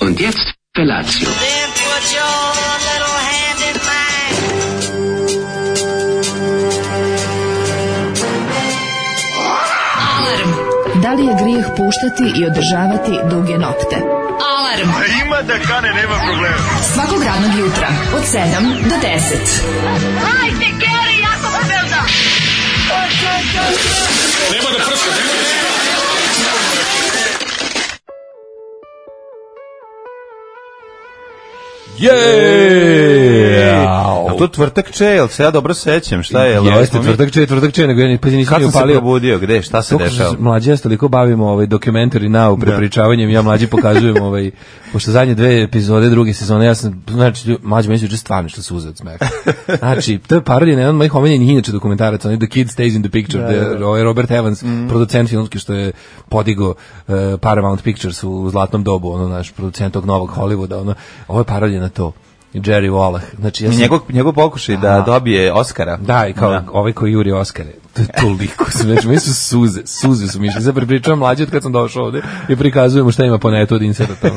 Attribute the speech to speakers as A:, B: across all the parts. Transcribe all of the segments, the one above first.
A: Und jetzt Felatio.
B: Then put your little hand in mine.
C: Alarm!
D: Da li je grijeh puštati i održavati duge nokte?
C: Alarm!
E: Ima da kane, nema problema.
D: Svakog radnog jutra od 7 do 10.
F: Yeah!
G: A to tvrtak če, jel se ja dobro sećam, šta je? jel da
F: Jeste
G: smo mi-
F: tvrdak če, tvrdak če, nego ja ni- pa nisam
G: Kad
F: ni
G: sam se
F: upalio.
G: probudio, gde, šta se
F: Kako se
G: dešava?
F: mlađi ja se toliko bavimo ovaj dokumentari na u prepričavanjem, ja mlađi pokazujem ovaj pošto zadnje dve epizode druge sezone ja sam znači lju- mlađi meni su juče stvarno što suze od smeha. Znači to je parodija na jedan od mojih omiljenih inače dokumentaraca, onaj The Kid Stays in the Picture, da, ovaj Robert Evans,
G: Mhm.
F: producent filmski što je podigao eh, Paramount Pictures u zlatnom dobu, ono naš producent tog novog Hollywooda, ono ovo je parodija na to. Jerry Wallach. Znači ja sam
G: Njegov, njegov pokušaj da
F: Aha.
G: dobije Oscara.
F: da, i kao ovaj koji juri Oskare. To je toliko smešno. Meni su suze, suze su mi išle. Sad prepričavam mlađe od kad sam došao ovde i prikazujemo šta ima po netu od inserata.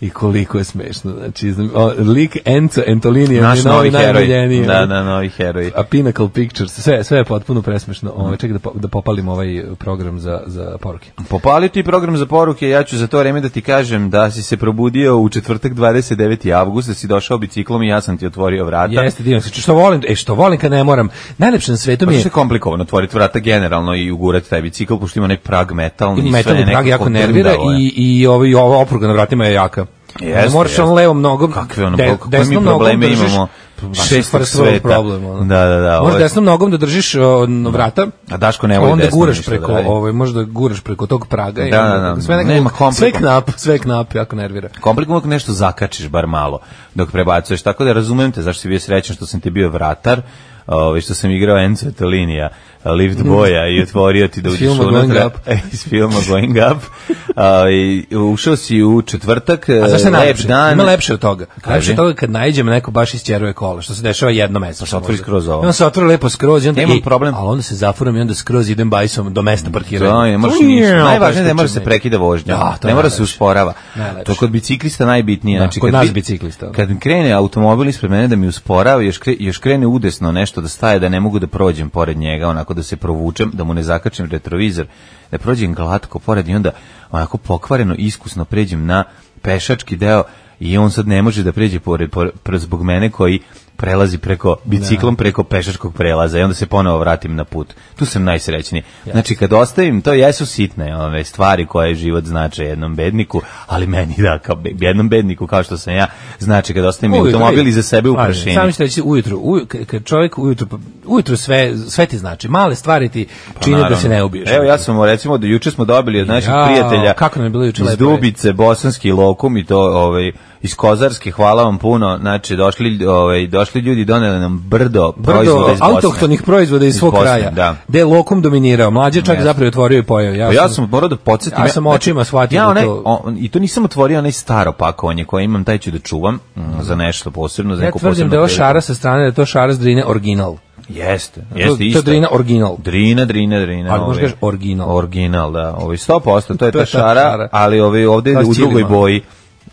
F: I koliko je smešno. Znači, znam, o, lik Enzo Antolini je
G: Naš
F: mi
G: novi
F: novi
G: heroj.
F: najboljeniji.
G: Da, da, novi heroj.
F: A Pinnacle Pictures, sve, sve je potpuno presmešno. Ovo, čekaj da, po- da popalim ovaj program za, za poruke.
G: Popali ti program za poruke, ja ću za to vreme da ti kažem da si se probudio u četvrtak 29. avgusta, si došao biciklom i ja sam ti otvorio vrata.
F: Jeste, divno se. Što volim, e, što volim kad ne moram. Najlepše na svetu
G: Pa
F: mi je...
G: što je komplikovano otvoriti vrata generalno i ugurati taj bicikl, pošto ima onaj prag metalni.
F: i
G: sve
F: metalni prag
G: nekako
F: jako nervira
G: drndavo je.
F: i i ovaj ova opruga na vratima je jaka.
G: Jeste,
F: Jeste, moraš
G: jeste.
F: on levom nogom.
G: Kakve ono,
F: de-
G: bol- kakve
F: desnom
G: mi
F: nogom
G: probleme
F: držiš-
G: imamo
F: Baš je
G: šestog
F: first world
G: sveta.
F: problem, ono.
G: Da, da, da,
F: Možeš
G: ovo je-
F: desnom nogom da držiš o, na vrata.
G: A Daško ne
F: a
G: voli
F: onda
G: desno
F: guraš
G: ništa
F: preko,
G: da radi.
F: ovaj možda guraš preko tog praga i
G: Da,
F: onda
G: da, da.
F: sve nekako,
G: Nema
F: sve
G: komplikovan-
F: knap, sve knap jako nervira.
G: komplikovano ako nešto zakačiš bar malo dok prebacuješ, tako da razumem te zašto si bio srećan što sam ti bio vratar ovaj, što sam igrao Enzo Etolinija Lift Boya i otvorio ti da uđeš
F: filma Going
G: unutra
F: Up.
G: E, iz filma Going Up A, i ušao si u četvrtak
F: A znaš šta
G: lep
F: je najlepše?
G: dan
F: Ima lepše od toga.
G: Kaži.
F: Lepše od toga kad najđem neko baš isćeruje kola, što se dešava jedno mesečno.
G: Pa se otvori
F: možda.
G: skroz ovo.
F: I onda se otvori lepo skroz. I onda,
G: Ja imam
F: i-
G: problem.
F: Ali onda se zafuram i onda skroz idem bajsom do mesta parkiranja.
G: Da, ne moraš
F: Ujeo,
G: ništa. Najvažnije je
F: preskočim
G: da ne mora se
F: neki.
G: prekida vožnja.
F: Da, to je
G: ne mora se
F: najlepše.
G: usporava.
F: Najlepše.
G: To kod biciklista najbitnije.
F: Da,
G: znači,
F: kod
G: kad
F: nas
G: bi-
F: biciklista, da.
G: Kad krene automobil ispred mene da mi usporava, još, kre- još krene udesno nešto da staje, da ne mogu da prođem pored njega, onako da se provučem, da mu ne zakačem retrovizor, da prođem glatko pored i onda onako pokvareno, iskusno pređem na pešački deo i on sad ne može da pređe pored, pored, pored zbog mene koji prelazi preko biciklom preko pešačkog prelaza i onda se ponovo vratim na put. Tu sam najsrećniji. Znači kad ostavim to jesu sitne ove stvari koje život znače jednom bedniku, ali meni da kao be- jednom bedniku kao što sam ja, znači kad ostavim
F: Ujutru,
G: automobil
F: ej,
G: iza sebe u
F: slažem se.
G: prašini.
F: Samo ću reći ujutru, uju, kad- kad čovjek ujutru, ujutru sve, sve ti znači, male stvari ti čine da se ne ubiješ.
G: Pa Evo ja sam recimo da juče smo dobili od naših
F: Jao,
G: prijatelja
F: kako nam je bilo juče
G: iz
F: lepo,
G: Dubice bosanski lokum i to ovaj iz Kozarske, hvala vam puno. Znači došli ovaj došli ljudi doneli nam brdo, proizvoda
F: brdo
G: iz Bosne.
F: autohtonih proizvoda iz svog
G: Bosne,
F: kraja,
G: Da.
F: gde je lokom dominirao. Mlađe čak
G: Jeste.
F: zapravo otvorio i pojeo.
G: Pa ja sam morao da podsjetim.
F: Ja sam očima shvatio
G: ja
F: da
G: onaj-
F: to-
G: o- I to nisam otvorio onaj staro pakovanje koje imam, taj ću da čuvam mm, za nešto posebno. Za
F: Ja
G: neku
F: tvrdim
G: posebnu
F: da je ova
G: priliku.
F: šara sa strane, da je to šara s drine original.
G: Jeste,
F: To- to
G: jeste
F: je
G: isto.
F: drina original.
G: Drina, drina, drina.
F: Ali možeš
G: ovaj,
F: kažeš original.
G: Original, da. Ovaj 100%, to je
F: To
G: ta
F: je ta
G: šara,
F: šara.
G: ali ovaj ovde
F: Da,
G: u
F: s
G: drugoj
F: ćilima.
G: boji.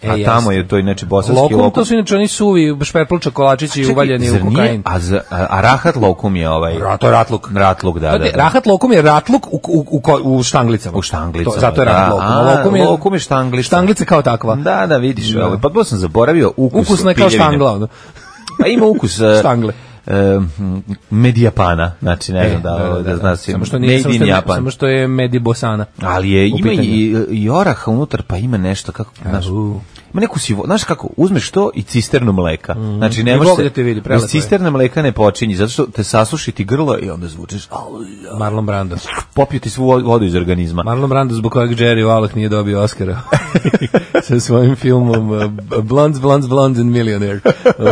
F: E,
G: A tamo
F: jeste.
G: je to inače bosanski
F: Lokum,
G: lokum.
F: to su inače oni suvi, šperpl čokolačići
G: Čekaj,
F: uvaljeni u
G: zar nije-
F: kokain.
G: A, za- a, a rahat lokum je ovaj.
F: Ra- to je ratluk.
G: Ratluk, da, da.
F: Znate,
G: da.
F: Rahat lokum je ratluk u, u, u, ko- u štanglicama.
G: U štanglicama,
F: To, zato je rahat
G: da.
F: lokum.
G: A,
F: A lokum je,
G: lokum je štanglica.
F: Štanglice kao takva.
G: Da, da, vidiš,
F: Da.
G: ovaj, pa to sam zaboravio, ukus
F: Ukusna je kao
G: piljevine.
F: štangla. ono.
G: Pa ima ukus e,
F: Štangle.
G: e,
F: E,
G: m, medijapana, znači ne znam da, da, zna se,
F: Samo što nije,
G: made
F: samo
G: in
F: što, je-
G: Japan.
F: samo što je medibosana.
G: Ali je,
F: u
G: ima
F: pitanju.
G: i, i oraha unutar, pa ima nešto, kako, znaš,
F: u.
G: ima neku sivo, znaš kako, uzmeš to i cisternu mleka. Znači, ne
F: Mhm. I
G: može
F: Bog
G: se,
F: da te vidi,
G: bez
F: prelepo je.
G: cisterne mleka ne počinji, zato što te sasuši ti grlo i onda zvučeš, au,
F: Marlon Brando.
G: popiju ti svu vodu iz organizma.
F: Marlon Brando zbog kojeg Jerry Wallach nije dobio Oscara sa svojim filmom uh, Blondes, Blondes, Blondes and Millionaire.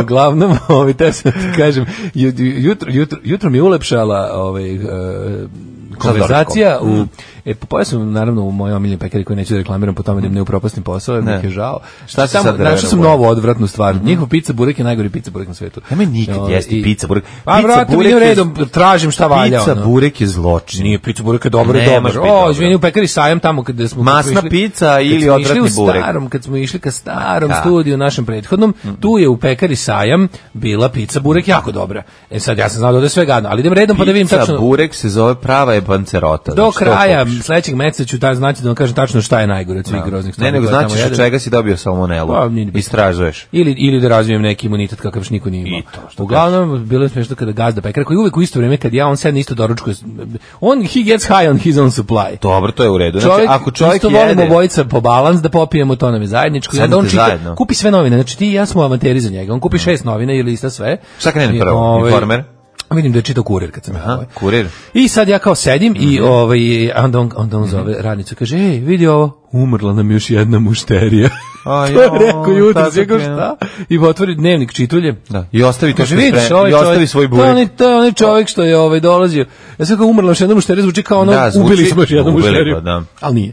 F: Uglavnom, ovaj, te sam ti kažem, ju-
G: Mm.
F: ju- jutro, jutro, jutro mi je ulepšala ovaj, uh, konverzacija u E, popojao sam, naravno, u mojoj omiljeni pekari koji neću da reklamiram po tome da im ne upropastim posao, jer mi
G: Mm. Ne.
F: ih je žao.
G: Šta si
F: Tamo-
G: sad
F: Našao sam
G: renovirao?
F: novu odvratnu stvar. Njihov pizza burek je najgori pizza burek na svetu.
G: Nemoj nikad
F: Ovaj,
G: jesti
F: i-
G: pizza burek.
F: Pa,
G: Pizza
F: vrate,
G: burek
F: mi
G: je-
F: redom tražim šta valja.
G: Pizza
F: ono.
G: burek je zločin.
F: Nije pizza burek je dobro,
G: Ne,
F: je
G: može
F: dobro.
G: biti
F: O,
G: dobro.
F: izvini, u pekari sajam tamo kada smo... kad smo
G: Masna
F: išli-
G: pizza
F: kad
G: ili
F: smo išli
G: odvratni
F: u
G: burek?
F: Starom, kad smo išli ka starom
G: Da.
F: studiju našem prethodnom, tu je u pekari sajam bila pizza burek jako dobra. E sad, ja sam znao da ode sve gadno, ali idem redom pa da vidim
G: Pizza
F: tačno...
G: burek se zove prava je pancerota.
F: Do
G: Znači, to
F: kraja
G: kupiš.
F: sledećeg meseca ću ta znači da vam kažem tačno šta je najgore od svih groznih stvari.
G: Ne, nego
F: koje tamo
G: značiš od
F: jedem.
G: čega si dobio salmonelu.
F: Pa, nije ni bitno.
G: Istražuješ.
F: Ili, ili da razvijem neki imunitet kakav još niko nije imao.
G: I to, što
F: Uglavnom, bilo je smiješno kada gazda pekara, koji uvek u isto vrijeme kad ja, on sedne isto doručkuje. On, he gets high on his own supply.
G: Dobro, to je u redu. Znači,
F: Čovjek,
G: ako čovjek
F: isto
G: jede...
F: volimo obojica po balans da popijemo, to nam je zajedničko. I
G: Samo
F: onda on
G: te
F: čita,
G: zajedno.
F: kupi sve novine, znači ti i ja smo avanteri za njega. On kupi šest novina ili lista sve.
G: Šta krene
F: I,
G: prvo?
F: ovaj,
G: Informer?
F: Vidim da je čitao kurir kad sam ja.
G: Aha,
F: ovaj.
G: kurir. Mhm.
F: I sad ja kao sedim i ovaj, a onda on, onda on zove radnicu, kaže, ej, vidi ovo, umrla nam još jedna mušterija.
G: A
F: to je
G: jao,
F: rekao jutro,
G: tako
F: rekao
G: krenuo.
F: šta? I otvori dnevnik čitulje.
G: Da. I ostavi to
F: Kaže,
G: što je
F: vidiš,
G: spremio.
F: ovaj
G: I ostavi
F: čovjek,
G: svoj
F: to je onaj,
G: burek.
F: to je onaj čovjek što je ovaj, dolazio. Ja sam kao umrla još jedna mušterija, zvuči kao ono,
G: Da, zvuči-
F: ubili smo još jednu
G: ubili ga,
F: mušteriju.
G: da.
F: Ali nije.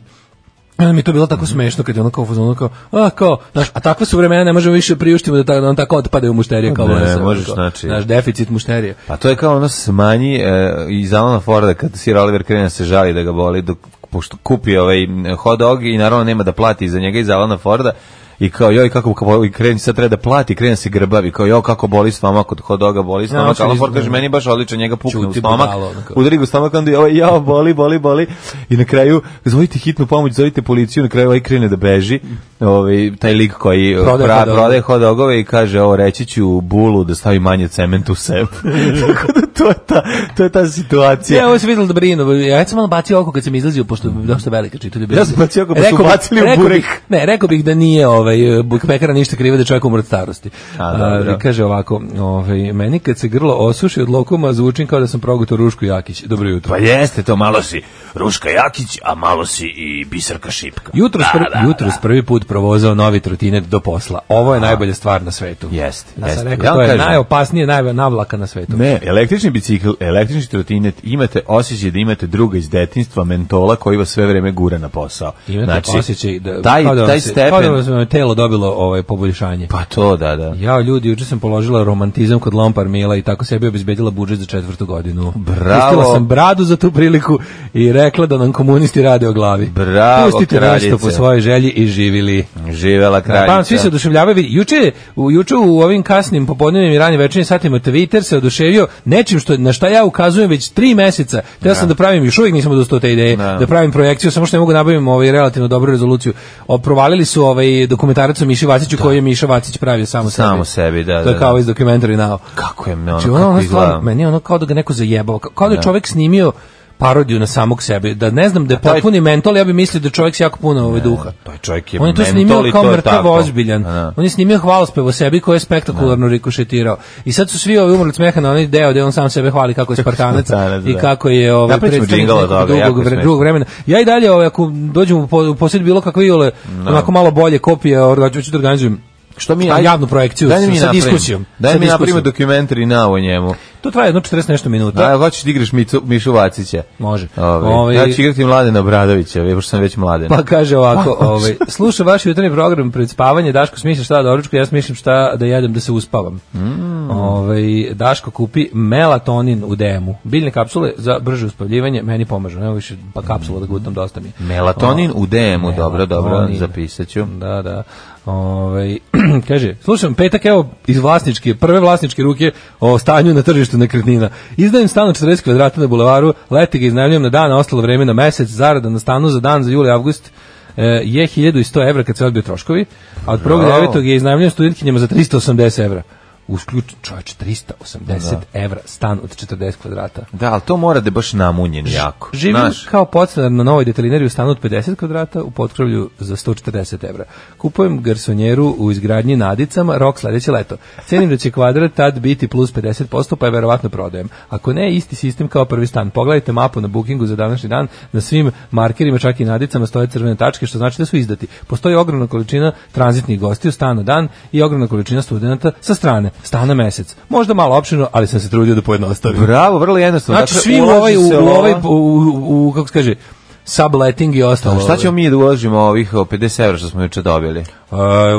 F: I onda mi je to bilo tako smešno kad je ono kao ono kao, a kao, znaš, a takva su vremena, ne možemo više priuštiti da ta, da nam tako otpadaju mušterije kao
G: Ne,
F: ono, ono,
G: možeš,
F: kao,
G: znači-
F: Znaš, deficit mušterije.
G: Pa to je kao ono smanji e, iz Alana Forda kad Sir Oliver krene se žali da ga boli dok pošto kupi ovaj m, hot dog i naravno nema da plati za njega iz Alana Forda i kao joj kako kako i kreni sad treba da plati krene se grbavi kao joj kako boli stomak kod hot doga boli stomak
F: hoće
G: Alan
F: iz-
G: Ford kaže meni baš odlično njega pukne u
F: Ćuti
G: stomak
F: budalo, ono kao.
G: udari ga u stomak onda je ovaj jao boli boli boli i na kraju zovite hitnu pomoć zovite policiju na kraju ovaj krene da beži ovaj taj lik koji
F: Prodaje
G: pra-
F: hot dogove.
G: prodaje hot dogove i kaže ovo reći ću bulu da stavi manje cementa u sebe. Tako da to je ta, to je ta
F: Ja,
G: situacija.
F: ovo sam vidjel da brinu. Ja sam malo bacio oko kad sam izlazio, pošto je dosta velika čitulja. bila.
G: Ja sam bacio oko, pa su
F: Rekao bih-
G: bacili u
F: rekao
G: burek.
F: bih- Ne, rekao bih da nije ovaj, e, buk pekara ništa kriva da je čovjek umre od starosti.
G: A, dobro.
F: A, kaže ovako, ovaj, meni kad se grlo osuši od lokuma, zvučim kao da sam progutao Rušku Jakić. Dobro jutro.
G: Pa jeste to, malo si Ruška Jakić, a malo si i Biserka Šipka.
F: Jutros, prvi, jutros prvi put provozao novi trotinet do posla. Ovo je najbolja stvar na svetu.
G: Jeste,
F: Ja sam
G: jeste.
F: rekao,
G: Ja vam
F: to je
G: kažem.
F: najopasnije, naj, navlaka na svetu.
G: Ne, električni bicikl, električni trotinet, imate osjećaj da imate druga iz detinjstva, mentola koji vas sve vreme gura na posao. Znači,
F: Imate osjećaj da,
G: taj,
F: kao da vam
G: taj
F: se- Kao da
G: stepen,
F: vam se telo dobilo ovaj, poboljšanje.
G: pa to da, da.
F: Ja, ljudi, juče sam položila romantizam kod Lompar Mila i tako sebi obezbedila budžet za četvrtu godinu.
G: Bravo.
F: Pustila sam bradu za tu priliku i rekla da nam komunisti rade o glavi.
G: Bravo,
F: Pustite nešto
G: kraljice.
F: po svojoj želji i živili.
G: Živela
F: Da,
G: kraljica.
F: pa svi se oduševljavaju. vidi, Juče, je- u, juče u ovim kasnim popodnevnim i ranim večernjim satima Twitter se oduševio nečim što, na šta ja ukazujem već tri meseca. Teo sam da pravim, još uvijek nisam odustao od te ideje,
G: Da.
F: da. pravim projekciju, samo što ne mogu nabavim ovaj relativno dobru rezoluciju. O, provalili su ovaj dokumentarac o Miši Vaciću koji je Miša Vacić pravio samo sebi.
G: Samo sebi, da,
F: To je
G: da,
F: kao
G: da.
F: iz dokumentari now.
G: Kako je ono,
F: Znači,
G: kako
F: ono, ono
G: izgleda.
F: stvarno, meni je ono kao da ga neko zajebao, ka- kao da je čovjek snimio parodiju na samog sebe, da ne znam da je
G: to je-
F: potpuni mentol, ja bih mislio da je čovjek s jako puno ovaj duha.
G: Taj čovjek je
F: On je to
G: mentol
F: snimio
G: i
F: kao
G: to je
F: mrtav
G: tako.
F: ozbiljan.
G: Da.
F: On je snimio hvalospev o sebi koji je spektakularno rikošetirao. I sad su svi ovi umrli od smeha na onaj deo gde on sam sebe hvali kako je spartanac
G: Spartanac,
F: i
G: da.
F: kako je ovaj
G: Napravit ćemo
F: predstavnik
G: džingl od
F: nekog
G: toga, jako je
F: dugog,
G: smešno.
F: vre, drugog vremena. Ja i dalje ovaj, ako dođem u, po, u posjed bilo kakve iole, onako malo bolje kopije, ovaj, hoću da organizujem što mi je
G: Ajde,
F: Pa javnu projekciju
G: daj mi
F: sa
G: napravim-
F: diskusijom.
G: Daj
F: sa
G: mi napravimo
F: diskusijom.
G: dokumentari na o njemu.
F: To traje jedno 40 nešto minuta.
G: Da, hoćeš da igraš Micu, Mišu Vacića.
F: Može.
G: Ove,
F: Ovaj-
G: Ja ću igrati Mladena Bradovića, ja, pošto sam već mladen.
F: Pa kaže ovako, ovaj, slušam vaš jutarnji program pred spavanje, Daško smišlja šta da doručku, ja smišljam šta da jedem da se uspavam.
G: Mm.
F: Ovaj, Daško kupi melatonin u DM-u. Biljne kapsule za brže uspavljivanje, meni pomažu, nema više pa kapsula da gutam, dosta mi je.
G: Melatonin u DM-u, dobro, dobro,
F: Melatonin.
G: zapisat ću.
F: Da, da. Ovaj, kaže, slušam, petak evo iz vlasničke, prve vlasničke ruke o stanju na tržištu nekretnina. Izdajem stan od 40 kvadrata na bulevaru, leti ga iznajmljujem na dan, a ostalo vreme na mesec, zarada na stanu za dan za juli, avgust e, je 1100 evra kad se odbiju troškovi, a od 1.
G: Bravo.
F: 9. je iznajmljujem studentkinjama za 380 evra. Usključ, čovječ, 380 evra stan od 40 kvadrata.
G: Da, ali to mora da je baš namunjen jako.
F: Živim
G: Znaš,
F: kao podstanar na novoj detalineri u stanu od 50 kvadrata u potkrovlju za 140 evra. Kupujem garsonjeru u izgradnji Nadicama, rok sledeće leto. Cenim da će kvadrat tad biti plus 50%, pa je verovatno prodajem. Ako ne, isti sistem kao prvi stan. Pogledajte mapu na bookingu za današnji dan. Na svim markerima, čak i Nadicama, stoje crvene tačke, što znači da su izdati. Postoji ogromna količina tranzitnih gostiju u stan na dan i ogromna količina studenta sa strane, stana mesec. Možda malo opširno, ali sam se trudio da pojednostavim.
G: dakle,
F: ovaj-
G: Bravo, vrlo jednostavno.
F: Znači, svi u ovaj, u, u ovaj, u, u, u, kako se kaže, subletting i ostalo.
G: Šta ćemo mi da uložimo ovih o, 50 evra što smo juče dobili?
F: E,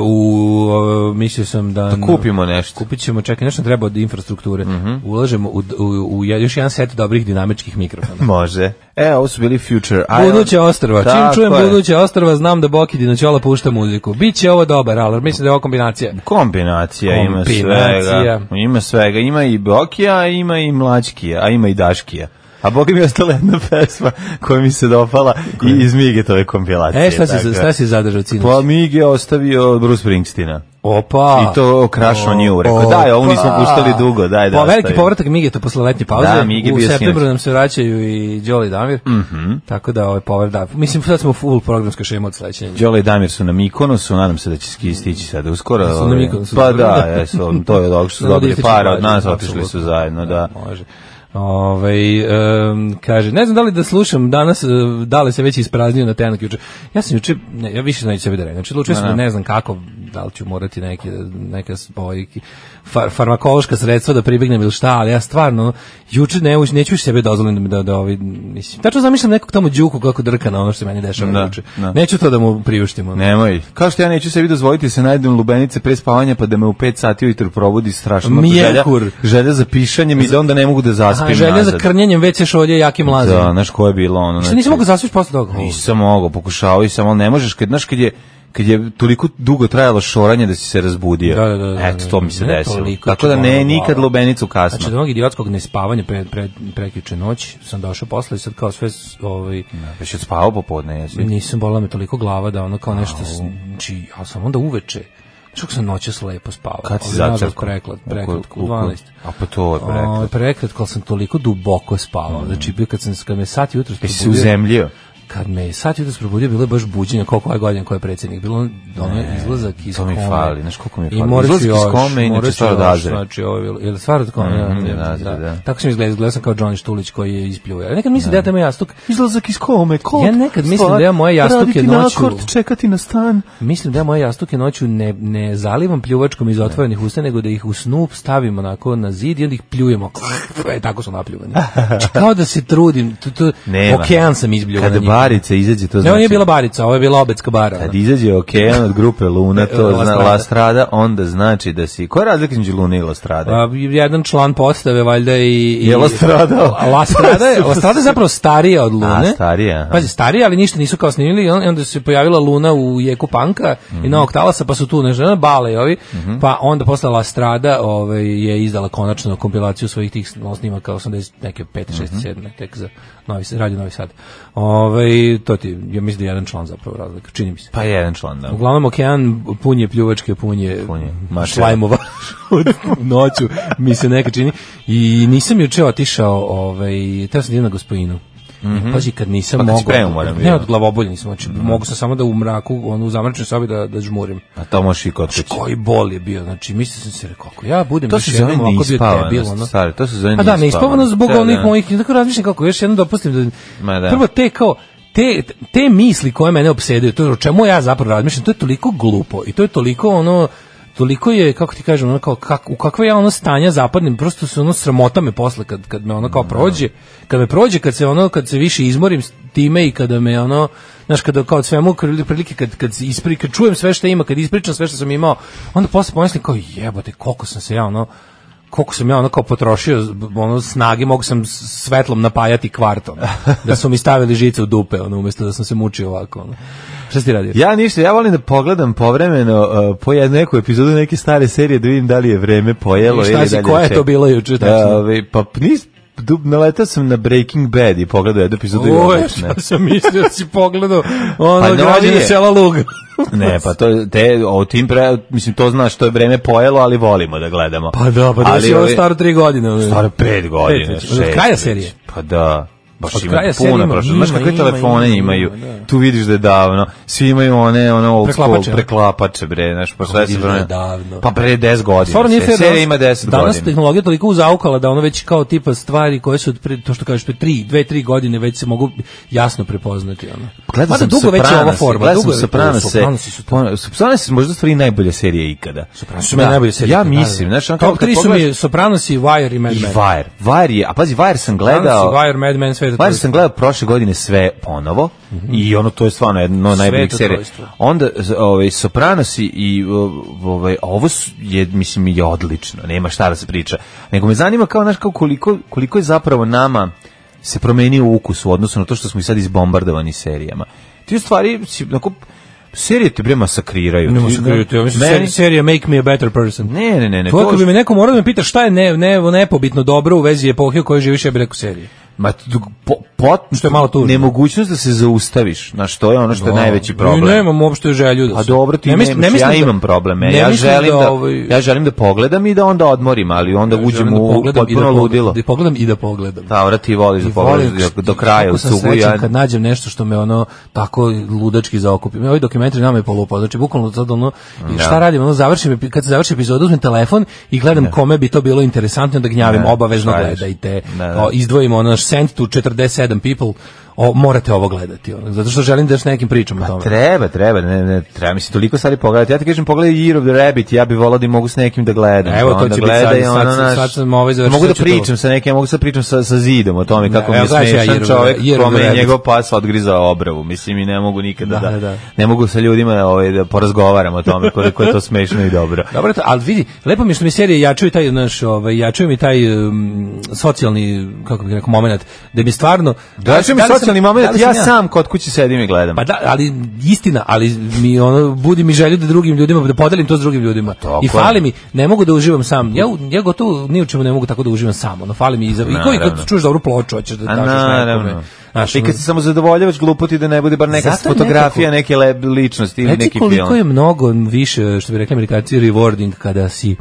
F: u, e, mislio sam da...
G: Da kupimo Mhm. nešto.
F: Kupit ćemo, čekaj, nešto treba od infrastrukture. Ulažemo u, u, u je- još jedan set dobrih dinamičkih mikrofona.
G: Može. E, ovo su bili Future Island.
F: Buduće ostrva. Čim
G: Tako
F: čujem
G: je.
F: buduće ostrva, znam da Boki Dinoćola pušta muziku. Biće ovo dobar alarm, mislim da je ovo kombinacija.
G: Kombinacija, ima
F: Kombinacija.
G: svega. Ima svega. Ima i Bokija, a ima i Mlačkija, a ima i Daškija. A Boga mi je ostala jedna pesma koja mi se dopala i iz Migetove kompilacije.
F: E, šta si,
G: tako.
F: šta si zadržao cinu?
G: dakle. Pa Mige je ostavio Bruce Springsteena.
F: Opa.
G: I to krašno nju. Rekao,
F: Opa.
G: daj, ovu nismo puštali dugo, daj da
F: Pa, veliki
G: ostavim.
F: povratak Migeta posle letnje pauze.
G: Da, Mige
F: U
G: bio
F: septembru
G: sinoć. Mhm.
F: nam se vraćaju i Đole i Damir. Tako da ovaj povrda. Mislim, sad smo full programska šema od sledećeg.
G: Đole i Damir su na Mikonosu, nadam se da će ski stići sada uskoro.
F: Su na
G: ovaj.
F: Mikonosu,
G: Pa
F: dobro,
G: da,
F: da.
G: jesu, on- to je od ovog što su
F: Samo da
G: dobili
F: ističu
G: para od
F: mlađe,
G: nas, otišli su
F: apsolutno.
G: zajedno, da.
F: Može. Ovaj em, kaže, ne znam da li da slušam danas, e, da li se već ispraznio na tenak juče. Ja sam juče, ne, ja više neću sebe da redim. Znači, odlučio sam da ne znam kako, da li ću morati neke, neka s- ovaj, ki- far, farmakološka sredstva da pribegnem ili šta, ali ja stvarno, juče ne, uš- neću više sebe dozvolim da, mi da, da ovaj, mislim, tačno zamišljam nekog tamo đuku kako drka na ono što se meni dešava
G: Da,
F: juče.
G: da.
F: Neću to da mu ono. priuštimo.
G: Nemoj. Kao što ja neću sebi dozvoliti da se najdem lubenice pre spavanja pa da me u 5 sati ujutru probudi strašno želja,
F: Mjekur.
G: želja za pišanjem i da onda ne mogu da zaspim
F: A želja za
G: nazad.
F: krnjenjem već je šolje jakim lazom.
G: Da, znaš ko je bilo ono.
F: Šta
G: znači-
F: nisi mogu zasviš posle toga?
G: Nisam mogao, pokušavao i sam, ali ne možeš, kad, znaš, kad je, kad je toliko dugo trajalo šoranje da si se razbudio.
F: Da, da, da, da,
G: Eto,
F: da.
G: to mi se
F: Ne
G: desilo.
F: toliko,
G: Tako da ne,
F: čudovno,
G: nikad
F: hvala.
G: lubenicu kasno.
F: Znači, od onog idiotskog nespavanja pre, pre, prekjuče noć sam došao posle i sad kao sve, s- ovaj,
G: Pa si odspavao popodne, jesi?
F: nisam bolila me toliko glava da ono kao nešto, s- znači, ja sam onda uveče, čak sam noćas lepo spavao.
G: Kad si
F: Ali, nažalost,
G: začerko?
F: Preklad,
G: Oko-
F: prekratko, u
G: oko-
F: 12.
G: A pa to je Mm.
F: Ovaj,
G: prekrat.
F: prekratko, ali sam toliko duboko spavao. Znači, bio kad, sam, kad me sat jutro
G: Jesi se uzemljio?
F: kad me je sat jutros probudio, bilo je baš buđenje, koliko je godina koji je predsjednik, bilo ono ono izlazak iz
G: to mi
F: kome.
G: fali, znaš koliko mi
F: I
G: fali.
F: morat ću
G: Izlazak iz
F: još,
G: kome, inače
F: morat ću
G: stvarno
F: još,
G: razred.
F: Znači, ovo je bilo, ili stvarno od kome,
G: Mhm,
F: da,
G: razred,
F: da.
G: da.
F: Tako sam izgledao, izgledao sam kao Johnny Štulić koji je ispljuje. Ja nekad mislim da ja tamo jastuk,
G: Izlazak iz kome, kod?
F: Ja nekad mislim da ja moje jastuke
G: raditi
F: noću-
G: nakord, čekati na stan.
F: mislim da ja moje jastuke noću ne, ne zalivam pljuvačkom iz otvorenih usta, nego da ih u snu stavim onako na zid i onda ih pljujemo. E, tako su napljuvani. Znači, Kao da se trudim, to, to,
G: Nema.
F: okean sam izbljuvan. na
G: Kada
F: njih.
G: barica izađe, to znači...
F: Ne, ovo nije bila barica, ovo je bila obecka bara.
G: Kad izađe okean od grupe Luna, to
F: La
G: zna
F: Strada.
G: La Strada, onda znači da si... Koja je razlika između Lune i La Strade?
F: A, jedan član postave valjda i, Pa, i
G: Je Lastrada.
F: A Lastrada je, Lastrada je zapravo starija od Lune.
G: A, starija, aha.
F: Pazi, starija, ali ništa nisu kao snimili i on- i onda se pojavila Luna u jeku panka
G: Mhm.
F: i novog talasa, pa su tu nešto ono, bale i ovi. Pa onda posle Lastrada ovaj, je izdala konačno kompilaciju svojih tih sn- snimaka 80 neke 5, 6,
G: Mhm.
F: 7 tek za Novi Sad- Radio Novi Sad. Ovaj to ti ja mislim da je jedan član zapravo razlika, čini mi se.
G: Pa jedan član, da.
F: Uglavnom okean punje pljuvačke, punje,
G: Punje,
F: punje
G: maševa.
F: šlajmova od noću, mi se neka čini. I nisam juče otišao, ovaj, teo sam da idem na gospojinu. I Pazi, kad nisam
G: Pa kad si
F: mogao...
G: preumoran bio. Mhm.
F: ne, od glavobolja nisam, znači, mogu sam samo da u mraku, ono, u zamračnoj sobi da, da žmurim.
G: A Pa to možeš i kod kuće.
F: Koji bol je bio, znači, mislio sam se rekao, ako ja budem
G: To
F: još
G: se
F: jednom
G: zove znači,
F: ovako bio debil, ono.
G: neispavanost, stari, to se zove
F: A da,
G: neispavanost.
F: neispavano zbog
G: Da,
F: onih
G: da.
F: mojih, tako razmišljam kako, još jednom dopustim da,
G: Ma da.
F: prvo te kao, te, te misli koje mene obsedaju, to je o čemu ja zapravo razmišljam, to je toliko glupo i to je toliko ono, toliko je, kako ti kažem, ono kao, kak, u kakva ja ono stanja zapadnim, prosto se ono sramota me posle kad, kad me ono kao prođe, kad me prođe, kad se ono, kad se više izmorim s time i kada me ono, znaš, kada kao od svemu kr- prilike, kad, kad, se ispri, kad čujem sve što ima, kad ispričam sve što sam imao, onda posle pomislim kao jebote, koliko sam se ja ono, koliko sam ja ono kao potrošio z- ono snage, mogu sam s- svetlom napajati kvartom. Da su mi stavili žice u dupe, ono, umjesto da sam se mučio ovako. Ono. Šta si ti radio?
G: Ja ništa, ja volim da pogledam povremeno uh, po jednu neku epizodu neke stare serije da vidim da li je vreme pojelo
F: I šta
G: ili
F: si,
G: da li
F: koja je
G: če-
F: to bila juče, tačno?
G: Da, ovaj, pa nis, du- naletao sam na Breaking Bad i pogledao jednu epizodu i
F: Ovo
G: odlično je.
F: šta sam mislio da si pogledao ono
G: Pa
F: pa građane
G: novije.
F: sela Luga.
G: Ne, pa to je- te o tim pre, mislim to znaš što je vreme pojelo, ali volimo da gledamo.
F: Pa da, pa da
G: Ali
F: si ovo
G: ovi-
F: staro tri godine. ono.
G: Staro pet godina,
F: već.
G: šest.
F: Od kraja
G: već.
F: serije?
G: Pa da. Baš
F: Od
G: ima
F: kraja serije
G: puno
F: ima,
G: prošlo. Znaš
F: ima,
G: kakve
F: ima,
G: telefone
F: ima,
G: imaju?
F: ima, da.
G: Tu vidiš da je davno. Svi imaju one, ono, old school
F: Preklapače, ne?
G: preklapače, bre. Znaš, pa sve se
F: vidiš da je
G: brane.
F: davno.
G: Pa pre 10 godina.
F: Stvarno nije
G: sve.
F: fair.
G: Serija
F: danas-
G: ima 10
F: Danas
G: godina.
F: tehnologija toliko uzaukala da ono već kao tipa stvari koje su od pre, to što kažeš pre 3, 2, 3 godine već se mogu jasno prepoznati ono.
G: Pa Gledao
F: Mada
G: sam
F: dugo već je ova
G: Sopranos,
F: forma.
G: Gledao
F: dugo
G: sam
F: je-
G: Sopranos.
F: Sopranosi su to.
G: Sopranos je možda stvari najbolja serija ikada.
F: Sopranos su meni najbolje serije.
G: Ja mislim, znaš, ono
F: top
G: kad
F: 3 su
G: pogledaš-
F: mi Sopranos i Wire i Mad
G: I
F: Men.
G: Wire. Wire je, a pazi, Wire sam
F: Sopranos i
G: gledao.
F: Wire, Mad Men, sve Sveto
G: Mlađe
F: trojstvo.
G: sam gledao prošle godine sve ponovo i ono to je stvarno jedno od najboljih
F: Sveto
G: serija.
F: trojstvo.
G: Onda z- ovaj Sopranosi i o- ovaj a ovo su- je mislim je odlično, nema šta da se priča. Nego me zanima kao znaš kao koliko koliko je zapravo nama se promenio ukus u odnosu na to što smo i sad izbombardovani serijama. Ti u stvari si onako, serije te bre masakriraju.
F: Ne
G: Ti-
F: možeš krijuti, ja mislim
G: Meni-
F: seri- serija Make Me a Better Person.
G: Ne, ne, ne, ne.
F: To
G: to
F: ako bi
G: što-
F: me neko morao da me pita šta je ne, ne, nepobitno dobro u vezi epohe u kojoj živiš, ja bih rekao serije.
G: Ma, t- po, pot,
F: Što je malo tužno.
G: Nemogućnost da se zaustaviš, na što je ono što je najveći problem.
F: I nemam uopšte želju da
G: A
F: se-
G: dobro ti ne
F: mislim-
G: nemaš, ja
F: mislim da-
G: imam probleme.
F: ne
G: ja
F: mislim
G: želim da,
F: ovaj-
G: ja želim da pogledam i da onda odmorim, ali onda
F: Ja
G: uđem
F: želim da
G: u
F: pogledam i da
G: potpuno
F: pogledam-
G: ludilo.
F: Da pogledam i da pogledam.
G: Da, vrat, ti voliš da
F: I volim
G: pogledaš
F: što-
G: do, do kraja u
F: kako sam
G: cugu.
F: srećan
G: Ja,
F: kad nađem nešto što me ono tako ludački zaokupi. Ovi dokumentari nama je polupao. Znači bukvalno sad ono i šta radim, ono završim epi- kad se završi epizoda uzmem telefon i gledam kome bi to bilo interesantno da gnjavim
G: Ne,
F: obavezno
G: šta je?
F: gledajte.
G: Ne, ne.
F: O, izdvojimo ono naš sent to 47 people. O, morate ovo gledati. Ono, zato što želim da još nekim
G: Pa
F: pričam o tome.
G: treba, treba, ne, ne, treba mi se toliko stvari pogledati. Ja ti kažem, pogledaj Year of the Rabbit, ja bih volao da mogu s nekim da gledam.
F: Evo, to
G: Onda
F: će biti
G: gledaj,
F: sad-
G: ono,
F: sad-
G: znaš,
F: sad sam ovaj završio,
G: Mogu da
F: sad ću to.
G: pričam sa nekim, ja mogu da pričam sa, sa zidom o tome kako mi
F: Ne,
G: je
F: evo, gledat ću ja
G: smešan
F: Year of the-
G: čovjek
F: Year of the
G: kome je
F: Rabbit.
G: njegov pas odgrizao obravu. Mislim, i ne mogu nikada da,
F: Da, da, da.
G: ne mogu sa ljudima ovaj, da porazgovaram o tome koliko je to smešno i dobro.
F: Dobro je to, ali vidi, lepo mi je što mi serije jačaju taj naš, ovaj, jačaju mi taj um, socijalni, kako bih rekao, moment, da mi stvarno...
G: Da, ja ću mi
F: li sam-
G: Znači, socijalni
F: da
G: moment,
F: li
G: ja sam kod kući sedim i gledam.
F: Pa da, ali istina, ali mi ono budi mi želju da drugim ljudima da podelim to s drugim ljudima.
G: Pa Tako
F: I
G: je.
F: fali mi, ne mogu da uživam sam. Ja u- ja gotovo ni u čemu ne mogu tako da uživam sam. Ono fali mi i za i koji
G: Naravno.
F: kad čuješ dobru ploču hoćeš da
G: A
F: tražiš
G: naravno.
F: nekome. ono,
G: Znaš, I kad se samo zadovoljavaš gluputi da ne bude bar neka
F: Zato je
G: fotografija neke le, ličnosti ili
F: Reci
G: neki
F: koliko
G: film.
F: je mnogo više, što bi rekli amerikanci, rewarding kada si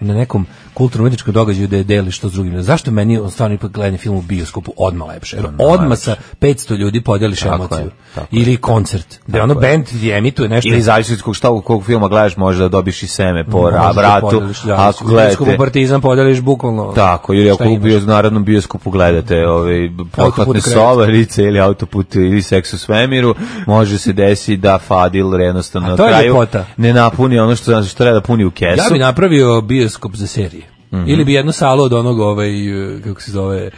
F: na nekom kulturno-umetničkom događaju da je deliš to s drugim. Zašto meni je stvarno ipak gledanje film u bioskopu odmah lepše? Jer odmah sa 500 ljudi podeliš
G: Tako
F: emociju.
G: je, tako
F: Ili koncert. Da ono
G: je.
F: band emituje nešto.
G: Ili zavisi od kog šta u kog filma gledaš, možeš da dobiš i seme po ra-
F: Možda
G: vratu.
F: podeliš, da,
G: ako
F: u bioskopu
G: gledate,
F: Partizan podeliš bukvalno.
G: tako, ili
F: Šta
G: ako u
F: imaš?
G: bio, narodnom bioskopu gledate ovaj, pohvatne
F: Autoput krevet.
G: sovarice ili autoput ili seks u svemiru, može se desi da Fadil jednostavno
F: A
G: na
F: to je
G: kraju
F: ljepota.
G: ne napuni ono što, što treba da puni u kesu.
F: Ja bih napravio bioskop za serije.
G: Mhm.
F: Ili bi jednu salu od onog, ovaj, eh, kako se zove,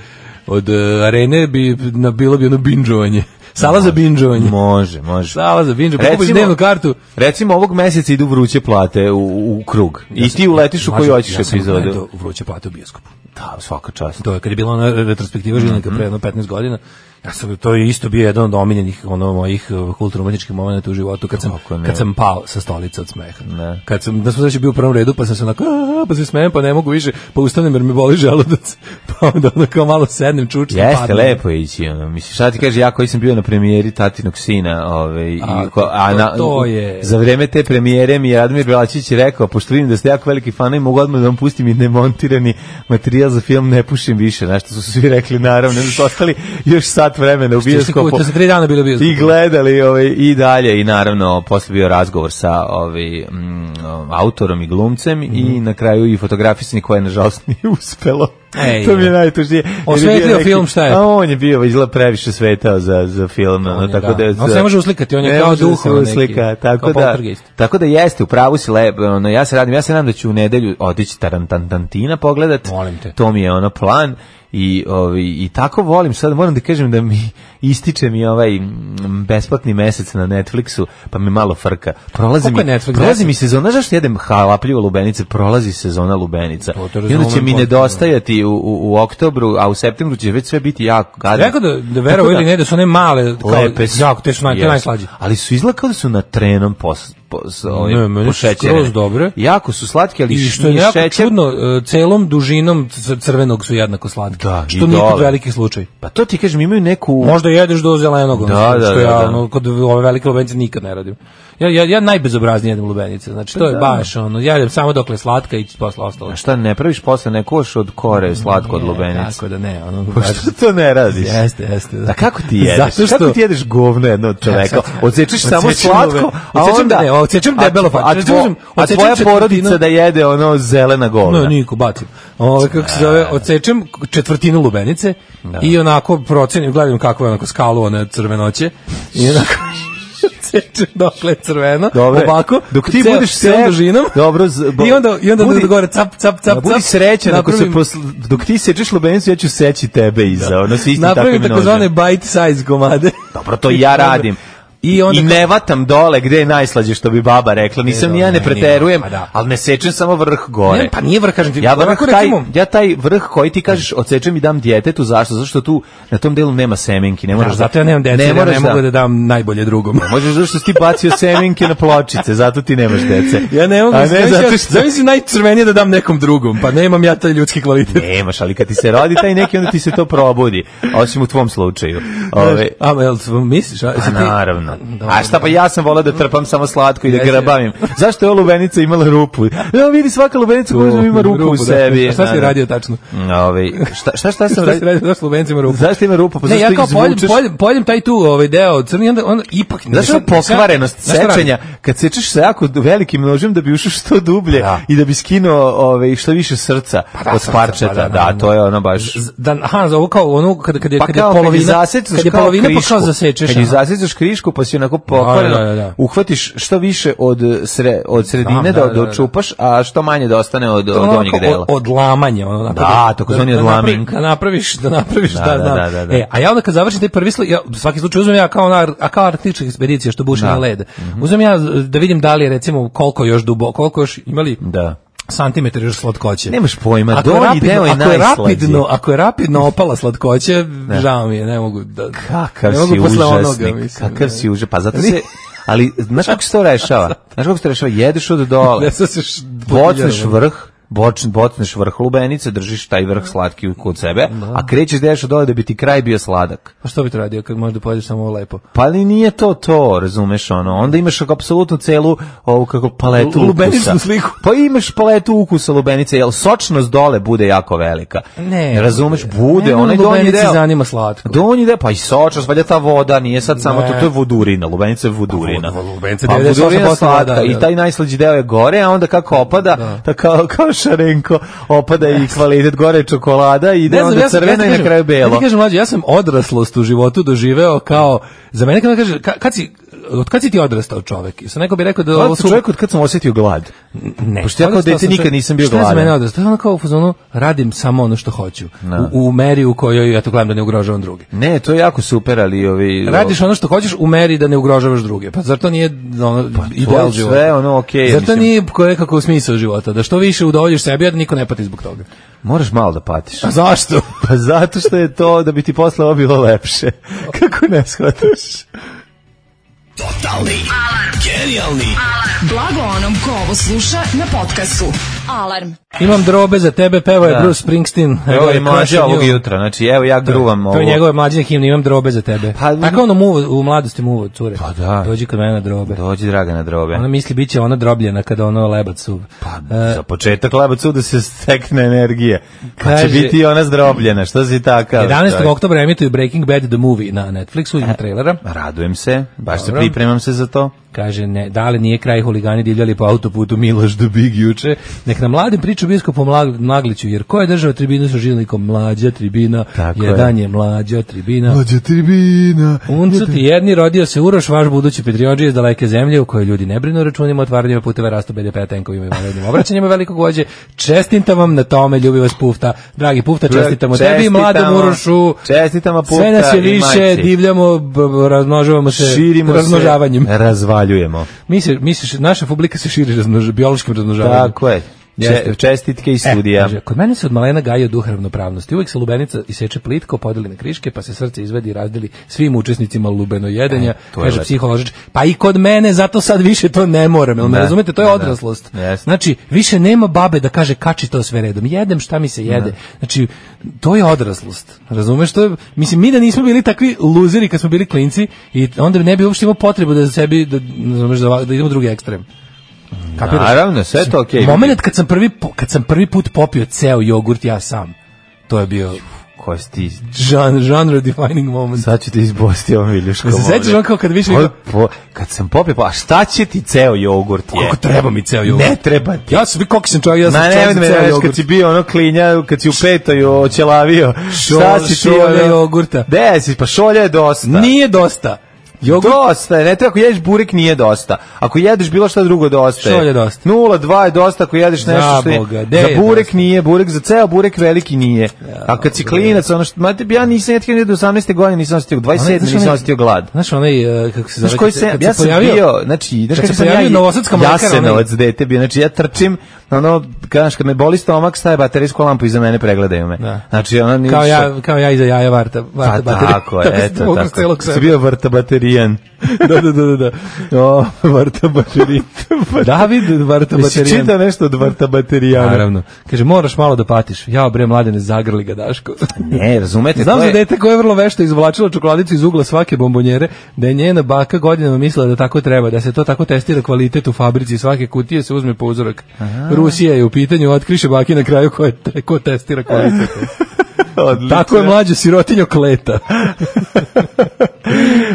F: od eh, arene bi, na, bilo bi ono binđovanje. Sala za binđovanje.
G: Može, može.
F: Sala za binđe, pokupiš dnevnu kartu.
G: Recimo ovog meseca idu vruće plate u, u krug. I ti uletiš u koju hoćeš
F: ja sam
G: epizodu.
F: gledao vruće plate u bioskopu.
G: Da, svaka čast.
F: To je kad je bila ona retrospektiva Žilinka pre jedno 15 godina. Ja sam to je isto bio jedan od omiljenih ono mojih eh, kulturno-umetničkih momenata u životu kad sam
G: Kako ne.
F: kad sam pao sa stolice od smeha.
G: Ne.
F: Kad sam da smo znači bio u prvom redu pa sam se onako "A, pa se smejem pa ne mogu više pa ustanem jer mi boli želudac. Pa onda onako malo sednem čučim.
G: Jeste,
F: padnem.
G: lepo je ići. Ono. Mislim, šta ti kaže, ja koji sam bio na premijeri Tatinog sina, ove, i,
F: A,
G: ko, a na,
F: to- to je-
G: za vreme te premijere mi je Radmir Belačić rekao, pošto vidim da ste jako veliki fanovi, mogu odmah da vam pustim i nemontirani materijal za film Ne pušim više, znaš što su svi rekli, naravno, da su ostali još sat vremena u
F: Što se kuće,
G: bioskopu.
F: To sam tri dana bilo bio.
G: I gledali ovaj, i dalje i naravno posle bio razgovor sa ovaj, mm, autorom i glumcem
F: Mhm.
G: i na kraju i fotografisani koje nažalost nije uspelo.
F: Ej,
G: to mi je najtužnije.
F: Osvetlio
G: Jer je bio
F: film, šta je?
G: A on je bio izgleda previše svetao za, za film.
F: On
G: ono,
F: je,
G: tako da,
F: da. On se ne može uslikati, on je
G: ne
F: kao
G: može da
F: duh,
G: se
F: ono neki,
G: uslika, tako da,
F: kao poltergeist.
G: tako da jeste, u pravu si lepo. Ono, ja se radim, ja se nadam da ću u nedelju otići Tarantantantina pogledat.
F: Molim te.
G: To mi je ono plan i ovi i tako volim sad moram da kažem da mi ističe mi ovaj mm, besplatni mesec na Netflixu pa mi malo frka prolazi mi
F: Koliko je Netflix?
G: prolazi mi sezona znaš što jedem halapljivo lubenice prolazi sezona lubenica
F: To te
G: i onda će
F: razumem
G: mi
F: potpuno.
G: nedostajati u, u, u oktobru a u septembru će već sve biti jako gadno
F: Rekao da, da
G: Pa Tako
F: verovo ili ne, da su one male, kao,
G: lepe su.
F: jako, te su naj, to je
G: Jesu.
F: najslađe.
G: Ali su izgleda kao da su na trenom pos, pos, ovaj,
F: Ne, meni su
G: pošećerene.
F: skroz dobre.
G: Jako su slatke, ali
F: I
G: š-
F: što je
G: nije
F: jako
G: šećer.
F: čudno, e, celom dužinom c- crvenog su jednako slatki.
G: Da, i
F: što nije kod
G: dole.
F: velikih slučaj.
G: Pa to ti kažem, imaju neku...
F: Možda jedeš do zelenog, ono,
G: Da,
F: što-
G: da,
F: što ja
G: da, da.
F: ono, kod ove velike lubenice nikad ne radim. Ja, ja, ja najbezobraznije jedem lubenice, znači to je baš ono, ja jedem samo dokle je slatka i posle ostalo.
G: Pa A šta, ne praviš posle ne koš od kore slatko od lubenice?
F: Tako da ne, ono,
G: Pa
F: baš-
G: što to ne radiš?
F: jeste, jeste.
G: Da kako ti jedeš?
F: Zato što,
G: Kako ti jedeš govno jedno od
F: Ja
G: čoveka?
F: sad-
G: Odsečeš samo
F: Odsečem
G: slatko,
F: luben-
G: a
F: odsečem-
G: onda...
F: ne, odsečem debelo,
G: a,
F: pa-
G: a,
F: odsečem-
G: tvo, a
F: odsečem
G: tvoja
F: četvrtinu.
G: porodica da jede ono zelena govna.
F: No, niko bacim. Ovo, kako se zove, odsečem četvrtinu lubenice i onako procenim, gledam kako je onako skalu one crvenoće i onako sečeš dokle je crveno,
G: Dobre.
F: ovako,
G: Dok ti
F: ceo-
G: budeš
F: celom
G: srećan-
F: dužinom,
G: Dobro, z- bo-
F: i onda, i onda
G: budi-
F: budi, gore, cap, cap, cap,
G: Da budi
F: cap,
G: srećan ako se
F: napravim-
G: posl... dok ti sečeš lubenicu ja ću seći tebe iza. Da. Ono se istim
F: Napravim
G: takvim
F: takozvane
G: nožem.
F: bite size komade.
G: Dobro, to ja radim.
F: I onda
G: I ne vatam dole gde je najslađe što bi baba rekla. Nisam
F: Ne,
G: ni ja ne
F: dobro,
G: preterujem,
F: nije, pa da.
G: ali ne sečem samo vrh gore.
F: Ne, pa nije vrh, kažem ti,
G: Ja vrh
F: onako
G: taj,
F: recimo-
G: ja taj vrh koji ti kažeš odsečem i dam djetetu, zašto? Zašto tu na tom delu nema semenki, ne moraš
F: Da, zato ja nemam dece, ja
G: moraš
F: ne mogu da dam najbolje drugom.
G: Možeš zašto si ti bacio semenke na pločice, zato ti nemaš dece.
F: Ja ne mogu,
G: A
F: ne,
G: zato
F: zamislim,
G: što
F: zamislim najcrvenije da dam nekom drugom, pa nemam ja taj ljudski kvalitet.
G: nemaš, ali kad ti se rodi taj neki, onda ti se to probudi. Osim u tvom slučaju. Ove,
F: A, jel misliš? A,
G: Pa
F: jesi ti-
G: naravno.
F: Dobro.
G: A šta pa ja sam volao da trpam samo slatko i da
F: Jeste.
G: grabavim. Zašto je ova lubenica imala rupu? Evo vidi svaka lubenica koja ima rupu u
F: da.
G: sebi.
F: A Šta
G: Da,
F: si
G: da.
F: radio tačno?
G: Ove, šta, šta, šta sam
F: Šta si
G: radio?
F: radio? Zašto Slovencima rupu?
G: Zašto ima rupa? Pa
F: ne,
G: zašto
F: ja kao poljem,
G: izvučeš?
F: poljem, poljem taj tu ovaj deo crni, onda, onda ipak...
G: Znaš
F: nisam-
G: ono pokvarenost
F: Znaš šta radim?
G: sečenja, kad sečeš sa jako velikim nožem da bi ušao što dublje
F: Da.
G: i da bi skinuo ove, što više srca
F: da,
G: od
F: srca,
G: parčeta.
F: pa da,
G: da,
F: naravno.
G: to je ono baš...
F: Z- Da, aha, za ovo kao ono, kada, kada,
G: Pa
F: kada
G: kao
F: je
G: kad je
F: polovina,
G: zasecaš
F: kada je
G: kao
F: polovina pa
G: krišku.
F: kao zasečeš.
G: Kad je
F: aha.
G: zasečeš krišku pa si onako pokvareno,
F: Da, da, da, da.
G: uhvatiš što više od, sre, od sredine
F: Znam,
G: da,
F: da,
G: da,
F: da, da.
G: čupaš, a što manje da ostane od, od
F: Ono
G: donjeg
F: onako
G: dela.
F: Od, odlamanje. Ono, onako
G: Da, takozvani
F: da napravi-
G: odlaming.
F: Da napraviš, da napraviš,
G: Da,
F: da,
G: da,
F: znam.
G: da, da, da.
F: E, a ja onda kad završim taj prvi sloj, ja u svaki slučaj uzmem ja kao, ona, a kao arktička ekspedicija što buši
G: Da. Mhm.
F: na led. Uzmem ja da vidim da li je recimo koliko još duboko, koliko još imali
G: Da.
F: santimetar još slatkoće.
G: Nemaš pojma,
F: Ako je
G: donji
F: rapidno-
G: deo je
F: ako je
G: najslađi.
F: rapidno, ako je rapidno opala slatkoće, žao mi je, ne mogu da...
G: Kakav
F: ne mogu
G: si
F: posle
G: užasnik,
F: onoga, mislim,
G: kakav
F: ne.
G: si užasnik, pa zato se... Ali, znaš kako se to rešava? Znaš kako se to rešava? Jedeš od dole,
F: Ne sad se š-
G: bocneš vrh, boč, bocneš vrh lubenice, držiš taj vrh slatki kod sebe, a krećeš da jedeš od dole da bi ti kraj bio sladak.
F: Pa što bi to radio kad možeš da pojedeš samo ovo lepo?
G: Pa ali nije to to, razumeš ono. Onda imaš apsolutno celu ovu kako paletu
F: Lu- lubeničnu
G: ukusa.
F: sliku.
G: Pa imaš paletu ukusa lubenice, jel sočnost dole bude jako velika.
F: Ne,
G: razumeš,
F: ne,
G: bude,
F: ne,
G: onaj
F: ne,
G: donji
F: lubenici
G: deo.
F: zanima slatko.
G: Donji deo, pa i sočnost, valjda ta voda nije sad samo to,
F: Ne.
G: to je vodurina, lubenica je vodurina.
F: Pa, lubenica
G: Pa
F: 98%
G: vodurina slatka
F: voda,
G: i
F: da.
G: taj najslađi deo je gore, a onda kako opada, da. kao, kao šarenko, opada i kvalitet gore je čokolada i ide onda crvena i na kraju
F: Ja
G: belo.
F: ti kažem, mlađe, ja sam odraslost u životu doživeo kao, za mene kada kaže, ka, kad si, od kad si ti odrastao čovek? I sad neko bi rekao da ovo
G: Ovo
F: su...
G: čovjek od kad sam osjetio glad.
F: Ne,
G: Pošto ja kao
F: odrastao
G: dete
F: sam
G: nikad
F: čovek-
G: nisam bio
F: Šta je za
G: gladan.
F: mene odrastao? To je ono kao u fazonu, radim samo ono što hoću. U, u meri u kojoj, eto, gledam da ne ugrožavam druge.
G: Ne, to je jako super, ali ovi...
F: Radiš ono što hoćeš u meri da ne ugrožavaš druge. Pa zar to nije ono, ideal
G: Pa je
F: života?
G: sve ono okej,
F: Zar to
G: mislim.
F: nije nekako smisao života? Da što više udovoljiš sebi, a da niko ne pati zbog toga.
G: Moraš malo da patiš.
F: A zašto?
G: Pa zato što je to da bi ti posle ovo bilo lepše. Kako ne shvataš?
D: Blago onom ko ovo sluša na podcastu.
H: Alarm.
F: Imam drobe za tebe, peva je
G: Da.
F: Bruce Springsteen.
G: Evo je
F: je
G: mlađa
F: Crushing
G: ovog
F: You.
G: jutra, znači evo ja gruvam ovo.
F: To je njegove mlađine himne, imam drobe za tebe.
G: Pa,
F: Tako ono muvo, u mladosti muvo, cure.
G: Pa da.
F: Dođi kod mene na drobe.
G: Dođi draga na drobe.
F: Ona misli bit će ona drobljena kada ono lebac suv.
G: Pa,
F: E-
G: za početak lebacu da se stekne energije. Pa će
F: Kaže-
G: biti i ona zdrobljena, što si takav?
F: 11.
G: čovjek?
F: oktobra emituju Breaking Bad The Movie na Netflixu,
G: E.
F: ima trailera.
G: Radujem se, baš se
F: Dobro.
G: pripremam se za to.
F: Kaže, ne, da li nije kraj huligani divljali po autoputu Miloš do Big juče? Nek nam mladim priču biskupu Mlag- Magliću, jer ko je držao tribinu sa žilnikom? Mlađa tribina,
G: Tako je.
F: jedan je mlađa tribina.
G: Mlađa tribina.
F: Uncu ti jedni rodio se Uroš, vaš budući petriođe iz daleke zemlje u kojoj ljudi ne brinu o računima, otvaranjima puteva, rastu BDP-a, tenkovima i vanrednim obraćanjima velikog vođe. Čestitam vam na tome, ljubi vas Pufta. Dragi Pufta, čestitamo tebi i mladom
G: Čestitamo.
F: Urošu.
G: Čestitamo Pufta
F: Sve nas je
G: i
F: više,
G: majci.
F: divljamo, b- b- razmnožavamo se
G: Širimo
F: razmnožavanjem.
G: se, razvaljujemo.
F: Misliš, misliš, naša publika se širi razmnož, biološkim razmnožavanjem.
G: Tako je. Če,
F: Jeste.
G: čestitke i
F: E,
G: studija.
F: kaže, kod mene se od malena gaja duh ravnopravnosti. Uvijek se lubenica iseče plitko, podeli na kriške, pa se srce izvedi i razdeli svim učesnicima lubeno jedenja,
G: E, to je
F: kaže
G: lepo.
F: psiholožič. Pa i kod mene, zato sad više to ne moram, jel me
G: Da.
F: razumete? To je
G: Da,
F: odraslost.
G: da. Jeste.
F: Znači, više nema babe da kaže kači to sve redom. Jedem šta mi se jede. Znači, to je odraslost. Razumeš? To je, mislim, mi da nismo bili takvi luzeri kad smo bili klinci i onda ne bi uopšte imao potrebu da sebi, da, razumeš, da, da idemo u drugi ekstrem. Kapiraš?
G: Naravno, sve je to okej.
F: Moment kad sam prvi po- kad sam prvi put popio ceo jogurt ja sam. To je bio
G: Ko si ti?
F: žan, genre defining moment.
G: Sad ću te izbosti ovom viljuškom.
F: Se sećaš on kao kad više
G: Ko- po- kad sam popio, pa a šta će ti ceo jogurt je?
F: Koliko treba mi ceo jogurt?
G: Ne treba ti.
F: Ja sam, vi koliko sam čovjek, ja sam
G: Ma ne,
F: čovjek za
G: ne,
F: ceo
G: ne,
F: jogurt.
G: kad si bio ono klinja, kad si u petoj očelavio, šta
F: Šol-
G: si ti
F: šolja
G: ono-
F: jogurta.
G: De, si, pa šolja je dosta.
F: Nije dosta. Jogurt?
G: Dosta je, ne treba, ako jedeš burek nije dosta. Ako jedeš bilo šta drugo dosta je.
F: Što je dosta?
G: 0,2 je dosta ako jedeš nešto što je.
F: Zaboga, gde
G: za
F: je
G: burek
F: dosta?
G: nije, burek za ceo burek veliki nije. A kad si klinac, ono što, mate, ja nisam, ja tikam do 18. godine nisam osjetio,
F: Onaj,
G: 27.
F: Ono, znaš
G: nisam
F: onaj-
G: osjetio glad.
F: Znaš onaj, e, kako se zove,
G: Znaš koji
F: kad
G: se,
F: kad
G: ja sam
F: pojavio-
G: bio, znači, znaš
F: kad
G: kako
F: se
G: sam ja,
F: pojavio novosadska ono- mlekara,
G: jasenovac dete bio, znači ja trčim, ono, kad, znaš, kad me boli stomak, staje baterijsku lampu iza mene, pregledaju me.
F: Da.
G: Znači, ono, nije
F: kao
G: što-
F: ja, kao ja iza jaja varta, varta
G: Pa
F: baterije.
G: tako,
F: Da bi se
G: eto,
F: mogao
G: tako.
F: celog
G: Si
F: sebe.
G: bio vrta baterijan.
F: da, da, da, da, da.
G: O, vrta baterijan.
F: David varta
G: Jesi
F: baterijan.
G: čitao nešto od vrta batarijana?
F: Naravno. Kaže, moraš malo da patiš. Ja, bre, mladene, zagrli ga, Daško.
G: Ne, razumete,
F: Znam
G: E, to
F: za
G: je...
F: dete koje je vrlo vešto izvlačilo čokoladicu iz ugla svake bombonjere, da je njena baka godinama mislila da tako treba, da se to tako testira kvalitet u fabrici, svake kutije se uzme po uzorak. Rusija je u pitanju, otkriše baki na kraju ko, je, ko testira kvalitet.
G: Odlično.
F: tako je mlađe sirotinjo kleta.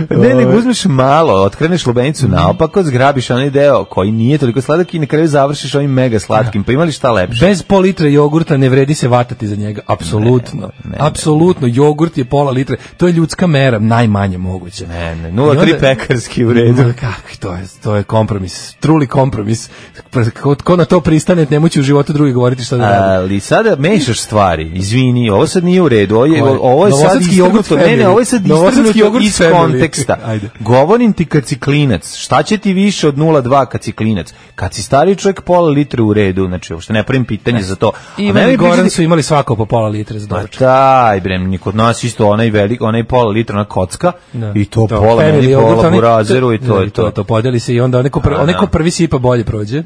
G: Ne, nego uzmeš malo, otkreneš lubenicu
F: Mhm.
G: naopako, zgrabiš onaj deo koji nije toliko sladak i na kraju završiš ovim mega slatkim. Pa imali šta lepše?
F: Bez pol litre jogurta ne vredi se vatati za njega, apsolutno.
G: ne,
F: apsolutno, jogurt je pola litre, to je ljudska mera, najmanje moguće.
G: Ne, ne,
F: I onda- Mhm.
G: 0,3 pekarski u redu.
F: Ma kakvi, to je, to je kompromis, truli kompromis. Pa, Ko, ko na to pristane, nemoći u životu drugi govoriti šta da radi.
G: Ali sada mešaš stvari. Izvini, ovo sad nije u redu. Ovo je,
F: Koje?
G: ovo je sad
F: Novosadski jogurt
G: istrgnuto. Ne, ne,
F: family.
G: ovo je sad
F: Novosadski
G: istrgnuto
F: jogurt
G: iz
F: family.
G: konteksta.
F: Ajde.
G: Govorim ti kad si klinac. Šta će ti više od 0,2 kad si klinac? Kad si stari čovjek, pola litra u redu. Znači, uopšte ne pravim pitanje za to. A
F: Ivan
G: meni
F: I Goran
G: pričati-
F: su imali svako po pola litre za
G: Ma
F: doručak.
G: taj bre, ni kod nas isto onaj velik, onaj pola litra na kocka
F: Da.
G: i to, pola
F: family
G: meni,
F: jogurt,
G: pola
F: oni-
G: burazeru i to
F: da,
G: je to.
F: to. podeli se i onda onaj ko, prvi,
G: A,
F: onaj ko
G: da.
F: prvi sipa bolje prođe,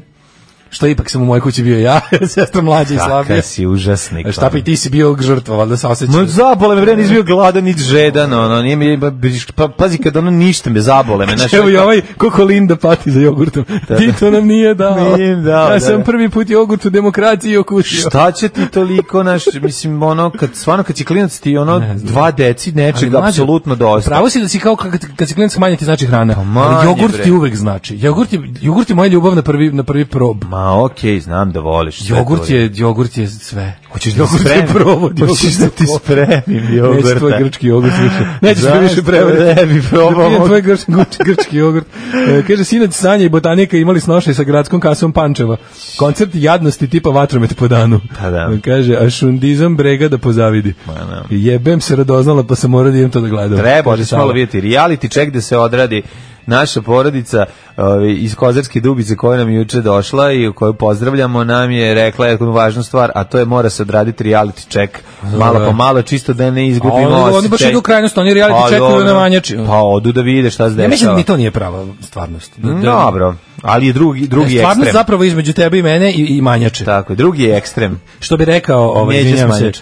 F: što ipak sam u mojoj kući bio ja, sestra mlađa i slabija.
G: Kaka si užasnik. ono.
F: A Šta pa i ti si bio žrtva, valjda se osjećaš.
G: Ma zabole me, bre, nisam bio gladan, niti žedan, ono, nije mi, ba- pa, pazi kad ono ništa me zabole me, znaš, ono,
F: Evo i
G: kao-
F: ovaj, kako Linda pati za jogurtom. Ti to nam nije dao.
G: Nije im dao,
F: ja
G: da,
F: sam
G: da.
F: prvi put jogurt u demokraciji okusio.
G: Šta će ti toliko, naš, mislim, ono, kad, stvarno, kad si klinac ti, ono,
F: Ne znam.
G: dva deci
F: Ali,
G: nečega,
F: mlađe,
G: apsolutno dosta. Pa
F: Pravo si da si kao kad, kad si klinac manje ti znači hrana.
G: manje,
F: Ali jogurt
G: bre.
F: ti uvek znači. Jogurt je, jogurt je moja ljubav na prvi, na prvi prob.
G: Ma, okej, znam da voliš. sve
F: Jogurt
G: to
F: je, jogurt je sve. Hoćeš
G: da ti
F: jogurt je
G: spremim?
F: provod. jogurt
G: Hoćeš
F: je
G: da ti
F: povod.
G: spremim
F: Neću tvoj
G: jogurta.
F: grčki jogurt više. Nećeš mi
G: Zašto
F: više prevariti.
G: ne bi probao?
F: Da pijem tvoj grč, grč- grčki jogurt. E, kaže, sinac Sanja i botanika imali snošaj sa gradskom kasom Pančeva. Koncert jadnosti tipa vatromet po danu. E,
G: Pa da.
F: Kaže, a šundizam brega da pozavidi.
G: da.
F: Jebem se radoznala pa sam morao da idem to da gledam.
G: Treba,
F: Kaže
G: da se
F: Sava.
G: malo vidjeti. Reality check da se odradi naša porodica ovaj, iz Kozarske dubice koja nam je juče došla i koju pozdravljamo nam je rekla jednu važnu stvar, a to je mora se odraditi reality check malo po malo, čisto da ne izgubimo
F: A Pa oni- oni
G: osjećaj.
F: baš idu u krajnost, oni reality
G: Pa,
F: checkuju
G: dobro.
F: na manjači.
G: Pa odu da vide šta se dešava. Mm,
F: Ja mislim da ni to nije prava stvarnost. Da, da-
G: Dobro, ali je drugi, drugi
F: stvarnost
G: ekstrem.
F: zapravo između tebe i mene i, i manjače.
G: Tako, je, drugi je ekstrem.
F: Što bi rekao, ovaj,
G: Neće
F: izvinjam se,
G: smanjač.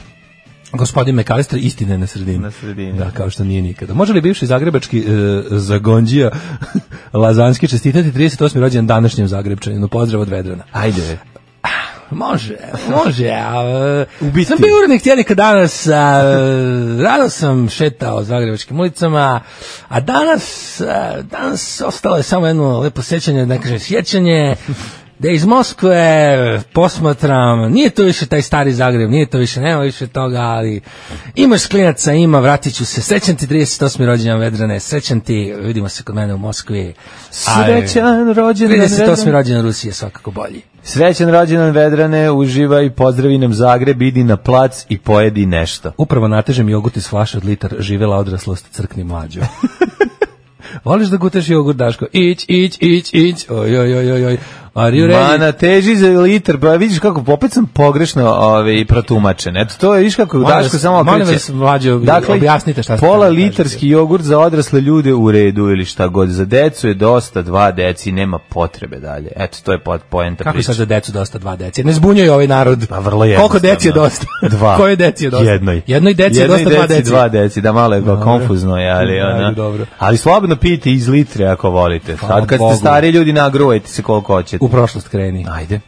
F: gospodin Mekalister, istina je na sredini.
G: Na sredini.
F: Da, kao što nije nikada. Može li bivši zagrebački e, zagonđija Lazanski čestitati 38. rođendan današnjem zagrebčaninu? Pozdrav od Vedrana.
G: Ajde.
F: Može, može. A,
G: Ubiti.
F: Sam bio urednik tjednika danas, a, rano sam šetao zagrebačkim ulicama, a danas, a, danas ostalo je samo jedno lepo sećanje, da ne kažem sjećanje, da iz Moskve posmatram, nije to više taj stari Zagreb, nije to više, nema više toga, ali imaš klinaca, ima, vratit ću se, srećan ti 38. rođendan Vedrane, srećan ti, vidimo se kod mene u Moskvi. A,
G: Srećan rođendan.
F: 38. rođendan Rusije je svakako bolji.
G: Srećan rođendan Vedrane, uživaj, pozdravi nam Zagreb, idi na plac i pojedi nešto.
F: Upravo natežem jogurt iz flaše od litar, živela odraslost, crkni mlađo. Voliš da guteš jogurt, Daško? Ić, ić, ić, ić, oj, oj, oj, oj, oj. Are you ready?
G: Mana teži za liter, pa vidiš kako opet sam pogrešno ovaj protumačen. Eto to je vidiš kako
F: Molim
G: Daško
F: vas,
G: samo
F: molim
G: okreće. Dakle,
F: vas, mlađe, objasnite šta ste
G: Pola
F: hteli da
G: litarski jogurt za odrasle ljude u redu ili šta god. Za decu je dosta, dva deci nema potrebe dalje. Eto to je po- poenta
F: Kako je
G: priče.
F: sad za decu dosta dva deci? Ne zbunjuje ovaj narod.
G: Pa vrlo jednostavno.
F: Koliko deci je dosta?
G: Dva.
F: Koje deci je dosta?
G: Jednoj.
F: Jednoj deci je
G: Jednoj
F: dosta dva deci.
G: dva deci, da malo je ba, konfuzno, je, ali
F: Ajde,
G: ona.
F: dobro.
G: Ali slobodno pijte iz litre ako volite.
F: Hvala
G: Sad kad
F: Bogu.
G: ste stari ljudi nagruvajte se koliko hoćete.
F: U prošlost kreni.
G: Ajde.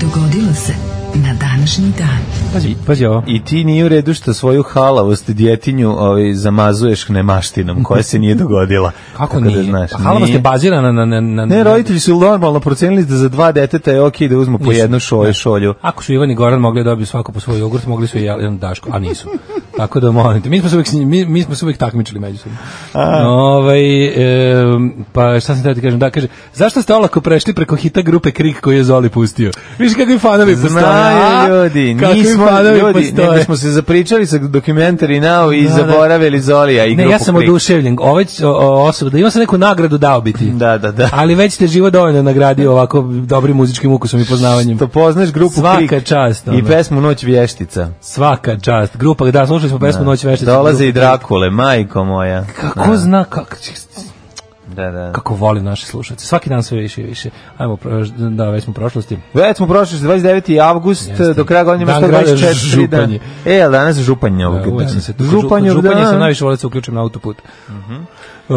D: Dogodilo se na današnji dan.
F: Pazi, pazi ovo.
G: I ti nije u redu što svoju halavost djetinju ovaj, zamazuješ nemaštinom koja se nije dogodila.
F: Kako
G: Tako da
F: nije? Pa Da
G: znaš,
F: Halava ste
G: nije.
F: bazirana na... na, na
G: Ne,
F: na-
G: roditelji su normalno procenili da za dva deteta je okej da uzmu po
F: Nisu.
G: jednu šolju, šolju.
F: Ako su Ivan i Goran mogli da dobiju svako po svoj jogurt, mogli su i ja- jedan Daško, a nisu. Tako da molim te, mi smo se uvek, s njim- mi, mi smo se uvek takmičili međusobno. Ovaj, e, pa šta sam teo ti kažem, da kaže, zašto ste olako prešli preko hita grupe Krik koji je Zoli pustio? Viš kakvi fanovi postoje. a?
G: Znaju ljudi,
F: Kakvi
G: nismo
F: fanovi
G: ljudi,
F: postoje.
G: nego smo se zapričali sa dokumentari nao i
F: Da, da.
G: zaboravili Zolija i
F: Ne, ja
G: grupu
F: sam
G: Krik.
F: oduševljen. Ovaj o- o- osoba, da ima sam neku nagradu dao biti.
G: Da, da, da.
F: Ali već te živo dovoljno nagradio ovako dobrim muzičkim ukusom i poznavanjem.
G: To poznaš grupu
F: Svaka
G: Krik
F: čast, ono.
G: i pesmu Noć vještica.
F: Svaka čast. Grupa, da, slušali smo pesmu Noć veštice.
G: Dolaze
F: grupa
G: i Drakule, majko moja.
F: Kako zna, kako,
G: Da, da.
F: kako volim naše slušalce. Svaki dan sve više i više. Ajmo, pro- da, već smo u prošlosti.
G: Već smo prošli 29. avgust,
F: Jeste.
G: do kraja godine ima
F: Dan grada
G: 124 dana.
F: Županje.
G: E, ali danas je županje ovog
F: Da, uvek sam se tu kod
G: Županje Mhm.
F: županja
G: dan.
F: sam najviše volio da se uključim na autoput. Uh,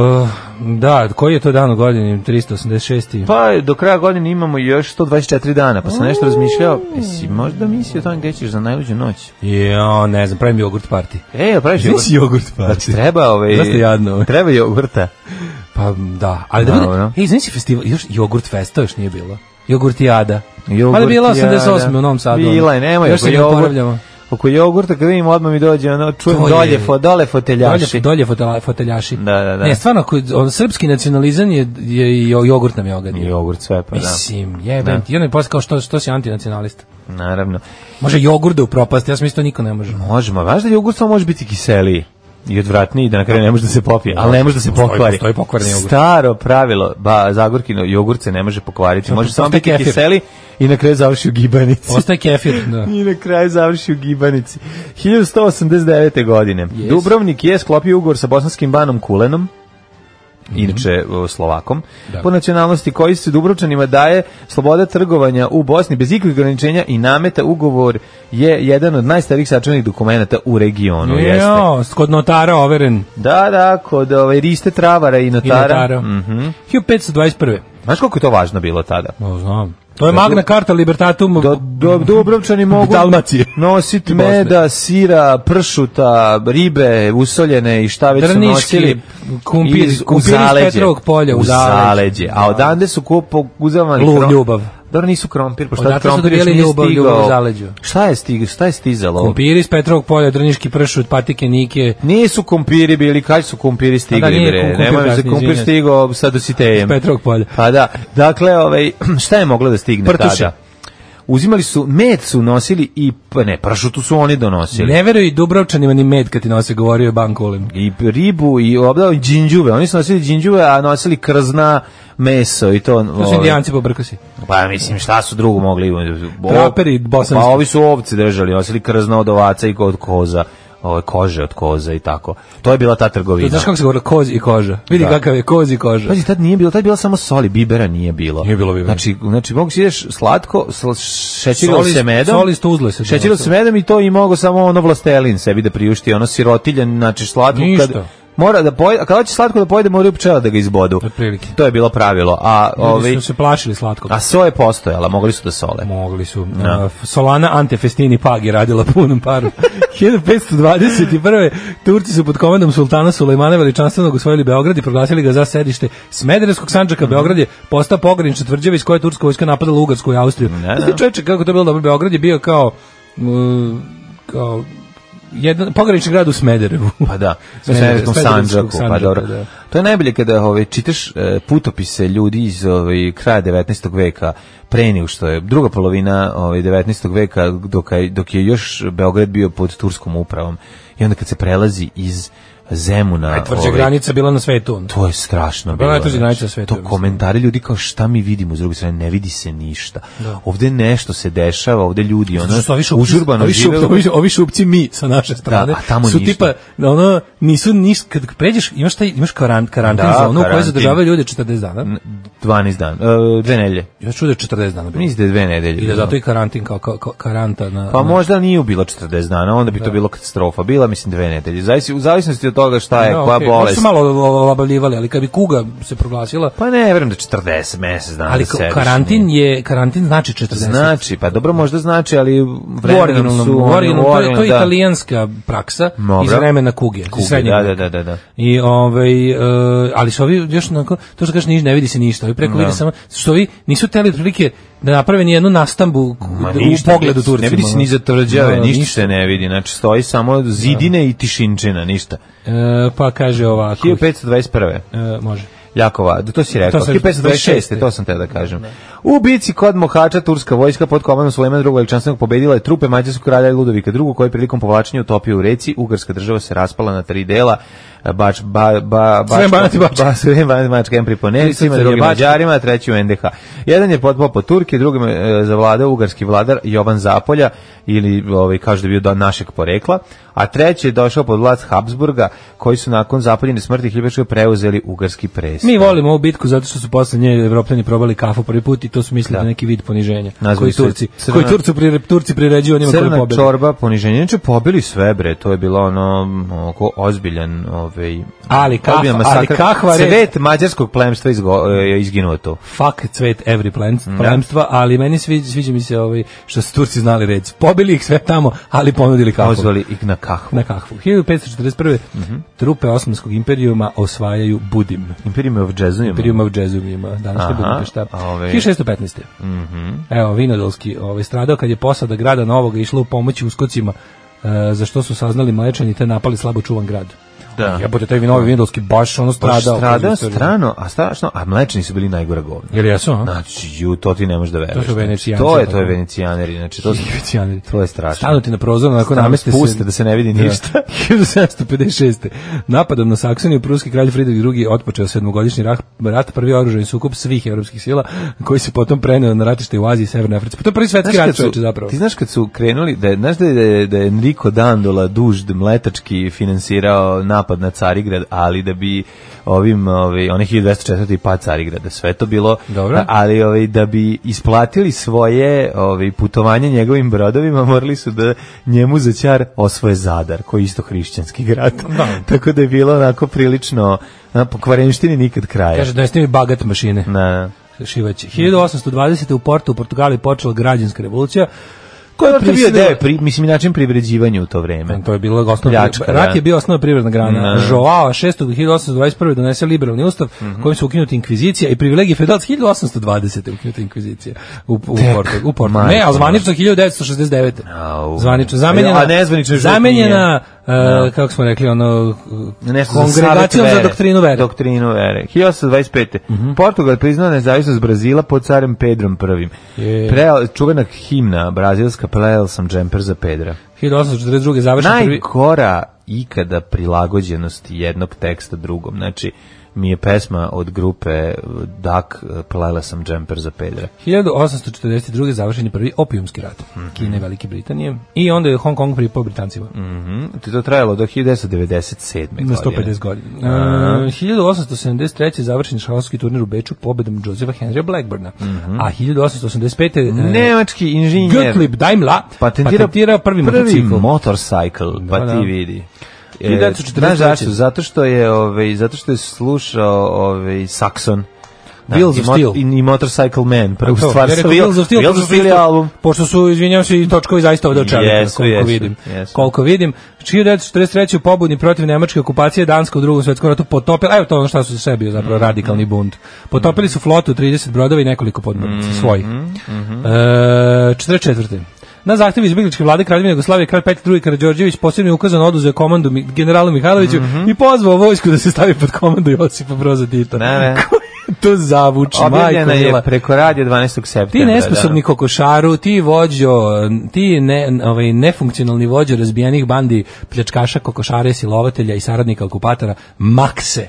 F: da, koji je to dan u godini? 386.
G: Pa do kraja godine imamo još 124 dana, pa sam nešto razmišljao, jesi možda mislio o tome gde ćeš za najluđu noć?
F: Jo, ne znam, pravim jogurt party.
G: E, jel praviš jogurt?
F: jogurt
G: Znači, treba ovaj...
F: Dosta jadno ovo.
G: Treba jogurta.
F: Pa da, ali da
G: Dobro.
F: bude, ej, znaš festival, još jogurt festa još nije bilo. Jogurtijada.
G: Jogurt
F: Pa je bila
G: i jada.
F: 88. u Novom Sadu. ono.
G: Bila je, nemoj.
F: Još
G: oko
F: se ne
G: jogurt-
F: oporavljamo.
G: Oko jogurta kad vidim odmah mi dođe, ono, čujem
F: To je-
G: dolje, fo, dole
F: Dolje,
G: foteljaši.
F: dolje fotela- foteljaši.
G: Da, da, da.
F: Ne, stvarno, ako- on, srpski nacionalizam je, je i jo- jogurt nam je ogadio.
G: Jogurt sve, pa da.
F: Mislim, jebem
G: Da.
F: ti. I onda je posle kao što, što si antinacionalista.
G: Naravno.
F: Može jogurt da upropasti, ja sam isto niko ne može.
G: Možemo, vaš da jogurt samo može biti kiseliji i odvratniji, da na kraju ne može da se popije, ali ne može da se
F: Postoji-
G: pokvari.
F: postoji pokvareni jogurt.
G: Staro pravilo, ba, zagorkino jogurt se ne može pokvariti, može samo
F: postoji
G: biti
F: kefir.
G: kiseli i na kraju završi u gibanici.
F: Ostaje kefir, da.
G: I na kraju završi u gibanici. 1189. godine. Dubrovnik je sklopio ugovor sa bosanskim banom Kulenom, inače o, Slovakom,
F: Mhm. Da.
G: po nacionalnosti koji se Dubrovčanima daje sloboda trgovanja u Bosni bez ikakvih ograničenja i nameta ugovor je jedan od najstarijih sačuvanih dokumenata u regionu. Jeste.
F: Jo, kod notara overen
G: Da, da, kod ovaj, riste travara i
F: i
G: notara.
F: notara.
G: Mhm.
F: 1521.
G: Znaš koliko je to važno bilo tada?
F: No, znam. To je magna karta libertatum
G: Do, do, Dubrovčani mogu
F: Dalmacije.
G: nositi
F: Bosne.
G: meda, sira, pršuta, ribe, usoljene i šta već su
F: Drniški
G: nosili.
F: kumpir-
G: iz- u
F: kumpir iz
G: zaleđe.
F: Petrovog polja, u
G: u zaleđe.
F: zaleđe.
G: A odande su kupo uzavali
F: Lu-
G: krom-
F: ljubav.
G: Dobro nisu krompir, pošto
F: Odatle su
G: krompir još
F: dobijali
G: nije
F: ljubav,
G: stigao.
F: ljubav u zaleđu.
G: Šta je, stig, šta je stizalo?
F: Kumpiri iz Petrovog polja, Drniški pršut, patike Nike,
G: Nisu kumpiri bili, kad su kumpiri stigli,
F: A da, nije
G: bre.
F: kumpir
G: Nemoj se
F: kasnije,
G: kumpir
F: izvinjam.
G: stigao sa dositejem.
F: iz Petrovog polja.
G: Pa da, dakle, ovaj, šta je moglo da stigne
F: Prtuši.
G: tada? Uzimali su, med su nosili i, pa ne, pršutu su oni donosili.
F: Ne veruj Dubrovčanima ni med kad ti nose, govorio je Bankulin.
G: I ribu, i obdao, i džinđuve. Oni su nosili džinđuve, a nosili krzna, meso i to.
F: To su
G: ovaj,
F: indijanci po brkosi.
G: Pa mislim, šta su drugo mogli imati? Bo-
F: Traperi bosanski.
G: Pa ovi su ovce držali, nosili krzna od ovaca i od koza. Ove, kože od koza i tako. To je bila ta trgovina.
F: To znaš kako se govorilo, koz i koža. Vidi
G: Da.
F: kakav je koz i koža.
G: Pazi, tad nije bilo, tad je bilo samo soli, bibera nije bilo.
F: Nije bilo bibera.
G: Znači, znači mogu si ideš slatko, sl- šećirilo
F: Soli-
G: se medom.
F: soli isto uzle se donosilo.
G: Šećirilo se medom i to i mogo samo ono vlastelin sebi da priušti, ono sirotiljan, znači slatko.
F: Ništa.
G: Kad, mora da pojede, a kada će slatko da pojede, moraju pčela da ga izbodu.
F: Otprilike.
G: To je bilo pravilo. A,
F: Ljudi
G: ovi,
F: su se plašili slatkog.
G: a so je postojala, mogli su da sole.
F: Mogli su. Uh, Solana Ante Festini Pag je radila punom paru. 1521. Turci su pod komandom sultana Sulejmana Veličanstvenog osvojili Beograd i proglasili ga za sedište Smederevskog
G: Mhm.
F: sanđaka. Beograd je postao pogranična tvrđava iz koje je turska vojska napadala Ugarsku i Austriju.
G: Da,
F: Znači,
G: da.
F: čoveče, kako to bilo dobro, Beograd je bio kao... mm, kao jedan pogranični grad u Smederevu.
G: Pa da, u Smederevskom
F: Smederevskog Smederevskog
G: Sandžaku, pa dobro.
F: da.
G: To je najbolje kada ovaj, čitaš e, putopise ljudi iz ovaj, kraja 19. veka, pre nego što je druga polovina ovaj, 19. veka, dok je, dok je još Beograd bio pod turskom upravom. I onda kad se prelazi iz Zemuna...
F: Tvrđa granica bila na svetu. ono.
G: To je strašno
F: Bila
G: bilo.
F: je najteža
G: znači.
F: granica sveta,
G: To
F: mislim.
G: komentari ljudi kao šta mi vidimo s druge strane, ne vidi se ništa. Ovde nešto se dešava, ovde ljudi ono,
F: Zato što ovi šupci-
G: užurbano
F: ovi šupci-
G: žive.
F: ovi, ovi šupci mi sa naše strane
G: Da, a tamo
F: su
G: ništa.
F: tipa ono nisu niš kad pređeš imaš taj imaš kao ran, karan- karantin
G: Da,
F: zonu koja
G: karantin.
F: zadržavaju ljude 40 dana.
G: 12 dana, e, dve nedelje.
F: Ja čuo da je 40 dana bilo.
G: Mislim da je dve nedelje.
F: I da zato i karantin kao, kao, kao karanta na...
G: Pa
F: na-
G: možda nije bilo 40 dana, onda bi to bilo katastrofa. Bila, mislim, dve nedelje. Zavisi, u zavisnosti od toga šta je,
F: Da,
G: koja
F: okej, možda
G: bolest.
F: su malo o- o- obavljivali, ali kad bi kuga se proglasila,
G: Pa ne, verujem da 40, mesec dana
F: ali
G: da
F: ka-
G: sediš.
F: karantin je, karantin znači 40.
G: Znači, pa dobro možda znači, ali
F: u
G: vremenom
F: originalnom,
G: su...
F: u
G: oni-
F: originalnom, to, je, to je
G: da.
F: italijanska praksa
G: Dobro.
F: iz vremena kuge, iz
G: Kuge,
F: srednjeg
G: da,
F: veka.
G: da, da, da.
F: I ovaj e, ali su ovi još onako, to što kažeš niš, ne vidi se ništa, ovi preko vidi samo što ovi nisu teli otprilike da naprave ni jednu nastambu
G: Ma
F: da-
G: ništa,
F: u pogledu Turcima. ono.
G: Ne vidi se ni za tvrđave,
F: Da,
G: ništa se ne vidi. Znači, stoji samo zidine i tišinčina, ništa.
F: E, pa kaže ovako.
G: 1521.
F: E, može.
G: Jakova, da to si rekao.
F: To sam-
G: 1526. To sam teo da kažem. U bici kod Mohača turska vojska pod komandom Sulejmana II. veličanstvenog pobedila je trupe mađarskog kralja Ludovika II. koji je prilikom povlačenja utopio u reci. Ugarska država se raspala na tri dela. Bač, ba, ba, bač,
F: Srem Banat i Bačka.
G: Ba, Srem Banat i Bačka, jedan priponenicima,
F: Tri srce,
G: drugi
F: Bačka.
G: Mađarima, treći u NDH. Jedan je potpao po Turke, drugim je e, zavladao ugarski vladar Jovan Zapolja, ili ovaj, kažu da je bio do našeg porekla, a treći je došao pod vlast Habsburga, koji su nakon zapoljene smrti Hljibačka preuzeli ugarski pres.
F: Mi volimo ovu bitku zato što su posle nje Evropljani probali kafu prvi put i to su mislili da. neki vid poniženja.
G: Nazvali
F: koji
G: su je
F: Turci,
G: crvena-
F: koji Turcu pri, Turci priređuju onima koji
G: Crna
F: pobede.
G: čorba, poniženje. Inače, pobili sve, bre, to je bilo ono, oko ozbiljan, ovaj...
F: Ali kah-
G: ozbiljan
F: ali
G: masakr.
F: kahva red-
G: Svet mađarskog plemstva izgo, je izginuo tu.
F: fuck cvet every plant, plemstva, ali meni sviđa, sviđa mi se ovaj, što su Turci znali red. Pobili ih sve tamo, ali ponudili kafu.
G: Pozvali Mhm. ih na kahvu.
F: Na kahvu. 1541. Trupe Osmanskog imperijuma osvajaju Budim.
G: Imperium of Jazzum.
F: Imperijuma u Džezumljima, današnje
G: Aha,
F: Budimpešta.
G: a ove- Mhm.
F: 1615. Evo, Vinodolski ovaj, stradao kad je posada grada Novoga išla u pomoći uskocima e, za što su saznali mlečani te napali slabo čuvan grad.
G: Da.
F: Jebote, taj Novi Vinodolski baš ono
G: Baš
F: stradao.
G: Stradao strano, a strašno, a mlečni su bili najgora govna.
F: Jel jesu, a?
G: Znači, ju, to ti ne možeš da veruješ. znači,
F: To su venecijanci,
G: To je, to je
F: tako.
G: venecijaneri, znači to su...
F: Venecijaneri.
G: To je strašno.
F: Stanuti na prozor, onako
G: Stanu
F: nameste
G: spuste da se ne vidi ništa.
F: 1756. Napadom na Saksoniju pruski kralj Friedrich II otpočeo sedmogodišnji rah- rat, prvi oružani sukob svih evropskih sila, koji se potom preneo na ratište u Aziji i Severnoj Africi. Pa to je prvi svetski
G: Znaš
F: rat,
G: kad su,
F: čoveče, zapravo.
G: ti znaš kad su krenuli, da je, znaš da je, da je Enrico Dandola dužd mletački finansirao napad na Carigrad, ali da bi ovim, ovaj, ovi, onih 1204. pa Carigrada, sve to bilo,
F: Dobro.
G: ali ovi, da bi isplatili svoje ovi, putovanje njegovim brodovima, morali su da njemu za ćar osvoje Zadar, koji je isto hrišćanski grad. Tako da je bilo onako prilično, na, po kvarenštini nikad kraja.
F: Kaže, donesite mi bagat mašine.
G: na,
F: Šivaći. 1820. u Portu u Portugali počela građanska revolucija, koja
G: to
F: je Pa
G: je bio
F: prisilila-
G: deo, pri, mislim, i način privređivanja u to vreme.
F: To je bilo osnovna
G: Pljačka,
F: rat
G: da.
F: je bio osnovna privredna grana.
G: Da. Mhm.
F: Joao VI 1821 donese liberalni ustav kojim su ukinuti inkvizicija i privilegije feudalac 1820 ukinuta inkvizicija u u Portu, u Portu. Ne,
G: majko
F: a zvanično 1969.
G: Au.
F: Zvanično zamenjena.
G: A nezvanično još uvijek
F: zamenjena e, kako smo rekli ono
G: Nešto za
F: kongregacijom
G: savet
F: za doktrinu vere. Mhm.
G: Doktrinu vere. 1825. Portugal priznao nezavisnost Brazila pod carem Pedrom I.
F: Je.
G: Preo, čuvena himna brazilska, plejel sam džemper za Pedra.
F: 1842 završen prvi
G: Najgora ikada prilagođenost jednog teksta drugom. Znači, mi je pesma od grupe Dak, plejela sam džemper za Pedra.
F: 1842. završen je prvi opijumski rat Kine i Velike Britanije i onda je Hong Kong pripao Britancima.
G: Mhm. To je to trajalo do 1997.
F: Na
G: godine.
F: 150 godina. E, 1873. završen je šahovski turnir u Beču pobedom Josefa Henrya Blackburna. A 1885. e,
G: Nemački inženjer.
F: Gottlieb Daimler patentirao, prvi, motocikl.
G: motorcycle, pa
F: Da,
G: ti
F: da.
G: vidi. E,
F: 1943.
G: Znaš zašto? Zato što je, ovaj, zato što je slušao ovaj, Saxon.
F: Wheels
G: i
F: of
G: mot-
F: Steel.
G: I, i Motorcycle Man, prvu
F: To,
G: stvar.
F: ja rekao,
G: Wheel-
F: Wheels of Steel,
G: Wheels
F: pošto
G: of
F: su
G: Steel je
F: isto-
G: album.
F: Pošto su, izvinjavam se, i točkovi zaista ovde od čelnika,
G: Jesu,
F: koliko
G: jesu,
F: vidim.
G: jesu.
F: Koliko vidim. 1943. u pobudni protiv nemačke okupacije Danska u drugom svetskom ratu potopila, evo to ono šta su sve bio zapravo radikalni bunt. Potopili su flotu 30 brodova i nekoliko podmornica
G: Mhm,
F: svojih. E, 44. Na zahtev izbjegličke vlade Kraljevine Jugoslavije kralj Petar II Karađorđević posebno je ukazan oduzeo komandu mi- generalu Mihajloviću
G: Mhm.
F: i pozvao vojsku da se stavi pod komandu Josipa Broza Tita.
G: Ne, ne.
F: to zavuči, majko
G: Objavljena
F: mila.
G: je preko radija 12. septembra.
F: Ti nesposobni kokošaru, ti vođo, ti ne, ovaj, nefunkcionalni vođo razbijenih bandi pljačkaša, kokošare, silovatelja i saradnika okupatora, makse.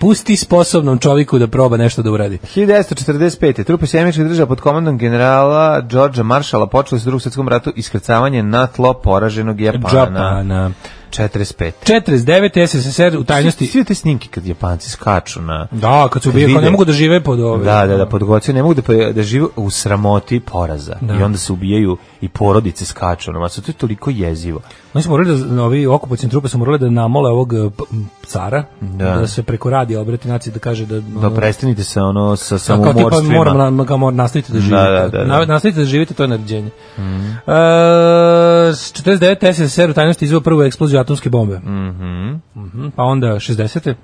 F: Pusti sposobnom čoviku da proba nešto da uradi.
G: 1945. Trupe Sjemičkih država pod komandom generala Đorđa Maršala počeli su u drugom svjetskom ratu iskrcavanje na tlo poraženog Japana.
F: Japana.
G: 45.
F: 49. SSSR u tajnosti...
G: Svi, svi te snimke kad Japanci skaču na...
F: Da, kad su
G: Kad
F: ubijali, kao
G: vide-
F: ne mogu da žive pod ove.
G: Da, da, da, pod gocijom ne mogu da, pa- da žive u sramoti poraza. I onda se ubijaju i porodice skaču. No, to je toliko jezivo.
F: Oni su morali da, ovi okupacijne trupe su morali da namole ovog eh, p- m, cara, da, se preko radija obrati naciji da kaže da...
G: Da,
F: ono,
G: prestanite se ono sa
F: a kao tipa
G: samomorstvima.
F: moram, na, kao moram nastaviti da živite.
G: da, Mhm. da, da.
F: Na- Nastavite da živite, to je naređenje. E, Mm. Uh, 49. SSR u tajnosti izveo prvu eksploziju atomske bombe. Mm -hmm.
G: Mhm.
F: pa onda 60.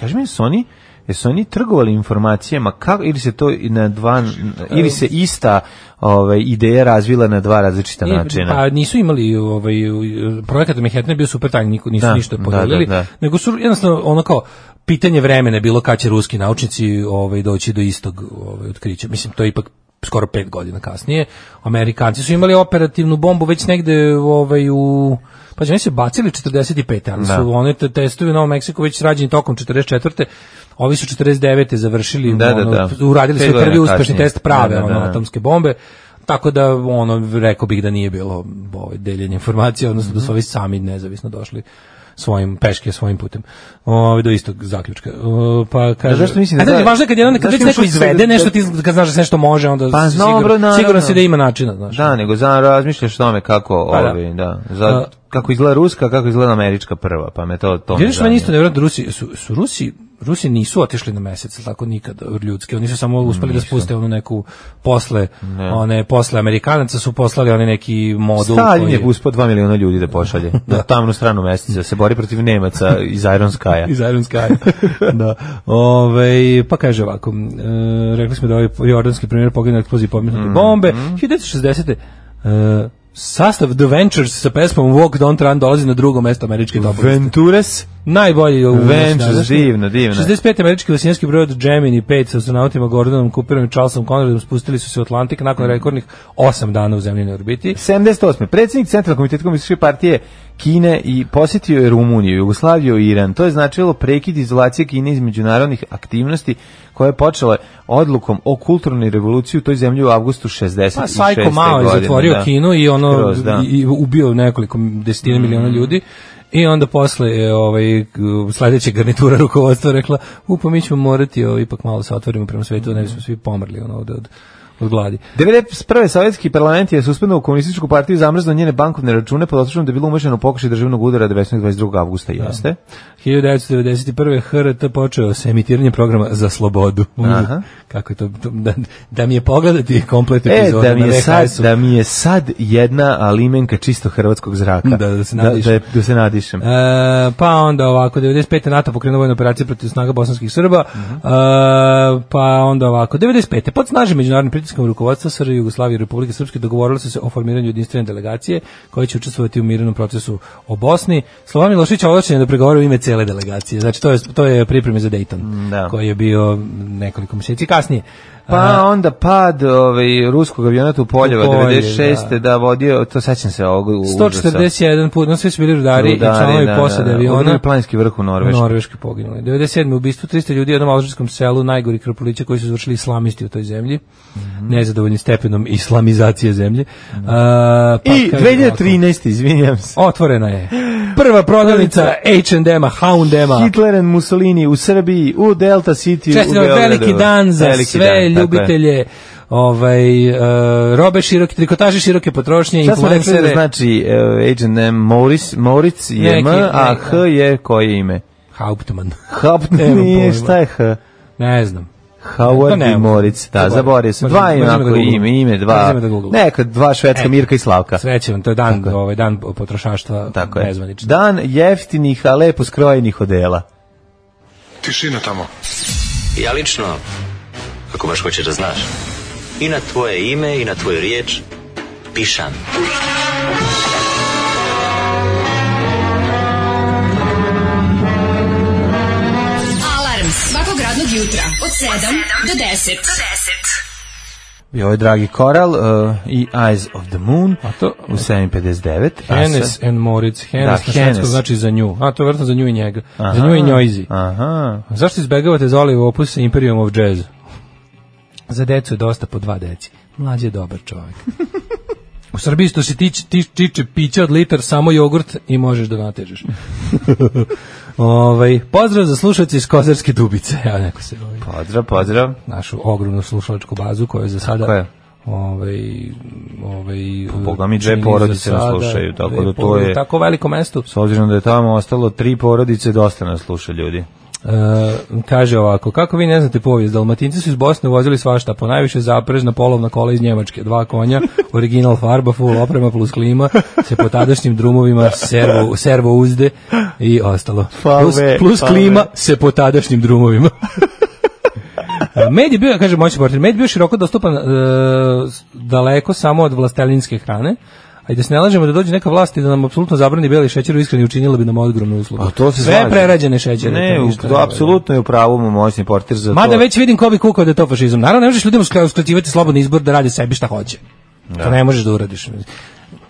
G: Kaži mi, su oni, jesu oni trgovali informacijama kako, ili se to i na dva, ili se ista ove, ideja razvila na dva različita
F: Nije,
G: načina?
F: Pa nisu imali ovaj u- projekat Manhattan je bio super tajni, niko nisu
G: Da,
F: ništa
G: da,
F: podelili,
G: da, da.
F: nego su jednostavno ono kao pitanje vremena je bilo kad će ruski naučnici ovaj doći do istog ovaj otkrića. Mislim to je ipak skoro pet godina kasnije. Amerikanci su imali operativnu bombu već negde ovaj u pa znači se bacili 45. ali
G: Da.
F: su one te testovi u Novom Meksiku već rađeni tokom 44. Ovi su 49. završili,
G: Da, da,
F: ono,
G: da.
F: uradili
G: Pet
F: svoj prvi
G: godina
F: uspešni
G: kasnije.
F: test prave
G: Da, da,
F: ono,
G: da.
F: atomske bombe. Tako da ono rekao bih da nije bilo ovaj deljenje informacija, odnosno da
G: Mhm.
F: su ovi sami nezavisno došli svojim peške svojim putem. Ovaj do istog zaključka. O, pa kaže
G: zašto mislim da
F: A, znaš,
G: da-
F: važno je kad jedan kad
G: zašto
F: već
G: još
F: neko
G: uvijek se-
F: izvede nešto
G: da-
F: ti kad znaš da se nešto može onda
G: Pa,
F: si
G: dobro,
F: siguran,
G: naravno.
F: siguran si da ima načina, znaš.
G: Da, nego za razmišljaš o tome kako
F: Pa da.
G: ovi, da, za,
F: A-
G: kako izgleda ruska, kako izgleda američka prva, pa me to to. me
F: Vidiš meni
G: zanima.
F: isto nevjerojatno da Rusi su, su Rusi Rusi nisu otišli na mesec, jel tako nikada ljudski. Oni su samo uspeli da spuste onu neku posle, one posle Amerikanaca su poslali onaj neki modul
G: Stalin
F: koji
G: je uspio 2 miliona ljudi da pošalje na tamnu stranu meseca, da se bori protiv Nemaca iz Iron Skya.
F: iz Iron Sky. da. Ove, pa kaže ovako, e, rekli smo da ovaj jordanski primjer pogleda na eksploziji pomenute
G: Mm,
F: bombe. 1960. E, sastav The Ventures sa pesmom Walk Don't Run dolazi na drugo mesto američke top liste.
G: Ventures
F: Najbolji u
G: Ventures,
F: današnji.
G: divno, divno.
F: 65. američki vasijanski brod Gemini 5 sa astronautima Gordonom Cooperom i Charlesom Conradom spustili su se u Atlantik nakon rekordnih 8 dana u zemljenoj orbiti.
G: 78. Predsjednik Centralnog komiteta komunističke partije Kine i posjetio je Rumuniju, Jugoslaviju i Iran. To je značilo prekid izolacije Kine iz međunarodnih aktivnosti koja je počela odlukom o kulturnoj revoluciji u toj zemlji u avgustu 66.
F: Pa Sajko Mao je
G: godine,
F: zatvorio
G: da.
F: Kinu i ono
G: Skroz, da. Mm.
F: i, i ubio nekoliko desetina miliona ljudi. I onda posle je ovaj sledeća garnitura rukovodstva rekla: "U pa mi ćemo morati ovaj, ipak malo se otvorimo prema svetu, da ne
G: Mm.
F: bismo svi pomrli ono od od, od gladi."
G: 91. sovjetski parlament je suspendao komunističku partiju i zamrznuo njene bankovne račune pod osnovom da je bilo umešano u pokušaj državnog udara 1922. avgusta, jeste?
F: 1991. HRT počeo sa emitiranjem programa Za slobodu.
G: Aha.
F: Kako je to, to- da, da mi je pogledati komplet
G: E,
F: epizodu
G: da mi,
F: na
G: je sad,
F: VHS-u.
G: da mi je sad jedna a, limenka čisto hrvatskog zraka.
F: Da, da se nadišem.
G: Da, je- da se nadišem.
F: E, pa onda ovako, 95. NATO pokrenuo vojnu operaciju protiv snaga bosanskih Srba,
G: Mhm.
F: E, pa onda ovako, 95. pod snažnim međunarodnim pritiskom rukovodstva SR Jugoslavije i Republike Srpske dogovorili su se o formiranju jedinstvene delegacije koja će učestvovati u mirenom procesu o Bosni. Slovan Milošić je ovlašćen da pregovara u ime cele delegacije, znači to je, to je pripreme za Dayton,
G: Mm, Da.
F: koji je bio nekoliko mjeseci kasnije.
G: Pa onda pad ovaj, ruskog avionata u Poljeva,
F: U Polje,
G: 96. Da. vodio, to sećam se ovog užasa.
F: 141 put, no svi su bili rudari, i
G: Rudari,
F: članovi
G: da,
F: posade
G: da.
F: aviona.
G: Udrio je planinski vrh u Norveškoj.
F: Norveški poginuli. 97. ubistvo 300 ljudi u jednom alžirskom selu, najgori krpulića koji su izvršili islamisti u toj zemlji,
G: Mhm.
F: nezadovoljni stepenom islamizacije zemlje. A, pa
G: I
F: kaže
G: 2013. izvinjam se.
F: ovako, Otvorena je prva prodavnica H&M-a, Hound-a.
G: Hitler and Mussolini u Srbiji, u Delta City, u
F: Čestitam
G: Beogradu.
F: veliki dan za
G: Veliki
F: sve
G: dan, tako je.
F: ljubitelje ovaj, e, robe široke, trikotaže široke potrošnje,
G: Šta smo rekli da
F: influencere.
G: znači uh, H&M Moritz, Moritz je M,
F: Neki,
G: a
F: neki,
G: H je koje ime?
F: Hauptmann.
G: Haupt
F: Nemam
G: nije,
F: pojma.
G: šta je H?
F: Ne znam. To
G: Howard
F: ne
G: i
F: mogu.
G: Moritz, da,
F: Zaboravim.
G: zaboravio sam. Dva
F: Možemo- možemo
G: imako
F: da googlamo.
G: ime, ime, dva.
F: Možemo da googlamo.
G: Neka dva švedska, Mirka i Slavka.
F: Sreće vam, to je dan, ovaj, dan potrošaštva
G: Tako je.
F: nezvanično.
G: Dan jeftinih, a lepo skrojenih odela.
I: Tišina tamo.
E: Ja lično, ako baš hoćeš da znaš, i na tvoje ime i na tvoju riječ pišam.
D: Alarm svakog radnog jutra od 7 do 10.
G: Bio je Dragi Koral uh, i Eyes of the Moon
F: A to-
G: u 7.59. a
F: Hennes
G: sad-
F: and Moritz.
G: Da,
F: Hennes na švedskom
G: Hennes.
F: znači za nju. A, to je vjerojatno za nju i njega. Za nju i njojzi.
G: Aha.
F: Zašto izbegavate Zoli u opus Imperium of Jazz? Za decu je dosta po dva deci. Mlađi je dobar čovjek. U Srbiji što se tiče, ti, tiče pića od litar, samo jogurt i možeš da natežeš. ovaj, pozdrav za slušalce iz Kozarske dubice. Evo neko se ovaj,
G: Pozdrav, pozdrav.
F: našu ogromnu slušalačku bazu koju za sada...
G: Tako je. Pa
F: Ovaj, ovaj,
G: Boga mi, dve
F: čini za
G: porodice nas
F: sada,
G: slušaju, tako
F: dve
G: da to
F: porodice,
G: je-
F: Tako veliko mesto.
G: S obzirom da je tamo ostalo tri porodice, dosta nas sluša ljudi.
F: E, kaže ovako, kako vi ne znate povijest, Dalmatinci su iz Bosne vozili svašta, po najviše zaprezna polovna kola iz Njemačke, dva konja, original farba, full oprema plus klima, se po tadašnjim drumovima servo, servo uzde i ostalo.
G: Fave,
F: Plus, plus
G: fave.
F: klima se po tadašnjim drumovima. E, Med je bio, kaže moćni portir, med je bio široko dostupan e, s- daleko samo od vlastelinske hrane, a i da se ne lažemo da dođe neka vlast i da nam apsolutno zabrani beli šećer u iskreni učinila bi nam ogromnu uslugu.
G: A to se
F: Sve
G: slažem.
F: prerađene šećere.
G: Ne,
F: to
G: u,
F: ništa
G: to
F: ne valja.
G: apsolutno je u pravu mu moćni portir za
F: Mada
G: to.
F: već vidim ko bi kukao da je to fašizam. Naravno, ne možeš ljudima uskla- uskraćivati slobodan izbor da radi sebi šta hoće. To ne možeš da uradiš.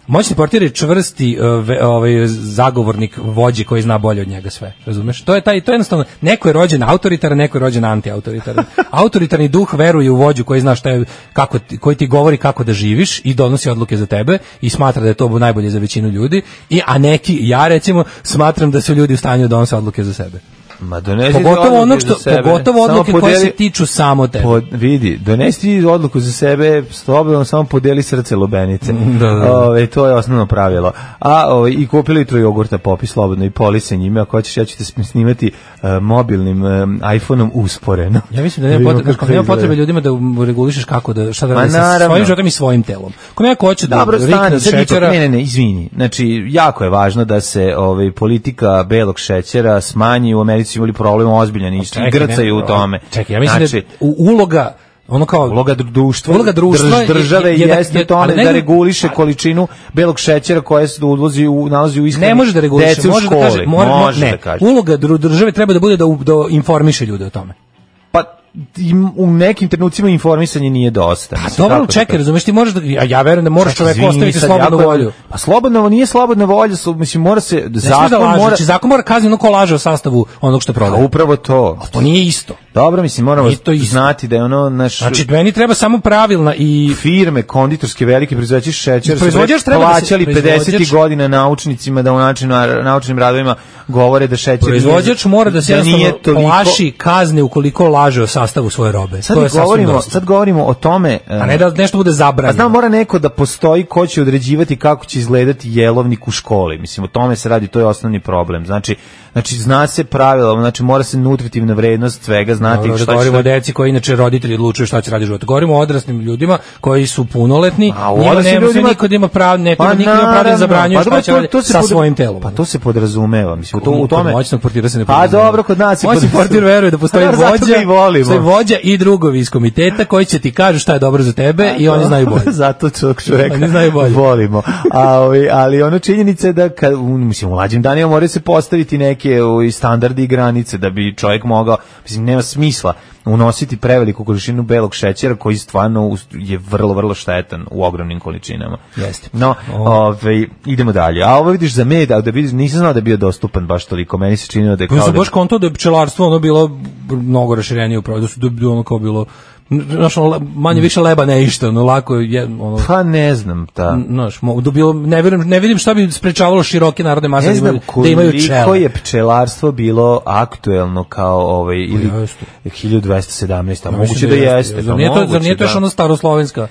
F: Moćni portir je čvrsti e, ve- ovaj, zagovornik vođe koji zna bolje od njega sve. Razumeš? To je taj, to je jednostavno, neko je rođen autoritaran, neko je rođen antiautoritaran. Autoritarni duh veruje u vođu koji zna šta je, kako, ti- koji ti govori kako da živiš i donosi odluke za tebe i smatra da je to najbolje za većinu ljudi. I, a neki, ja recimo, smatram da su ljudi u stanju da donose odluke za sebe.
G: Ma donesi
F: Pogotovo
G: odluke
F: ono što,
G: za sebe,
F: pogotovo
G: samo
F: odluke koje se
G: podijeli-
F: tiču samo tebe.
G: Pod, vidi, donesi ti odluku za sebe, s obzirom samo podeli srce lubenice.
F: da, da.
G: Ove, to je osnovno pravilo. A ove, i kupi litru jogurta, popi slobodno i poli se njime, ako hoćeš, ja ću te sm- snimati e, mobilnim e, iPhone-om usporeno.
F: Ja mislim da nema
G: Vidimo
F: potrebe,
G: kako
F: nema
G: izgleda.
F: potrebe ljudima da um, regulišeš kako da šta da
G: Ma
F: radi sa
G: Pa naravno.
F: svojim životom i svojim telom. Ako neko hoće da
G: Dobro, stani,
F: rikne
G: sad ipak,
F: šećera,
G: ne, ne, ne, izvini. Znači, jako je važno da se ovaj, politika belog šećera smanji, u Americi imali problem ozbiljan i
F: Pa čekaj,
G: grcaju u
F: ne,
G: tome.
F: Čekaj, ja mislim
G: znači,
F: da je u- uloga ono kao
G: uloga dru- društva,
F: uloga društva
G: drž- države
F: je- je da-
G: jeste
F: je-
G: u tome
F: ali ne-
G: da reguliše količinu belog šećera koje se ulozi u nalazi u ishrani.
F: ne može da reguliše,
G: dece u
F: može da kaže,
G: školi.
F: mora,
G: može
F: ne,
G: da kaže.
F: uloga dru- države treba da bude da, u- da informiše ljude o tome.
G: Pa im- u nekim trenucima informisanje nije dosta.
F: A
G: Mislim,
F: Pa dobro,
G: kako da
F: čekaj,
G: kažem?
F: razumeš ti možeš da, ja, ja verujem da moraš čoveku
G: Izvini,
F: ostaviti
G: sad,
F: slobodnu
G: jako-
F: volju.
G: Pa slobodno nije slobodna volja, su, mislim mora se
F: Ne smiješ da
G: zakon
F: lažeš,
G: mora Pa
F: znači, zakon mora kazniti ono ko laže o sastavu onog što
G: A
F: prodaje.
G: upravo to.
F: Ali to nije isto.
G: Dobro, mislim moramo
F: Nije to isto.
G: znati da je ono naš
F: Znači, meni treba samo pravilna i
G: firme konditorske velike proizvođači šećera su
F: Proizvođač
G: već
F: treba da se-
G: plaćali
F: proizvođač-
G: 50 godina naučnicima da u načinu naučnim radovima govore da šećer nije-
F: Proizvođač mora da se jednostavno
G: nije toliko-
F: plaši kazne ukoliko laže o sastavu svoje robe.
G: Sad
F: to je sasvim
G: govorimo,
F: dosta.
G: sad govorimo o tome. e,
F: A ne da nešto bude
G: A
F: zabranjeno.
G: znam, mora neko da postoji ko će određivati kako će izgledati jelovnik u školi. Mislim, o tome se radi, to je osnovni problem. Znači, znači zna se pravila, znači mora se nutritivna vrednost svega znati
F: Dobro, da
G: šta će...
F: govorimo o deci koji inače roditelji odlučuju šta će raditi u životu. Govorimo o odraslim ljudima koji su punoletni,
G: A u
F: njima
G: odraslim
F: nema
G: ljudima-
F: niko da ima prav, ne treba
G: Pa
F: niko da ima pravo da
G: naravno.
F: zabranjuje
G: Pa
F: šta
G: dobro,
F: će
G: to-
F: raditi
G: to se
F: sa
G: pod-
F: svojim telom.
G: Pa to se podrazumeva, mislim, u to, u
F: Kod
G: tome...
F: moćnog portira se ne
G: Pa
F: podrazumeva.
G: dobro, kod nas je
F: Moćni
G: podrazumeva.
F: portir veruje da postoji
G: Pa dobro, zato
F: vođa,
G: ga i volimo.
F: postoji vođa i drugovi iz komiteta koji će ti kažu šta je dobro za tebe
G: Pa
F: i oni znaju bolje.
G: Zato čovjek čovjeka
F: Oni znaju bolje.
G: volimo. A, ovi, ali ono činjenica je da kad, u, mislim, u mlađim danima moraju se postaviti neke ovi, standardi i granice da bi čovjek mogao, mislim, nema smisla unositi preveliku količinu belog šećera koji stvarno us- je vrlo, vrlo štetan u ogromnim količinama.
F: Jeste.
G: No,
F: Ovo-
G: ove, idemo dalje. A ovo vidiš za med, a da vidiš, nisam znao da je bio dostupan baš toliko. Meni se činilo da je
F: Pa
G: kao
F: sam
G: da...
F: baš konto da je pčelarstvo ono bilo mnogo raširenije upravo, da su da bi ono kao bilo znaš, ono, manje više leba ne išta, ono lako je, ono,
G: Pa ne znam, ta...
F: znaš, mo- da bilo, ne, vidim, ne vidim šta bi sprečavalo široke narodne mase
G: Ne
F: da
G: znam
F: imaju, da imaju
G: koliko
F: čele.
G: je pčelarstvo bilo aktuelno kao ovaj ili
F: Pa jeste.
G: 1217, a
F: Ja
G: moguće
F: mislim
G: da jeste. pa
F: Zar nije to, zar nije to još
G: da.
F: ono staroslovenska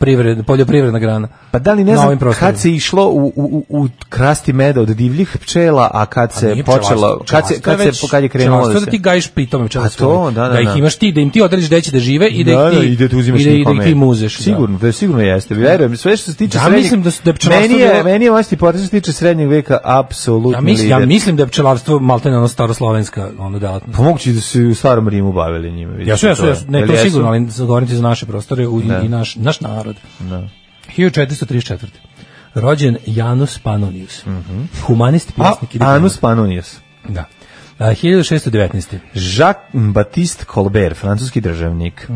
F: privred, poljoprivredna grana?
G: Pa da li ne
F: na
G: znam
F: ovim prostorima?
G: kad se išlo u, u, u u krasti meda od divljih pčela, a kad se
F: Pa Nije pčelarstvo,
G: počelo, kad se,
F: pčelarstvo
G: kad
F: je već-
G: se, kad je krenulo
F: pčelarstvo
G: da
F: je da ti
G: se... Pa
F: gajiš pitome pčelarstvo.
G: to, da, da,
F: Da ih
G: da.
F: imaš ti, da im ti odrediš gde će da žive i da ih
G: Da,
F: ti,
G: da, i da ti uzimaš
F: i da, i da
G: njihov
F: ih ti
G: med.
F: im uzeš. da.
G: Sigurno, da. sigurno jeste. Verujem, sve što se tiče
F: Ja
G: srednjeg...
F: mislim da su- da je pčelarstvo
G: Meni je,
F: bilo-
G: meni je vaš što se tiče srednjeg veka apsolutno
F: Ja mislim, ja
G: lider.
F: mislim da je pčelarstvo maltene ono staroslovenska ono delatnost.
G: Pa moguće da su i u starom Rimu bavili njime. vidiš,
F: Jesu, jesu,
G: je.
F: jesu, ne,
G: Jel
F: to
G: jesu?
F: sigurno, ali govorim ti za naše prostore u, i- i naš, naš narod.
G: Da.
F: 1434. Rođen Janus Pannonius, humanist,
G: Mhm. A,
F: pjesnik i diplomat.
G: Anus Pa, Panonius.
F: Da. A, 1619.
G: Jacques Baptiste Colbert, francuski državnik.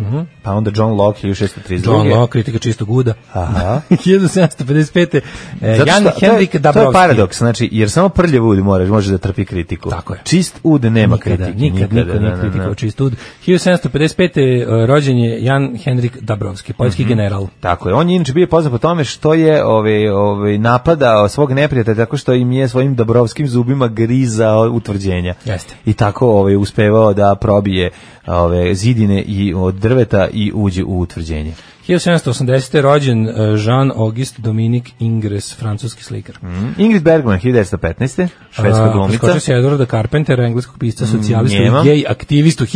G: Pa onda John Locke, 1632.
F: Mhm. John Locke, kritika čistog uda.
G: Aha.
F: 1755. E,
G: Zato
F: Jan
G: što- to je-
F: Henrik Dabrowski.
G: To je paradoks, znači, jer samo prljav ud može, može da trpi kritiku.
F: Tako je.
G: Čist ud nema
F: Nikada,
G: kritike.
F: nikad, niko
G: da,
F: nije
G: da,
F: kritikovao
G: da.
F: čist ud. 1755. e, rođen je Jan Henrik Dabrowski,
G: Mhm.
F: poljski general.
G: Tako je. On je inače bio poznat po tome što je ovaj ovaj napadao svog neprijatelja tako što im je svojim Dobrovskim zubima grizao utvrđenja.
F: Jeste.
G: I tako ovaj uspevao da probije ove zidine i od drveta i uđe u utvrđenje.
F: 1780. rođen e, Jean-Auguste Dominique Ingres, francuski slikar.
G: Ingrid Bergman 1915. Mm, švedska
F: A,
G: glumica. Mm,
F: Preskočio se Edwarda Carpentera, engleskog pisca, socijalistu
G: njema.
F: i gej aktivistu.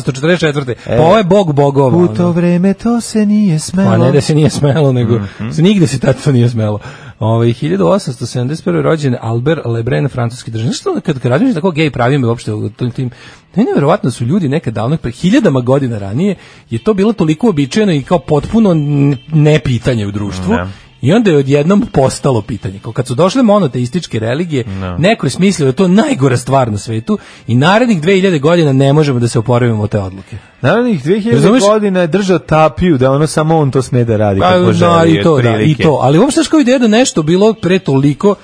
F: 1844. pa ovo je bog bogova.
G: E. U
F: ono.
G: to vreme to se nije smelo.
F: Pa ne da se nije smelo, nego se nigde se tad to nije smelo. Ovaj 1871. rođen Albert Lebrun, francuski državnik. Što kad kad razmišljam tako gej pravim uopšte u tim tim ne, neverovatno su ljudi nekad davno, pre hiljadama godina ranije, je to bilo toliko običajno i kao potpuno n- ne pitanje u društvu. I onda je odjednom postalo pitanje. Kao kad su došle monoteističke religije, neko je smislio da je to najgora stvar na svetu i narednih 2000 godina ne možemo da se oporavimo od te odluke.
G: Naravnih 2000
F: Razumeš?
G: godina je držao tapiju da ono samo on to sme da radi
F: Pa,
G: kako želi.
F: da, i to, da, i
G: otprilike.
F: to. Ali uopšte znaš kao ideja da nešto bilo pre toliko,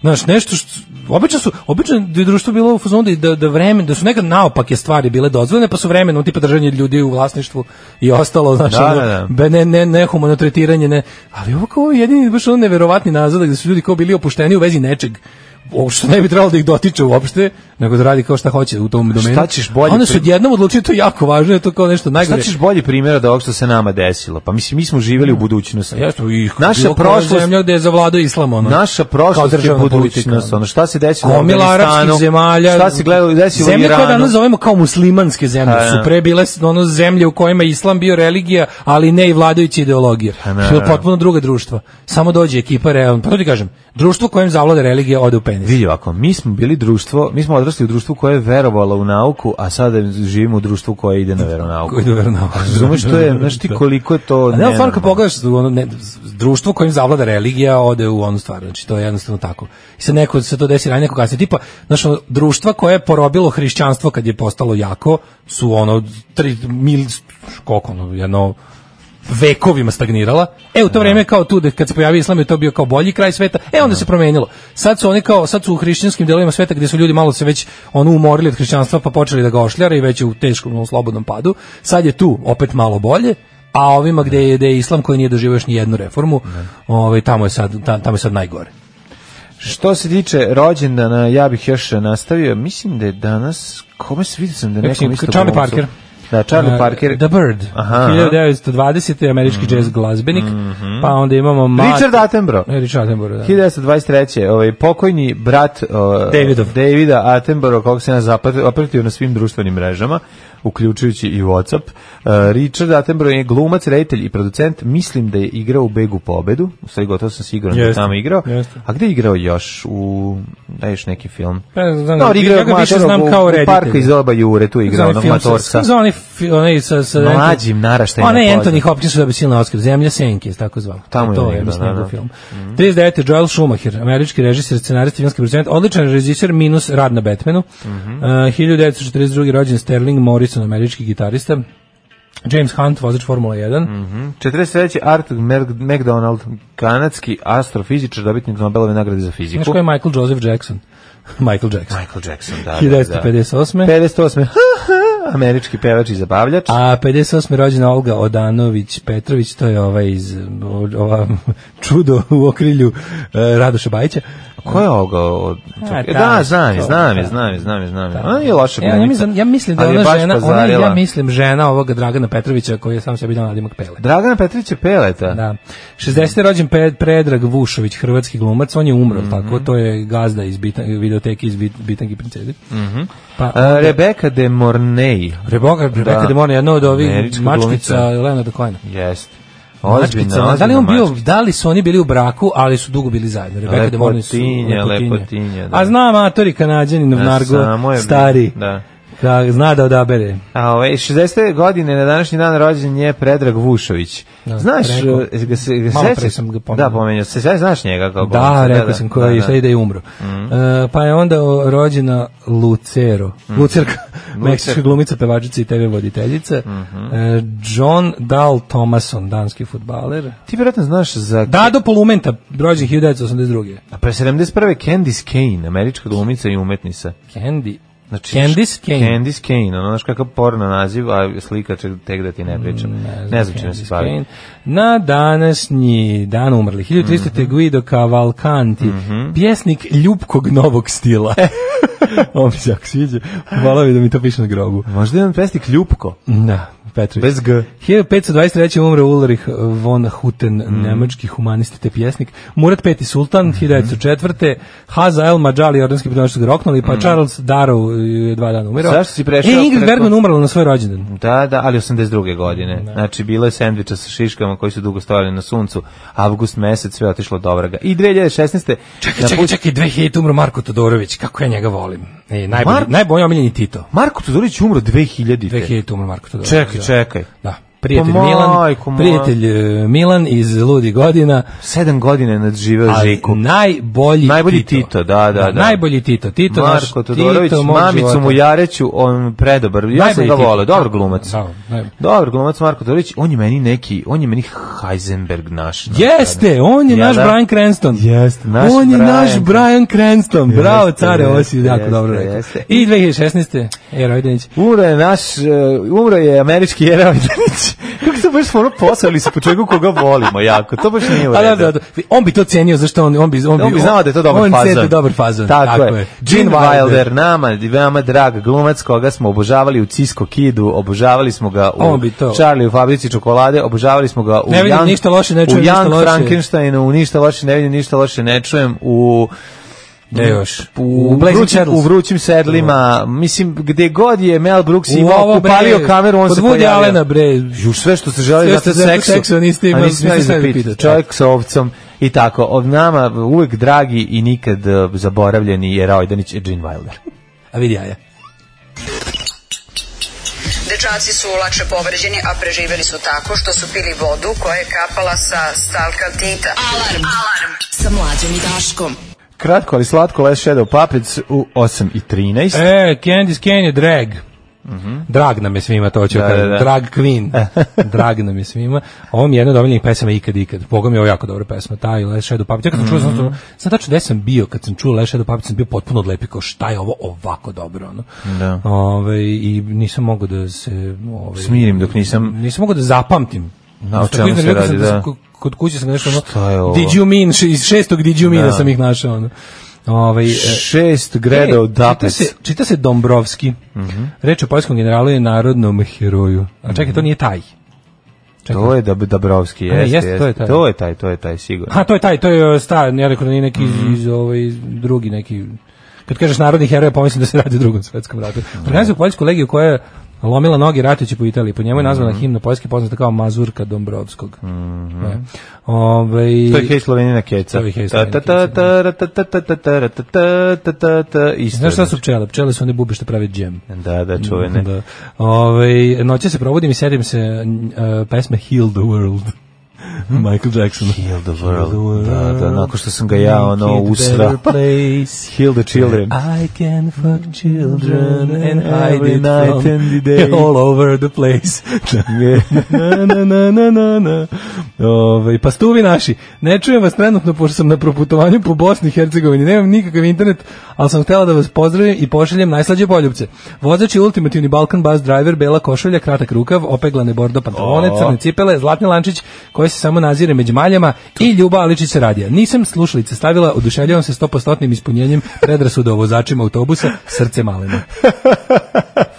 F: znaš, nešto što, obično su, obično je društvo bilo u fazonu da- da, da vremen, da su nekad naopake stvari bile dozvoljene, pa su vremenom tipa držanje ljudi u vlasništvu i ostalo, znaš,
G: Da,
F: ono,
G: da, da.
F: be- ne, ne, nehumano tretiranje, ne. Ali ovo kao jedini, baš ono neverovatni nazadak da su ljudi kao bili opušteni u vezi nečeg o, što ne bi trebalo da ih dotiče uopšte, nego da radi kao šta hoće u tom domenu.
G: Šta ćeš bolje
F: A Onda su
G: pri-
F: odjednom odlučili, to je jako važno, je to kao nešto najgore. Mm.
G: Šta ćeš bolji primjer od ovog što se nama desilo? Pa mislim, mi smo živjeli u budućnosti.
F: Jeste, Pa i
G: naša
F: bilo koja
G: prošlost,
F: zemlja gde je zavladao islam ono.
G: naša
F: Kao
G: prošlost je
F: državna
G: budućnost.
F: politika.
G: Ono, šta se desilo u
F: Gomila
G: Afganistanu?
F: arapskih zemalja.
G: Šta se gledalo, desilo u
F: Zemlje koje
G: Iranu?
F: danas zovemo kao muslimanske zemlje
G: A,
F: su
G: da.
F: pre bile ono zemlje u kojima je islam bio religija, ali ne i vladajuća ideologija.
G: da,
F: Što je
G: Pa da.
F: potpuno druga društva. Samo dođe ekipa realno. Pa to ti kažem, društvo kojem zavlada religija ode u penis.
G: Vidi ovako, mi smo bili društvo, mi smo odrasli u društvu koje je verovalo u nauku, a sada živimo u društvu koje ide na veronauku.
F: Koji dover nauku.
G: Razumeš to je, znaš ti koliko je to...
F: A Ne, stvarno
G: nenormalno.
F: kad pogledaš ono, ne, društvo kojim zavlada religija ode u onu stvar, znači to je jednostavno tako. I sad neko se to desi ranije, neko kasnije. Tipa, znaš, ono, društva koje je porobilo hrišćanstvo kad je postalo jako, su ono, tri, mil, koliko ono, jedno, vekovima stagnirala. E u to vrijeme kao tu da kad se pojavio islam je to bio kao bolji kraj sveta. E onda se promijenilo. Sad su oni kao sad su u hrišćanskim delovima sveta gdje su ljudi malo se već ono umorili od hrišćanstva pa počeli da ga ošljare i već je u teškom ono, slobodnom padu. Sad je tu opet malo bolje. A ovima gdje je, gde je islam koji nije doživio još ni jednu reformu, ovaj tamo je sad ta- tamo je sad najgore.
G: Što se tiče rođendana, ja bih još nastavio, mislim da je danas, kome se vidio sam da je nekom
F: Mislim,
G: isto
F: Charlie
G: glumcu.
F: Parker.
G: Da, Charlie
F: Uh,
G: Parker.
F: The Bird.
G: Aha. Mhm.
F: 1920. američki jazz glazbenik. Pa onda imamo Matt-
G: Richard Attenborough.
F: E, Richard Attenborough, da.
G: 1923. Ovaj pokojni brat o,
F: Davidov.
G: Davida Attenborough, kog se nas zapratio opratio na svim društvenim mrežama, uključujući i Whatsapp. E, Richard Attenborough je glumac, reditelj i producent. Mislim da je igrao u Begu pobedu. U stvari gotovo sam siguran da je
F: Jeste,
G: tamo igrao.
F: jeste.
G: A gde je igrao još? U, da još neki film.
F: Pa, ne znam,
G: No,
F: ja
G: igrao je
F: ga više
G: Matorog
F: znam
G: u-
F: kao
G: u parku
F: reditelja.
G: iz oba Jure, tu je igrao onog Matorca.
F: Za onaj fi- onaj sa sa
G: Mlađim naraštajima
F: Ona je
G: poznat.
F: Anthony Hopkins da bi silna Oscar Zemlja senke je tako zvao.
G: Tamo je
F: to
G: negdje,
F: je mislim
G: da, Mhm. da.
F: njegov film. 39 Joel Schumacher, američki režiser, scenarist, filmski producent, odličan režiser minus rad na Batmanu.
G: Mhm.
F: Uh, 1942 rođen Sterling Morrison, američki gitarista. James Hunt, vozač Formula 1.
G: Mhm. 43. Arthur Mac- McDonald, kanadski astrofizičar, dobitnik Nobelove nagrade za fiziku.
F: Znaš ko je Michael Joseph Jackson? Michael Jackson.
G: Michael Jackson, da, da, da.
F: 1958.
G: 58. Američki pevač i zabavljač.
F: A 58. rođena Olga Odanović Petrović, to je ovaj iz o- ova čudo u okrilju e, Radoša Bajića.
G: Ko je ovoga? Od...
F: A,
G: E,
F: ta,
G: da, znam je,
F: to,
G: znam je,
F: ta.
G: znam je, znam je, znam je.
F: Da.
G: Ona je loša
F: E, ja, ja,
G: glumica,
F: mislim, ja mislim da
G: ali
F: je
G: je
F: ona
G: baš
F: žena, ona je, ja
G: pazarila.
F: mislim žena ovoga Dragana Petrovića koji je sam sebi dao nadimak Pele.
G: Dragana Petrića Peleta.
F: Da. 60. rođen Pe- Predrag Vušović, hrvatski glumac, on je umro, tako,
G: Mhm.
F: to je gazda iz bitan, videoteki iz Bit- Bitangi princeze.
G: Mhm.
F: Pa,
G: A, Rebeka de Mornay.
F: Rebeka, Rebeka
G: E, Da.
F: da. Demona, jedna od ovih
G: Američka
F: mačkica
G: glumica.
F: Leonarda Cohena.
G: Jest.
F: Pa Mačkica,
G: Ozbiljna,
F: ono,
G: ozbiljna
F: da li on bio,
G: mačkica.
F: da li su oni bili u braku, ali su dugo bili zajedno. Rebeka de Mornay su
G: Lepotinja, lepotinja, da.
F: A znam, matori kanadjani,
G: Na
F: novnargo,
G: samo je-
F: stari.
G: Da.
F: Da, zna da odabere.
G: A ove, 60. godine na današnji dan rođen je Predrag Vušović.
F: Da,
G: znaš,
F: rekao.
G: e, ga se ga
F: Malo pre
G: sećaš?
F: sam ga pomenuo.
G: Da, pomenuo. Se, se, znaš njega kao glumca,
F: Da, rekao sam koji da, da. ide i umro. E, pa je onda o- rođena Lucero. Lucerka, meksička glumica, pevačica i TV voditeljica. E, John Dal Thomason, danski futbaler.
G: Ti vjerojatno znaš za...
F: Dado Polumenta, rođen 1982.
G: A pre 71. Candice Kane, američka glumica i umetnica.
F: Candy.
G: Znači,
F: Candice Kane.
G: Candice Kane, ono znaš kakav porno naziv, a slika će tek da ti ne pričam. ne, znam čime se
F: Mm, Candice
G: bavi.
F: Kane. Na današnji dan umrli 1300.
G: Mhm.
F: Guido Cavalcanti, pjesnik ljubkog novog stila. On mi se jako sviđa. Hvala mi da mi to piše na grobu.
G: Možda je on pesnik Ljupko,
F: Da, Petrović.
G: bez G.
F: 1523. umre Ulrich von Hutten,
G: Mhm.
F: nemački humanist te pjesnik. Murat V. Sultan, 1904. Haza El Mađali, jordanski pridonšći ga roknuli, pa Charles Darrow je dva dana umirao.
G: Mhm. Zašto si prešao
F: E, Ingrid
G: preko-
F: Bergman umrla na svoj rođendan.
G: Da, da, ali 82. godine. Znači, bilo je sendviča sa šiškama koji su dugo stojali na suncu. Avgust mesec, sve je otišlo do vraga. I 2016.
F: Čekaj, čekaj, čekaj, 2000 umro Marko Todorović, kako ja njega volim. E, najbolji,
G: Marko-
F: najbolji omiljeni Tito.
G: Marko Todorić umro 2000.
F: 2000 umro Marko Todorović.
G: Čekaj,
F: da.
G: čekaj.
F: Da, prijatelj
G: Pa
F: Milan,
G: majko moja.
F: prijatelj e, Milan iz Ludi godina,
G: Sedam godine je nadživeo
F: ali
G: Žiku.
F: najbolji,
G: Najbolji
F: Tito.
G: Tito, da, da, da.
F: Najbolji Tito, Tito naš,
G: Marko Todorović,
F: Tito mog
G: mamicu
F: života.
G: mu Jareću, on predobar. Ja
F: Najbolji
G: sam ga
F: Tito.
G: volao, dobar glumac.
F: Da, najbolji.
G: Dobar glumac Marko Todorović, on je meni neki, on je meni Heisenberg naš. naš
F: Jeste, on je
G: Ja,
F: naš
G: da.
F: Brian Cranston.
G: Jeste, naš
F: on je naš
G: Bryan.
F: Brian Cranston. Bravo,
G: Jeste,
F: care, ovo si
G: jeste,
F: jako
G: jeste,
F: dobro rekao.
G: jeste.
F: I 2016. E, Rojdenić.
G: Umro je naš, uh, umro je američki Jeremy Danić. Kako se baš ono posali se po čovjeku koga volimo jako, to baš nije u
F: A
G: redu.
F: da, da, da. On bi to cenio, zašto on, on bi... On,
G: On bi znao da je to dobar
F: on
G: fazon.
F: On dobar fazon.
G: Tako, je. Gene Wilder, nama, nama drag glumac koga smo obožavali u Cisco Kidu, obožavali smo ga u
F: On bi to.
G: Charlie u fabrici čokolade, obožavali smo ga u
F: Ne vidim
G: Young,
F: ništa loše, ne čujem
G: u
F: ništa
G: Young
F: loše.
G: Frankensteinu, u ništa loše, ne vidim ništa loše, ne čujem, u
F: Ne još.
G: u,
F: Blazing
G: vrućim,
F: Saddles.
G: u vrućim sedlima, mislim, gde god je Mel Brooks
F: U
G: imao,
F: ovo, bre,
G: upalio kameru, on
F: kod
G: se
F: Woody
G: pojavio.
F: Allena, bre.
G: Ju sve što se želi
F: Sve
G: da
F: što
G: se
F: se
G: seksu,
F: seksu, niste imali-
G: a niste
F: niste
G: imali za
F: imali pitat.
G: pitat. Čovjek sa ovcom i tako. Od nama uvek dragi i nikad eh, zaboravljeni je Rojdanić i Gene Wilder.
F: A vidi ja, ja.
B: Dečaci su lakše povređeni, a preživeli su tako što su pili vodu koja je kapala sa stalkaltita.
D: Alarm. Alarm. Sa mlađom i Daškom.
G: Kratko, ali slatko, Les Shadow Puppets u 8 i 13.
F: E, Candice Kane je drag. Mhm. Drag nam je svima, to ću
G: Da,
F: da,
G: da, da.
F: Drag queen. Drag nam je svima. Ovo mi je jedna od omiljenih pesama ikad, ikad. Boga mi je ovo jako dobra pesma, ta i Leš Shadow Puppet. Ja kad sam čuo,
G: Mhm.
F: sam, stvarno- sam tačno gde sam bio, kad sam čuo Leš Shadow Puppet, sam bio potpuno odlepi kao šta je ovo ovako dobro. Ono.
G: Da.
F: Ove, I nisam mogao da se... Ove,
G: Smirim dok nisam...
F: Nisam mogao da zapamtim.
G: Na o čemu
F: Tako
G: se
F: iznervirao
G: radi,
F: sam da?
G: da.
F: sam ko- Kod kuće sam nešto ono,
G: Šta je ovo?
F: Did you mean, še- iz šestog Did you mean da, sam ih našao. Ono. Ove,
G: Šest Gredo
F: Čita
G: Dapec.
F: se, čita se Dombrovski.
G: Mhm.
F: Reč o poljskom generalu je narodnom heroju. A čekaj, to nije taj.
G: To je Dab- Dabrovski,
F: A ne,
G: jeste,
F: jeste, to je
G: jeste.
F: taj.
G: To je taj, to je taj, sigurno.
F: A, to je taj, to je e, star, ja rekao da nije neki iz,
G: Mhm.
F: iz, ovaj, drugi neki... Kad kažeš narodni heroj, pomislim da se radi o drugom svetskom ratu. Organizuju poljsku legiju koja je lomila noge ratujući po Italiji. Po njemu je
G: Mhm.
F: nazvana himna Poljske poznata kao Mazurka Dombrovskog. Ovaj, Mm
G: To je Hej Slovenina Keca.
F: To je Hej
G: Ta, ta, ta,
F: Slovenina
G: ta, ra, ta, ta, ta, ta, ta, ra, ta, ta, ta, ta, ta, isto
F: Znaš šta
G: je,
F: su pčele? Pčele su one bube što prave džem.
G: Da, da, čuvene.
F: Da. Ove, noće se probudim i sedim se uh, pesme Heal the World. Michael Jackson.
G: Mhm. Heal the world. Da, da, nakon što sam ga ja ono usra. Heal the children.
F: I can fuck children and hide
G: Every
F: it
G: night
F: from
G: and the day.
F: all over the place. na, na, na, na, na, na. Ove, pa stuvi naši, ne čujem vas trenutno pošto sam na proputovanju po Bosni i Hercegovini, nemam nikakav internet, ali sam htela da vas pozdravim i pošaljem najslađe poljubce. Vozač je ultimativni Balkan bus driver, bela košulja, kratak rukav, opeglane bordo pantalone,
G: O.
F: crne cipele, zlatni lančić koji se samo nazire među maljama i Ljuba Aličić se radija. Nisam slušalice stavila, oduševljavam se 100% ispunjenjem predrasuda o vozačima autobusa, srce maleno.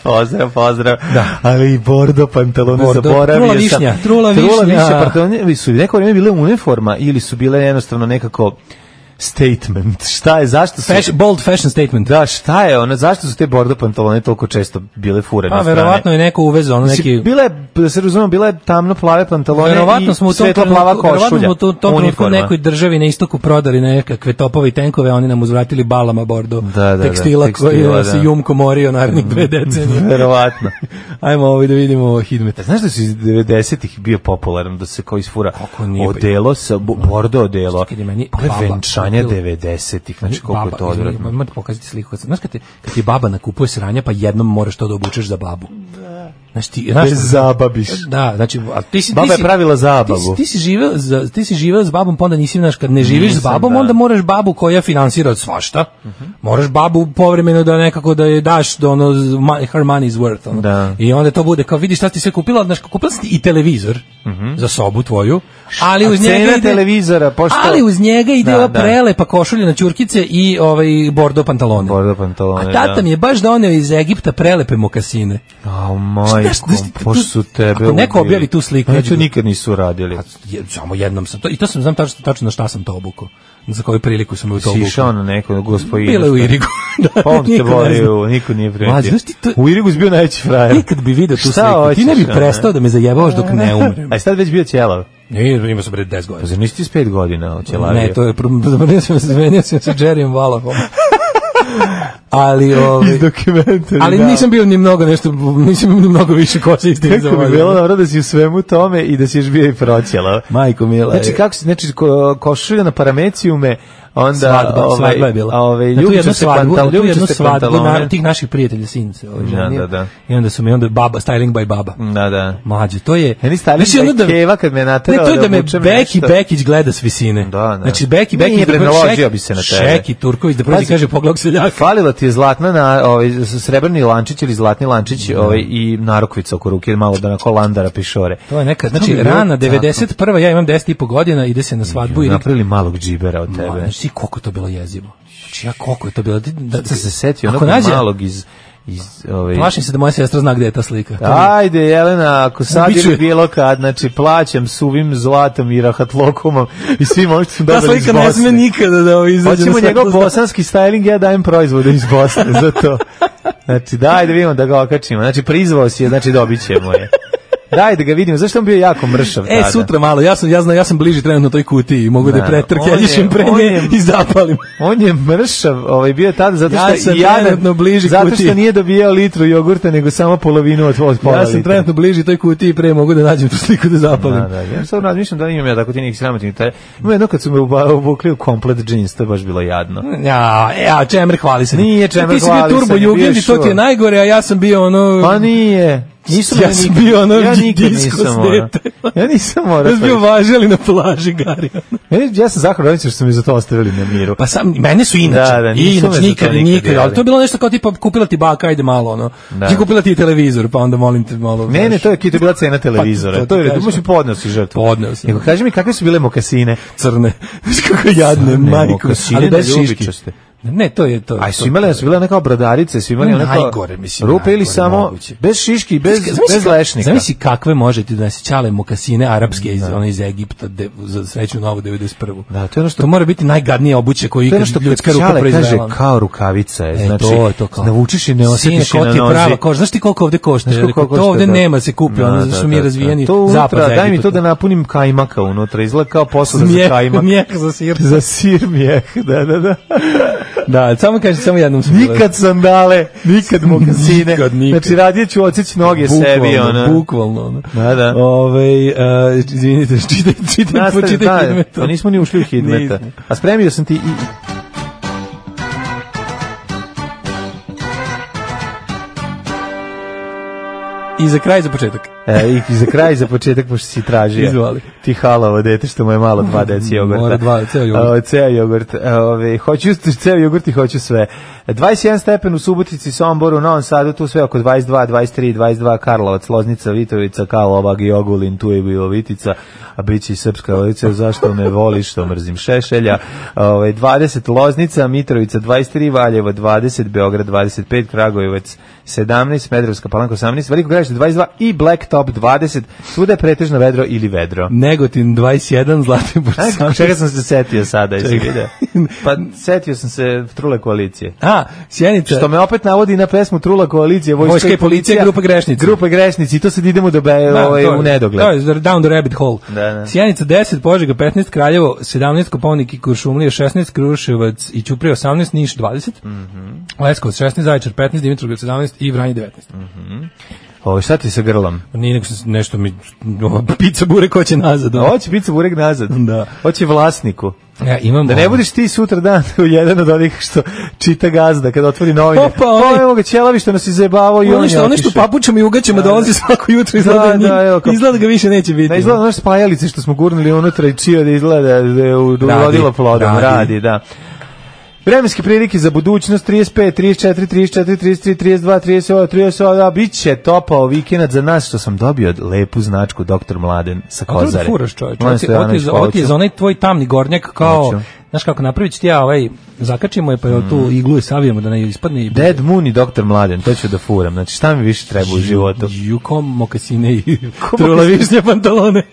G: Pozdrav, pozdrav. Ali i bordo pantalone
F: Bordo,
G: zaboravio
F: trula
G: sam.
F: višnja, trula višnja.
G: pantalone su neko vrijeme bile uniforma ili su bile jednostavno nekako statement. Šta je, zašto su...
F: Fash, bold fashion statement.
G: Da, šta je ona, zašto su te bordo pantalone toliko često bile furane
F: Pa
G: strane?
F: verovatno je neko uvezao ono
G: Mislim,
F: neki
G: Bila je, da se razumemo, bila je tamno plave pantalone
F: Verovatno smo u
G: i
F: tom
G: svetla plava
F: trenutku, verovatno
G: košulja.
F: smo u tom, tom trenutku
G: uniforma.
F: nekoj državi na istoku prodali nekakve topove i tenkove, a oni nam uzvratili balama bordo
G: Da, da,
F: tekstila,
G: da,
F: koji
G: tekstila,
F: nas
G: da. Mm,
F: je Jumko morio narednih dve decenije.
G: Verovatno.
F: Ajmo ovaj da vidimo Hidmet.
G: Znaš da su iz 90-ih bio popularan da se kao isfura
F: Kako nije, pa-
G: odelo sa bo- bordo odelo.
F: Čekaj, da meni
G: Pa je
F: baba
G: venčanje
F: kupila-
G: 90-ih, znači koliko je to
F: izvini,
G: odvratno.
F: moram ti pokazati sliku. kad sam- Znaš kad, te, kad ti baba nakupuje sranja, pa jednom moraš to da obučeš za babu. Znaš ti, znaš,
G: Bez zababiš.
F: Da, znači, a ti si,
G: Baba
F: ti
G: je
F: si,
G: pravila zabavu.
F: Ti, si- ti si živeo, za, ti si živeo s babom, pa onda nisi, znaš, kad ne živiš s
G: Nisam,
F: babom,
G: da.
F: onda moraš babu koja finansira od svašta, moraš babu povremeno da nekako da je daš, da ono, z- ma- her money is worth, ono.
G: Da.
F: I onda to bude, kao vidiš šta si sve kupila, znaš, kupila si ti i televizor za sobu tvoju, ali
G: Mhm. A
F: uz njega
G: cena
F: ide...
G: televizora, pošto-
F: Ali uz njega ide
G: Da,
F: ova
G: da.
F: prelepa košulja na ćurkice i ovaj bordo pantalone.
G: Bordo pantalone,
F: A tata
G: da.
F: mi je baš doneo iz Egipta prelepe mokasine.
G: A
F: Znaš,
G: majko,
F: znaš ti tu-
G: pošto su tebe
F: Ako neko
G: ubili.
F: objavi tu sliku, ja
G: Neću
F: ću-
G: nikad nisu radili.
F: je, samo jednom sam to i to sam znam tačno tačno na šta sam to obukao. Za koju priliku sam u to
G: Si išao
F: obukao.
G: na neko gospojinu.
F: Bilo je u Irigu. da,
G: Pa on te
F: niko ne zna.
G: borio, niko nije
F: Mlađe,
G: primetio.
F: znaš ti to-
G: U Irigu si bio najveći frajer.
F: Nikad bi video tu
G: Šta
F: sliku. ti ne
G: hoćeš,
F: bi
G: ono,
F: prestao da me zajebavaš dok ne umrem.
G: A je sad već bio ćelav?
F: Ne, ima sam pred 10 godina.
G: Pa zar nisi ti s pet godina ćelavio?
F: Ne, to je problem. Zamenio sam se, zamenio sam se Jerryjem Valahom. ali, ovaj,
G: Iz dokumentari,
F: ali
G: da.
F: nisam bio ni mnogo nešto, nisam ni mnogo više kose iz tih
G: Kako bi bilo dobro da si u svemu tome i da si još bio i proćelav.
F: Majko mila.
G: Znači, kako si, znači, ko, košulja na paramecijume, onda...
F: svadba,
G: ovaj,
F: svadba je bila.
G: a Ovaj,
F: na tu jednu
G: ljubičaste
F: svadbu,
G: pantal-
F: na tu jednu
G: ljubičaste
F: svadbu
G: pantalone.
F: na, tih naših prijatelja since, ovaj,
G: Da,
F: ženije.
G: da, da.
F: I onda su mi onda baba styling by baba.
G: Da, da.
F: Mlađe, to je...
G: Meni styling
F: ono
G: by Keva kad me naterao
F: Ne, to je
G: da
F: da me
G: obučem
F: Beki
G: nešto.
F: Bekić gleda s visine.
G: Da, da.
F: Znači, Beki
G: Nije,
F: Bekić... da
G: bre,
F: bude
G: naložio
F: Šeki-
G: bi se na tebe.
F: Šeki Turković da prođe
G: Pazi.
F: i kaže poglog seljaka.
G: Falila ti je zlatna na ovaj srebrni lančić ili zlatni lančić ovaj i narukvica oko ruke malo da na kolandara pišore.
F: To je neka,
G: To
F: znači,
G: bi bilo
F: rana
G: tako.
F: 91. Ja imam 10 i po godina, ide se na svadbu i...
G: Napravili malog džibera od tebe.
F: Mlađe, Znači, koliko je to bilo jezivo. Znači, ja koliko je to bilo... Da,
G: Da se ono setio
F: Ako
G: onog
F: nađe-
G: malog iz iz ovaj
F: Plašim se da moja sestra zna gde je ta slika. To mi je-
G: Ajde, Jelena, ako sad
F: Biću-
G: ili bilo kad, znači, plaćam suvim zlatom i rahatlokomom i svim ovim što sam
F: Ta
G: dobili iz
F: slika ne sme
G: Bosne.
F: nikada da ovo izađe. na
G: Hoćemo
F: svetlo
G: njegov
F: dana.
G: bosanski styling, ja dajem proizvode iz Bosne za to. Znači, daj da vidimo da ga okačimo. Znači, prizvao si je, znači dobit ćemo je. Daj da ga vidimo, zašto je on bio jako mršav
F: E,
G: tada?
F: sutra malo, ja sam, ja znam, ja sam bliži trenutno toj kutiji, mogu da,
G: Da,
F: je pretrke,
G: on
F: ja
G: je-
F: lišim pre
G: on
F: nje
G: je-
F: i zapalim.
G: On je mršav, ovaj bio tada zato što
F: Ja sam
G: i jadan-
F: trenutno bliži
G: zato što
F: kutiji.
G: nije dobijao litru jogurta nego samo polovinu od, od pola
F: Ja sam
G: litra.
F: trenutno bliži toj kutiji, pre mogu da nađem tu sliku da zapalim.
G: Da, da, ja sad razmišljam da imam ja tako ti nekih sramotnih detalja. Ima jedno kad su me uba- obukli u komplet džins, to je baš bilo jadno.
F: Ja, e, a čemer hvali se.
G: Nije čemer
F: Ti si bio
G: hvalisanje,
F: turbo
G: bio
F: jugend i to ti
G: sure.
F: je najgore, a ja sam bio ono...
G: Pa nije. Nisam
F: Ja sam bio ono disko
G: morao.
F: dete.
G: Ja nisam morao.
F: Ja sam bio važeli na plaži, Gari.
G: Ja, ja sam zahvalan Rodiću što su mi za to ostavili na miru.
F: Pa sam, mene su inače.
G: Da, da, nisu
F: I
G: me
F: inače,
G: za to
F: nikad,
G: nikad
F: nikad, ali
G: dirali.
F: to je bilo nešto kao tipa kupila ti baka, ajde malo, ono.
G: Da.
F: Ti kupila ti i televizor, pa onda molim te malo.
G: ne, ne,
F: znaš. pa,
G: to je, to je bila cena televizora.
F: to ti
G: to je,
F: kažem.
G: možeš i podneo si žrtvu.
F: Podneo sam.
G: Nego, kaži mi, kakve su bile mokasine?
F: crne. Viš kako jadne,
G: Crne
F: majko.
G: mokasine
F: Ali bez
G: na
F: šiški.
G: ljubičaste.
F: Ne, to je to.
G: Aj,
F: to-
G: su imale, su bile neka obradarice, su imali onako...
F: Najgore, mislim,
G: Rupe ili
F: najgore
G: samo...
F: moguće.
G: Bez šiški, bez,
F: Zamisli
G: bez
F: ka-
G: lešnika.
F: Zamisli kakve može ti donesi ćale mokasine arapske iz, one iz Egipta de, za sreću novu 91.
G: Da, to je ono što-
F: To mora biti najgadnije obuće koje
G: To je ono
F: ikad
G: što
F: ljudska ruka
G: Ćale kaže
F: proizvela.
G: kao rukavica je.
F: E,
G: znači,
F: to je to kao.
G: Navučiš i ne osjetiš je
F: Sine,
G: na
F: ko ti je prava
G: nozi.
F: koža, znaš ti koliko ovde košta?
G: Znaš
F: Ja
G: koliko
F: rekao, to
G: košta,
F: ovde
G: da.
F: nema se kupi,
G: Da,
F: ono zato
G: da,
F: što mi
G: da,
F: razvijeni
G: da. To unutra,
F: zapad za
G: daj mi to
F: Egipta.
G: da napunim kajmaka unutra, izgleda kao posuda za
F: Mjeh-
G: kajmak.
F: mjeh za sir.
G: Za sir mjeh, da, da, da.
F: Da, samo kaže, samo jednom sam bila-
G: Nikad sandale, nikad mokasine.
F: Nikad, nikad.
G: Znači, radije ću odsjeći noge sebi,
F: Bukvalno,
G: ono.
F: bukvalno. ono.
G: Da, da.
F: Ovaj, e, izvinite, čitaj, čitaj,
G: Nastavi,
F: počitaj
G: da,
F: Hidmeta.
G: Pa nismo ni ušli u Hidmeta.
F: Nismo.
G: A spremio sam ti i...
F: I za kraj, za početak.
G: E, i- I za kraj, za početak, pošto si tražio.
F: Izvoli.
G: Ti halavo dete, što mu je malo dva deci jogurta.
F: Mora dva, ceo jogurt.
G: O, ceo jogurt. E, Ove, hoću st- ceo jogurt i hoću sve. E, 21 stepen u Subotici, Somboru, Novom Sadu, tu sve oko 22, 23, 22, Karlovac, Loznica, Vitovica, Kalobag i Ogulin, tu je bilo Vitica, a bit će i Srpska ulica, zašto me voliš, što mrzim Šešelja. Ove, 20 Loznica, Mitrovica 23, Valjevo 20, Beograd 25, Kragujevac 17, Smedrevska palanka 18, Veliko grad Kravište 22 i Black Top 20. Svuda je pretežno vedro ili vedro.
F: Negotin 21, Zlatibor
G: Aj,
F: sam.
G: čega sam se setio sada, jesi
F: Čekaj.
G: vidio? Pa setio sam se Trule koalicije.
F: A, Sjenica.
G: Što me opet navodi na pesmu Trula koalicije, vojska,
F: Vojska i policija, grupa grešnici.
G: Grupa grešnici, i to sad idemo do be,
F: Da,
G: ovaj,
F: to je-
G: u nedogled.
F: To je down the rabbit hole.
G: Da, da.
F: Sjenica 10, Požega 15, Kraljevo 17, Koponik i Kuršumlija 16, Kruševac i Ćuprija 18, Niš 20,
G: Mhm.
F: Leskovac 16, Zaječar 15, Dimitrovgrad 17 i Vranje 19.
G: Ovo, šta ti sa grlom?
F: Nije nego se nešto mi ova pizza bure ko će nazad. ono.
G: Hoće pizza burek nazad.
F: Da.
G: Hoće vlasniku.
F: Ja imam
G: Da ne
F: ono-
G: budiš ti sutra dan u jedan od onih što čita gazda kada otvori novine.
F: Opa, onaj-
G: Pa evo ga ćelavi što nas je zajebavao i on
F: Ono
G: je
F: što, ono što
G: otišao.
F: papučama i ugaćama dolazi svako jutro izgleda,
G: Da,
F: da,
G: da, evo, kao-
F: izgleda ga više neće biti.
G: Da izgleda ono spajalice što smo gurnuli unutra i čio da izgleda da je u- da
F: Radi,
G: urodilo plodom. Radi.
F: radi.
G: da. Vremenske prilike za budućnost 35, 34, 34, 33, 32, 38, 38, da, bit će topao vikend za nas što sam dobio lepu značku doktor Mladen sa
F: A to je
G: Kozare.
F: da furaš čovječ.
G: Mladen
F: Ovo ti- ovo ti je za- Ovo ti je za onaj tvoj tamni gornjak kao,
G: Hoću.
F: znaš kako napravit ću ti ja ovaj, zakačimo je pa joj
G: Mm.
F: tu iglu i savijemo da ne ispadne i...
G: Dead Moon i Dr. Mladen, to ću da furam. Znači, šta mi više treba u životu?
F: Juko mokasine i
G: Ko
F: trula
G: mokasine?
F: višnje pantalone.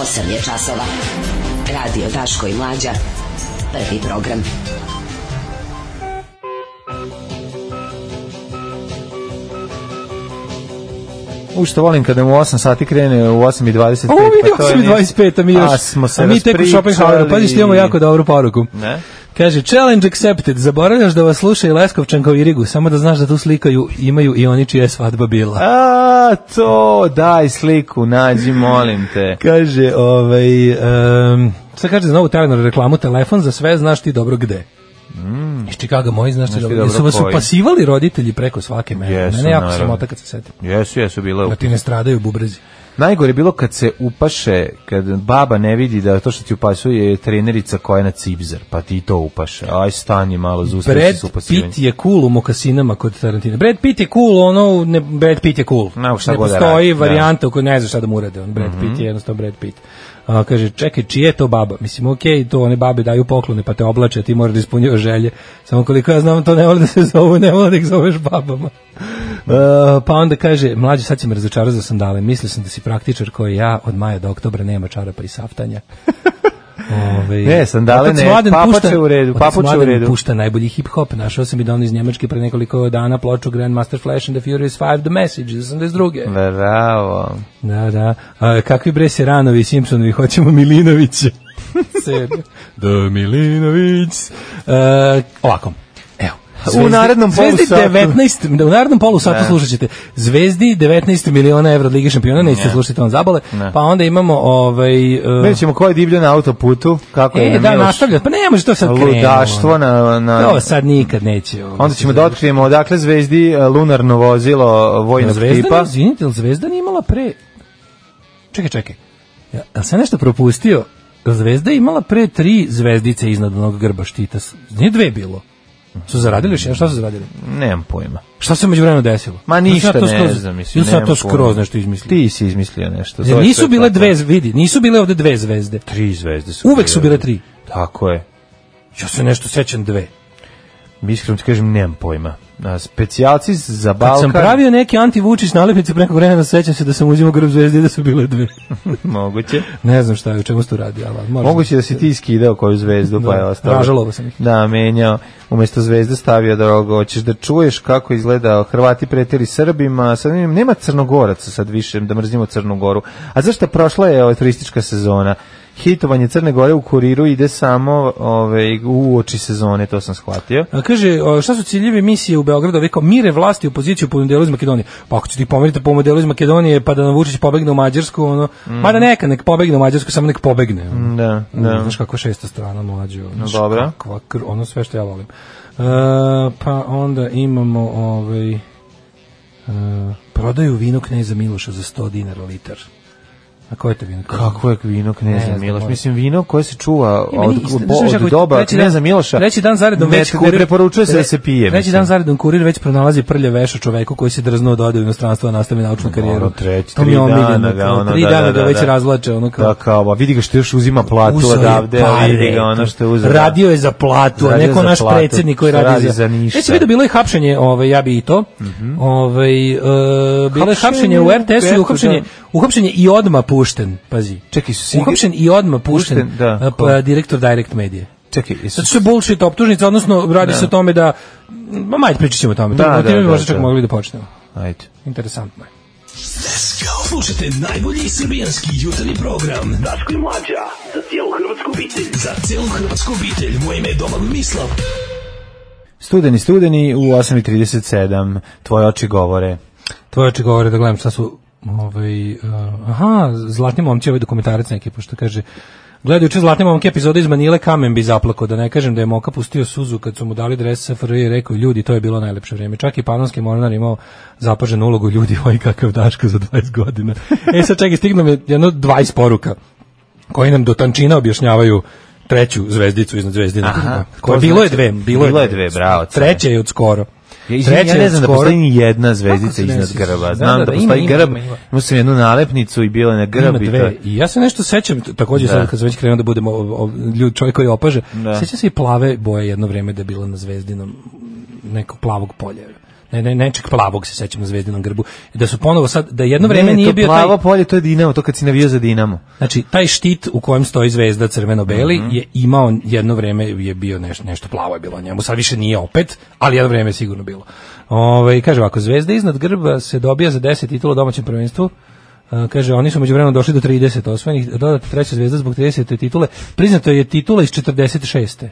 D: Osam je časova. Radio Daško i Mlađa. Prvi program.
G: U što volim kada mu 8 sati krene u 8.25.
F: Ovo vidio
G: Pa to je
F: sam i
G: nešto-
F: 25, a mi još.
G: A, smo se
F: a mi tek u Schopenhaueru, pa ti imamo jako dobru poruku.
G: Ne?
F: Kaže, challenge accepted, zaboravljaš da vas sluša i Leskovčan kao Irigu, samo da znaš da tu slikaju imaju i oni čija je svadba bila.
G: A, to, daj sliku, nađi, molim te.
F: Kaže, ovaj, um, sad kaže za novu Telenor reklamu, telefon za sve znaš ti dobro gde. Mm. Iz Čikaga moji znaš ti dobro.
G: ti dobro
F: Jesu vas
G: koji.
F: upasivali roditelji preko svake mene?
G: Jesu,
F: Mene jako
G: naravno.
F: sramota kad se setim.
G: Jesu, jesu, bilo.
F: Da ti ne stradaju bubrezi.
G: Najgore je bilo kad se upaše, kad baba ne vidi da to što ti upasuje je trenerica koja je na cipzer, pa ti i to upaše. Aj, stani malo, zustavi
F: Brad
G: se s upasivanjem.
F: Pitt je cool u mokasinama kod Tarantina. Brad Pitt je cool, ono, ne, Brad Pitt je cool.
G: Ma, šta
F: ne
G: god da Mhm.
F: postoji
G: radi,
F: varijanta u kojoj ne znaš šta da mu urade. On, Brad Pitt je jednostavno Brad Pitt. A, kaže, čekaj, čije je to baba? Mislim, okej, to one babe daju poklone, pa te oblače, ti moraš da ispunjavaš želje. Samo koliko ja znam, to ne vole da se zovu, ne vole da ih zoveš babama.
G: Mhm.
F: E, pa onda kaže, mlađe, sad si me razočarao za sandale. Mislio sam da si praktičar koji ja od maja do oktobra nema čarapa i saftanja. Ove,
G: Ne, sandale
F: Otac
G: ne,
F: Mladen
G: papuče
F: pušta-
G: u redu,
F: Otac
G: papuče u
F: Mladen
G: redu.
F: pušta najbolji hip hop. Našao sam i dono iz Njemačke pre nekoliko dana ploču Grandmaster Flash and the Furious 5 The Message iz 82.
G: Bravo.
F: Da, da. A, kakvi bre Seranovi i Simpsonovi hoćemo Milinovića. Serio. Do Milinović. E, ovako. Evo.
G: U narednom
F: Zvezdi
G: polusatu.
F: 19, da, u narednom polu satu slušat ćete Zvezdi 19 miliona evra od Lige šampiona, nećete slušati on zabole, pa onda imamo ovaj... e,
G: Vidjet ćemo ko je divlja na autoputu, kako je
F: E, da,
G: Miloš
F: nastavlja. Pa ne može to sad krenuo.
G: ludaštvo na, na,
F: To sad nikad neće. ovo
G: Onda
F: se
G: ćemo da
F: zove.
G: otkrijemo odakle zvezdi e, lunarno vozilo e,
F: Jel
G: vojnog
F: Zvezdan,
G: tipa.
F: izvinite, jel Zvezdan imala pre... Čekaj, čekaj. Ja, jel sam nešto propustio? Jel Zvezda je imala pre tri zvezdice iznad onog grba štita. S- Nije dve bilo. Su zaradili još jedan? Šta su zaradili?
G: Nemam pojma.
F: Šta se među vremenu desilo?
G: Ma
F: Ili sam
G: ništa
F: ja to
G: ne
F: skroz-
G: znam, mislim.
F: Ili sam ja
G: nemam
F: to
G: pojma.
F: skroz nešto izmislio?
G: Ti si izmislio nešto.
F: Jel
G: Zove
F: nisu
G: sve
F: bile
G: tako.
F: dve, vidi, nisu bile ovde dve zvezde.
G: Tri zvezde su
F: Uvek su bile tri.
G: Tako je.
F: Ja se nešto sećam dve.
G: Iskreno ti kažem, nemam pojma. A, specijalci za
F: Kad
G: Balkan...
F: sam pravio neke anti-Vučić nalepnice preko vremena, sećam se da sam uzimao grb zvezde i da su bile dve.
G: Moguće.
F: Ne znam šta je, u čemu ste uradio, ali možda.
G: Moguće da si ti skidao koju zvezdu, pa
F: Da,
G: je ostalo.
F: ražalovao sam ih.
G: Da, menjao. Umesto zvezde stavio drogo. Hoćeš da čuješ kako izgleda Hrvati pretjeri Srbima. Sad nema, nema Crnogoraca sad više, da mrzimo Crnu Goru. A zašto prošla je ova turistička sezona? Hitovanje Crne Gore u kuriru ide samo ove, u oči sezone, to sam shvatio.
F: A kaže, o, šta su ciljevi misije u Beogradu? Ovi kao mire vlasti opoziciju po modelu iz Makedonije. Pa ako ćete ih pomeriti po modelu iz Makedonije, pa da nam Vučić pobegne u Mađarsku, ono,
G: Mm.
F: mada neka, nek pobegne u Mađarsku, samo nek pobegne. ono.
G: Da, Mm, da.
F: Znaš kako šesta strana mlađe. ono, Znaš,
G: Dobro.
F: kakva kr- ono sve što ja volim. E, pa onda imamo ovaj, e, prodaju vino knjeza Miloša za 100 dinara litar. A koje je to vino?
G: Kako je vino
F: Ne
G: kneza
F: znam,
G: Miloš?
F: moram.
G: Mislim, vino koje se čuva
F: E,
G: Pa od,
F: meni isto,
G: od,
F: znaš kako
G: od
F: je-
G: doba
F: treći dan-
G: kneza Miloša.
F: Treći dan zaredom
G: ne,
F: već
G: ne
F: kurir...
G: preporučuje se da se pije.
F: Treći
G: mislim.
F: dan zaredom kurir već pronalazi prlje veša čoveku koji se drznuo da ode u inostranstvo da nastavi naučnu karijeru.
G: Ono, treći,
F: To mi
G: tri
F: je omiljeno,
G: dana
F: to,
G: ga, ono,
F: tri
G: da,
F: dana
G: da,
F: ga
G: da,
F: već
G: da.
F: razvlače, ono kao...
G: Da, kao, a vidi ga što još uzima platu
F: Uzeo je
G: odavde, a
F: pare,
G: vidi ga ono što je uzeo.
F: Radio je za platu, a
G: Radio
F: neko
G: za
F: naš
G: platu,
F: predsjednik koji
G: što
F: radi,
G: radi za ništa. Mhm.
F: Već se vidio, bilo je hapšenje, ovaj, ja bi i to. ovaj, e, bilo je hapšenje u RTS-u, i
G: eto,
F: uhapšenje, uhapšen je i odma pušten, pazi.
G: Čekaj, su si...
F: Uhapšen i odma pušten,
G: Pušten, da,
F: a, pa,
G: ko?
F: direktor Direct Medije.
G: Čekaj, jesu...
F: Zato što je bullshit optužnica, odnosno radi se o tome da... Ma, majde, pričat ćemo o tome.
G: Da, da,
F: Da, da,
G: da,
F: možda čak
G: da.
F: mogli da počnemo.
G: Ajde.
F: Interesantno je.
J: Slušajte najbolji srbijanski jutarnji program Daško i Mlađa za cijelu hrvatsku obitelj. Za cijelu hrvatsku obitelj. Moje ime je Domagoj Mislav.
G: Studeni, studeni u 8.37, tvoje oči govore.
F: Tvoje oči govore da gledam šta su ovaj, uh, aha, Zlatni momci ovaj dokumentarac neki, pošto kaže Gledaj, juče Zlatni momke epizode iz Manile, kamen bi zaplako, da ne kažem da je Moka pustio suzu kad su mu dali dres SFRJ i rekao, ljudi, to je bilo najlepše vrijeme. Čak i Panonski mornar imao zapaženu ulogu, ljudi, oj kakav Daško za 20 godina. e sad čekaj, stignu mi jedno 20 poruka koji nam do tančina objašnjavaju treću zvezdicu iznad zvezdina.
G: Aha,
F: koje
G: to
F: bilo je
G: znači-
F: dve, bilo,
G: bilo je dve, bravo, Cane.
F: Treće je od skoro.
G: Ja, izvini, ja
F: Treće je
G: ne
F: od
G: znam da
F: skoro.
G: postoji ni jedna zvezdica
F: se ne
G: iznad
F: sjećaš?
G: grba.
F: Da,
G: Znam da,
F: da, da, ima,
G: postoji
F: ima,
G: grb,
F: ima, ima.
G: imao sam jednu nalepnicu i bila je na
F: Ima
G: grb. i to
F: dve.
G: je-
F: I ja se nešto sećam, t- takođe
G: Da.
F: sad kad sam već krenuo da budem o- o- ljud čovjek koji opaže,
G: Da.
F: sećam se i plave boje jedno vrijeme da je bila na zvezdinom nekog plavog polja. Ne, ne, nečeg plavog se sećam na zvezdinom grbu. Da su ponovo sad, da jedno vrijeme
G: Ne,
F: nije
G: to
F: bio taj...
G: plavo polje, to je Dinamo, to kad si navio za Dinamo.
F: Znači, taj štit u kojem stoji zvezda crveno-beli
G: Mhm.
F: je imao jedno vreme je bio nešto, nešto plavo je bilo na njemu, sad više nije opet, ali jedno vreme je sigurno bilo. Ove, kaže ovako, zvezda iznad grba se dobija za 10 titula u domaćem prvenstvu, E, kaže, oni su među vremenom došli do 30 osvojenih, dodata treća zvezda zbog 30. titule, priznato je titula iz 46.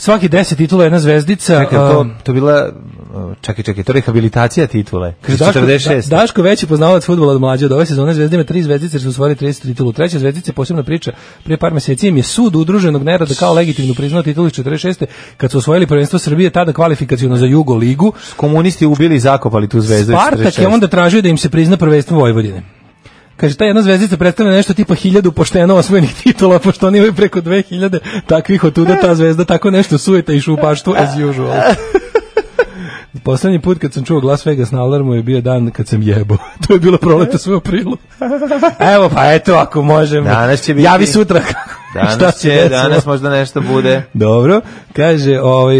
F: Svaki 10 titula je jedna zvezdica.
G: Čekaj, to,
F: um,
G: to bila, uh, čekaj, čekaj, to je rehabilitacija titule. Kaže
F: Daško,
G: 46.
F: Da, Daško veći poznavalac fudbala od mlađe od ove sezone Zvezda ima tri zvezdice jer su osvojili 30 titulu. Treća zvezdica je posebna priča. Prije par mjeseci im je sud udruženog nerada kao legitimno priznao titulu iz 46. kad su osvojili prvenstvo Srbije tada kvalifikaciono za Jugo ligu.
G: Komunisti ubili i zakopali tu zvezdu. iz
F: Spartak je
G: 46.
F: onda tražio da im se prizna prvenstvo Vojvodine. Kaže, ta jedna zvezdica predstavlja nešto tipa hiljadu pošteno osvojenih titula, pošto oni imaju preko 2000 takvih otuda, ta zvezda tako nešto sujeta i šupaštvo as usual. Poslednji put kad sam čuo Las Vegas na alarmu je bio dan kad sam jebo. to je bilo proleto sve u aprilu. Evo, pa eto, ako možemo.
G: Danas će biti-
F: Javi sutra. Šta
G: Danas
F: se
G: će,
F: desilo?
G: danas možda nešto bude.
F: Dobro, kaže, ovaj,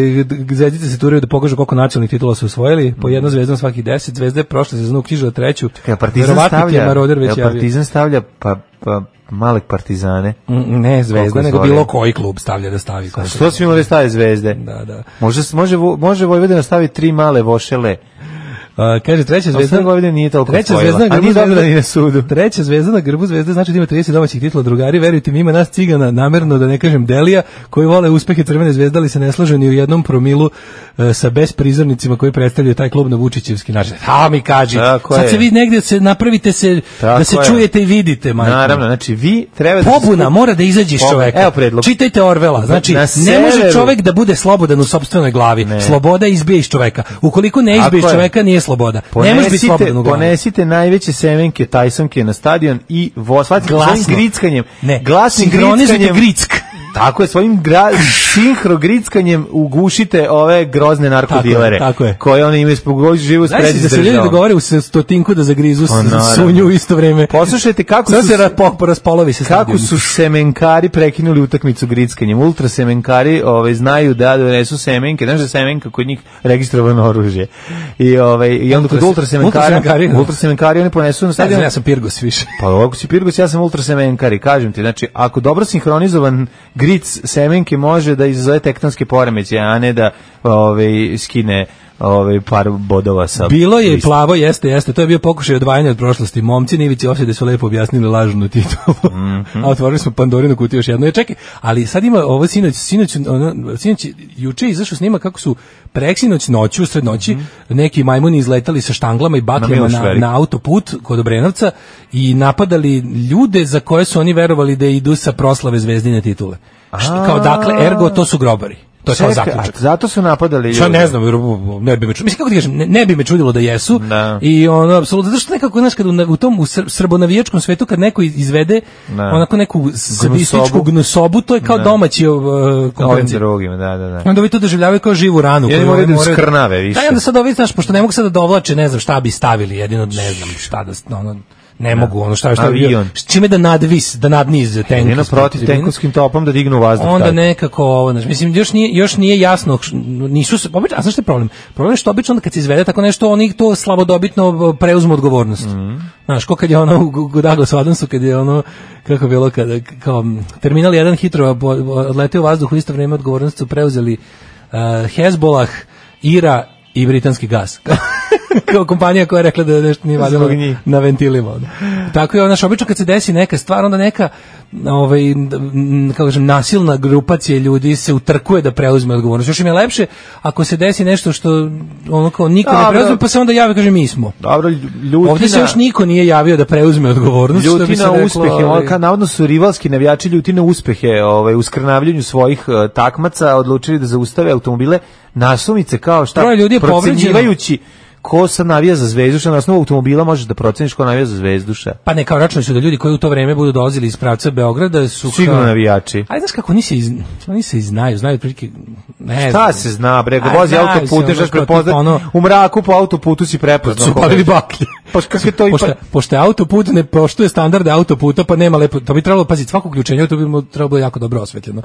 F: zvezdice se turaju da pokažu koliko nacionalnih titula su osvojili, po jedna zvezda na svakih deset, zvezda je prošle sezonu knjižila treću,
G: Jel Partizan
F: Verovatno ti je
G: stavlja,
F: Maroder već
G: jel
F: javio.
G: Partizan stavlja pa, pa malek partizane.
F: Mm, Ne
G: Koliko
F: zvezda, nego
G: izvoli?
F: bilo koji klub stavlja da stavi.
G: A Pa što svi moraju staviti zvezde?
F: Da, da.
G: Može, s- može, Vo- može Vojvodina staviti tri male vošele.
F: A, kaže, treća
G: Zvezda
F: zvezda...
G: Vojvodina nije toliko
F: Treća
G: osvojila,
F: zvezda na
G: a
F: grbu
G: nije dobila
F: zvezda-
G: ni na sudu.
F: Treća zvezda na grbu zvezde znači da ima 30 domaćih titula drugari, verujte mi ima nas cigana namerno da ne kažem Delija koji vole uspehe Crvene zvezde ali se ne slažu ni u jednom promilu e, sa besprizornicima koji predstavljaju taj klub na Vučićevski način. Ha mi kaži.
G: Tako
F: sad
G: je.
F: se vi negdje se napravite se
G: Tako
F: da se
G: je.
F: čujete i vidite, majko.
G: Naravno, znači vi treba da... se
F: Pa Pobuna
G: skup-
F: mora da izađe iz
G: Pobuna.
F: čoveka.
G: Evo predlog.
F: Čitajte Orvela. Znači,
G: Na
F: ne može
G: severu-
F: čovek da bude slobodan u sopstvenoj glavi.
G: Ne.
F: Sloboda izbije iz čoveka. Ukoliko ne izbije iz
G: Tako je.
F: čoveka, nije sloboda. ne može
G: Ponesite,
F: biti slobodan u glavi.
G: ponesite najveće semenke Tajsonke na stadion i vo, shvatite svojim
F: Glasno.
G: grickanjem.
F: Ne,
G: glasnim
F: sinhronizujte
G: grickanjem.
F: grick.
G: Tako je, svojim gra, sinhrogrickanjem ugušite ove grozne narkodilere.
F: tako je.
G: Koje oni imaju spogođu živu
F: Znaš
G: sprezi
F: da
G: s
F: se ljudi
G: državom.
F: dogovore u se- stotinku da zagrizu s-
G: Pa, naravno.
F: sunju u isto vrijeme.
G: Poslušajte kako
F: Sad
G: su,
F: se rapo- raspolovi se
G: kako
F: stadion.
G: su semenkari prekinuli utakmicu grickanjem. Ultra semenkari ovaj, znaju da donesu semenke. Znaš da je semenka kod njih registrovano oružje. I, ovaj, i onda kod
F: Ultra-
G: ultra semenkari,
F: ultrasemenkari, da.
G: ultra semenkari oni ponesu na
F: Sad
G: stadion.
F: ja sam Pirgos više.
G: Pa ako si Pirgos, ja sam ultra semenkari, kažem ti. Znači, ako dobro sinhronizovan gric semenke može da izazove tektonske poremeće, a ne da ovaj, skine ovaj, par bodova sa...
F: Bilo je i
G: liste.
F: plavo, jeste, jeste. To je bio pokušaj odvajanja od prošlosti. Momci Nivici ofsede su lepo objasnili lažnu titulu.
G: Mhm.
F: A otvorili smo Pandorinu kutiju još jedno. Ja, čekaj, ali sad ima ovo sinoć, sinoć, ono, sinoć juče je izašao snima kako su preksinoć noću, sred noći, neki majmuni izletali sa štanglama i bakljama
G: Mhm. Miloš
F: na,
G: Veliki.
F: na autoput kod Obrenovca i napadali ljude za koje su oni verovali da idu sa proslave zvezdine titule. Št- Kao dakle, ergo, to su grobari. To je kao zaključak.
G: a zato su napadali
F: Ja ne znam, jer, u, ne bi me čudilo. Mislim, kako ti kažem, ne, ne bi me čudilo da jesu.
G: Da.
F: I ono, apsolutno, zato što nekako, znaš, kad u, u tom u sr, srbonavijačkom svetu, kad neko izvede
G: Da.
F: onako neku sadističku
G: Gnusobu.
F: gnusobu, to je kao domaći uh,
G: Ovim
F: konkurencija.
G: drugim, da, da, da.
F: Onda ovi to doživljavaju kao živu ranu.
G: I oni
F: koju
G: moraju
F: oni
G: da skrnave više.
F: Da, i onda sad ovi, znaš, pošto ne mogu sad da dovlače, ne znam šta bi stavili, jedino ne znam šta da, ono, ne mogu, ono šta, šta bi bio,
G: Avion.
F: s čime da nadvis, da nadniz tenk.
G: Jedino protiv tenkovskim topom da dignu vazduh.
F: Onda
G: tad.
F: nekako ovo, znači mislim još nije još nije jasno š- nisu se obično, a znaš šta je problem? Problem je što obično onda kad se izvede tako nešto oni to slabodobitno preuzmu odgovornost.
G: Mhm.
F: Znaš, ko kad je ono u Gu- Gudagos u Adamsu kad je ono kako je bilo kada kao m, terminal 1 hitrova bo- odleteo u vazduh u isto vrijeme odgovornost su preuzeli uh, Hezbolah, Ira i britanski gas. kao kompanija koja je rekla da nešto nije valjalo
G: Zbog njih.
F: na ventilima. ono. Tako je, ono, znaš, obično kad se desi neka stvar, onda neka ovaj, m, kako kažem, nasilna grupacija ljudi se utrkuje da preuzme odgovornost. Još im je lepše ako se desi nešto što ono kao niko ne
G: Dobro.
F: preuzme, pa se onda javi i kaže mi smo.
G: Dobro, ljutina...
F: Ovdje se još niko nije javio da preuzme odgovornost. što bi
G: Ljuti
F: se
G: na
F: reklo,
G: uspehe,
F: ovaj.
G: on, ka, navodno su rivalski navijači ljuti na uspehe ovaj, u skrnavljanju svojih eh, takmaca, odlučili da zaustave automobile nasumice kao šta
F: Troje ljudi je
G: procenjivajući ko sa navija za zvezduša, na osnovu automobila možeš da proceniš ko navija za zvezduša.
F: Pa ne, kao računali su da ljudi koji u to vreme budu dolazili iz pravca Beograda su...
G: Sigurno
F: kao-
G: navijači.
F: Ali znaš kako, oni se, iz, oni se i znaju, znaju prilike... Ne
G: Šta
F: znam.
G: se zna, bre,
F: Aj,
G: vozi
F: znaju se, ono,
G: autoputem, žeš
F: kao tipa
G: prepoznat,
F: ono-
G: u mraku po autoputu si prepoznao.
F: su
G: koga.
F: palili baklje.
G: Pa kako je to ipak-
F: pošto, pošto je autoput ne poštuje standarde autoputa, pa nema lepo, to bi trebalo, paziti, svako uključenje, to bi mu trebalo biti jako dobro osvetljeno.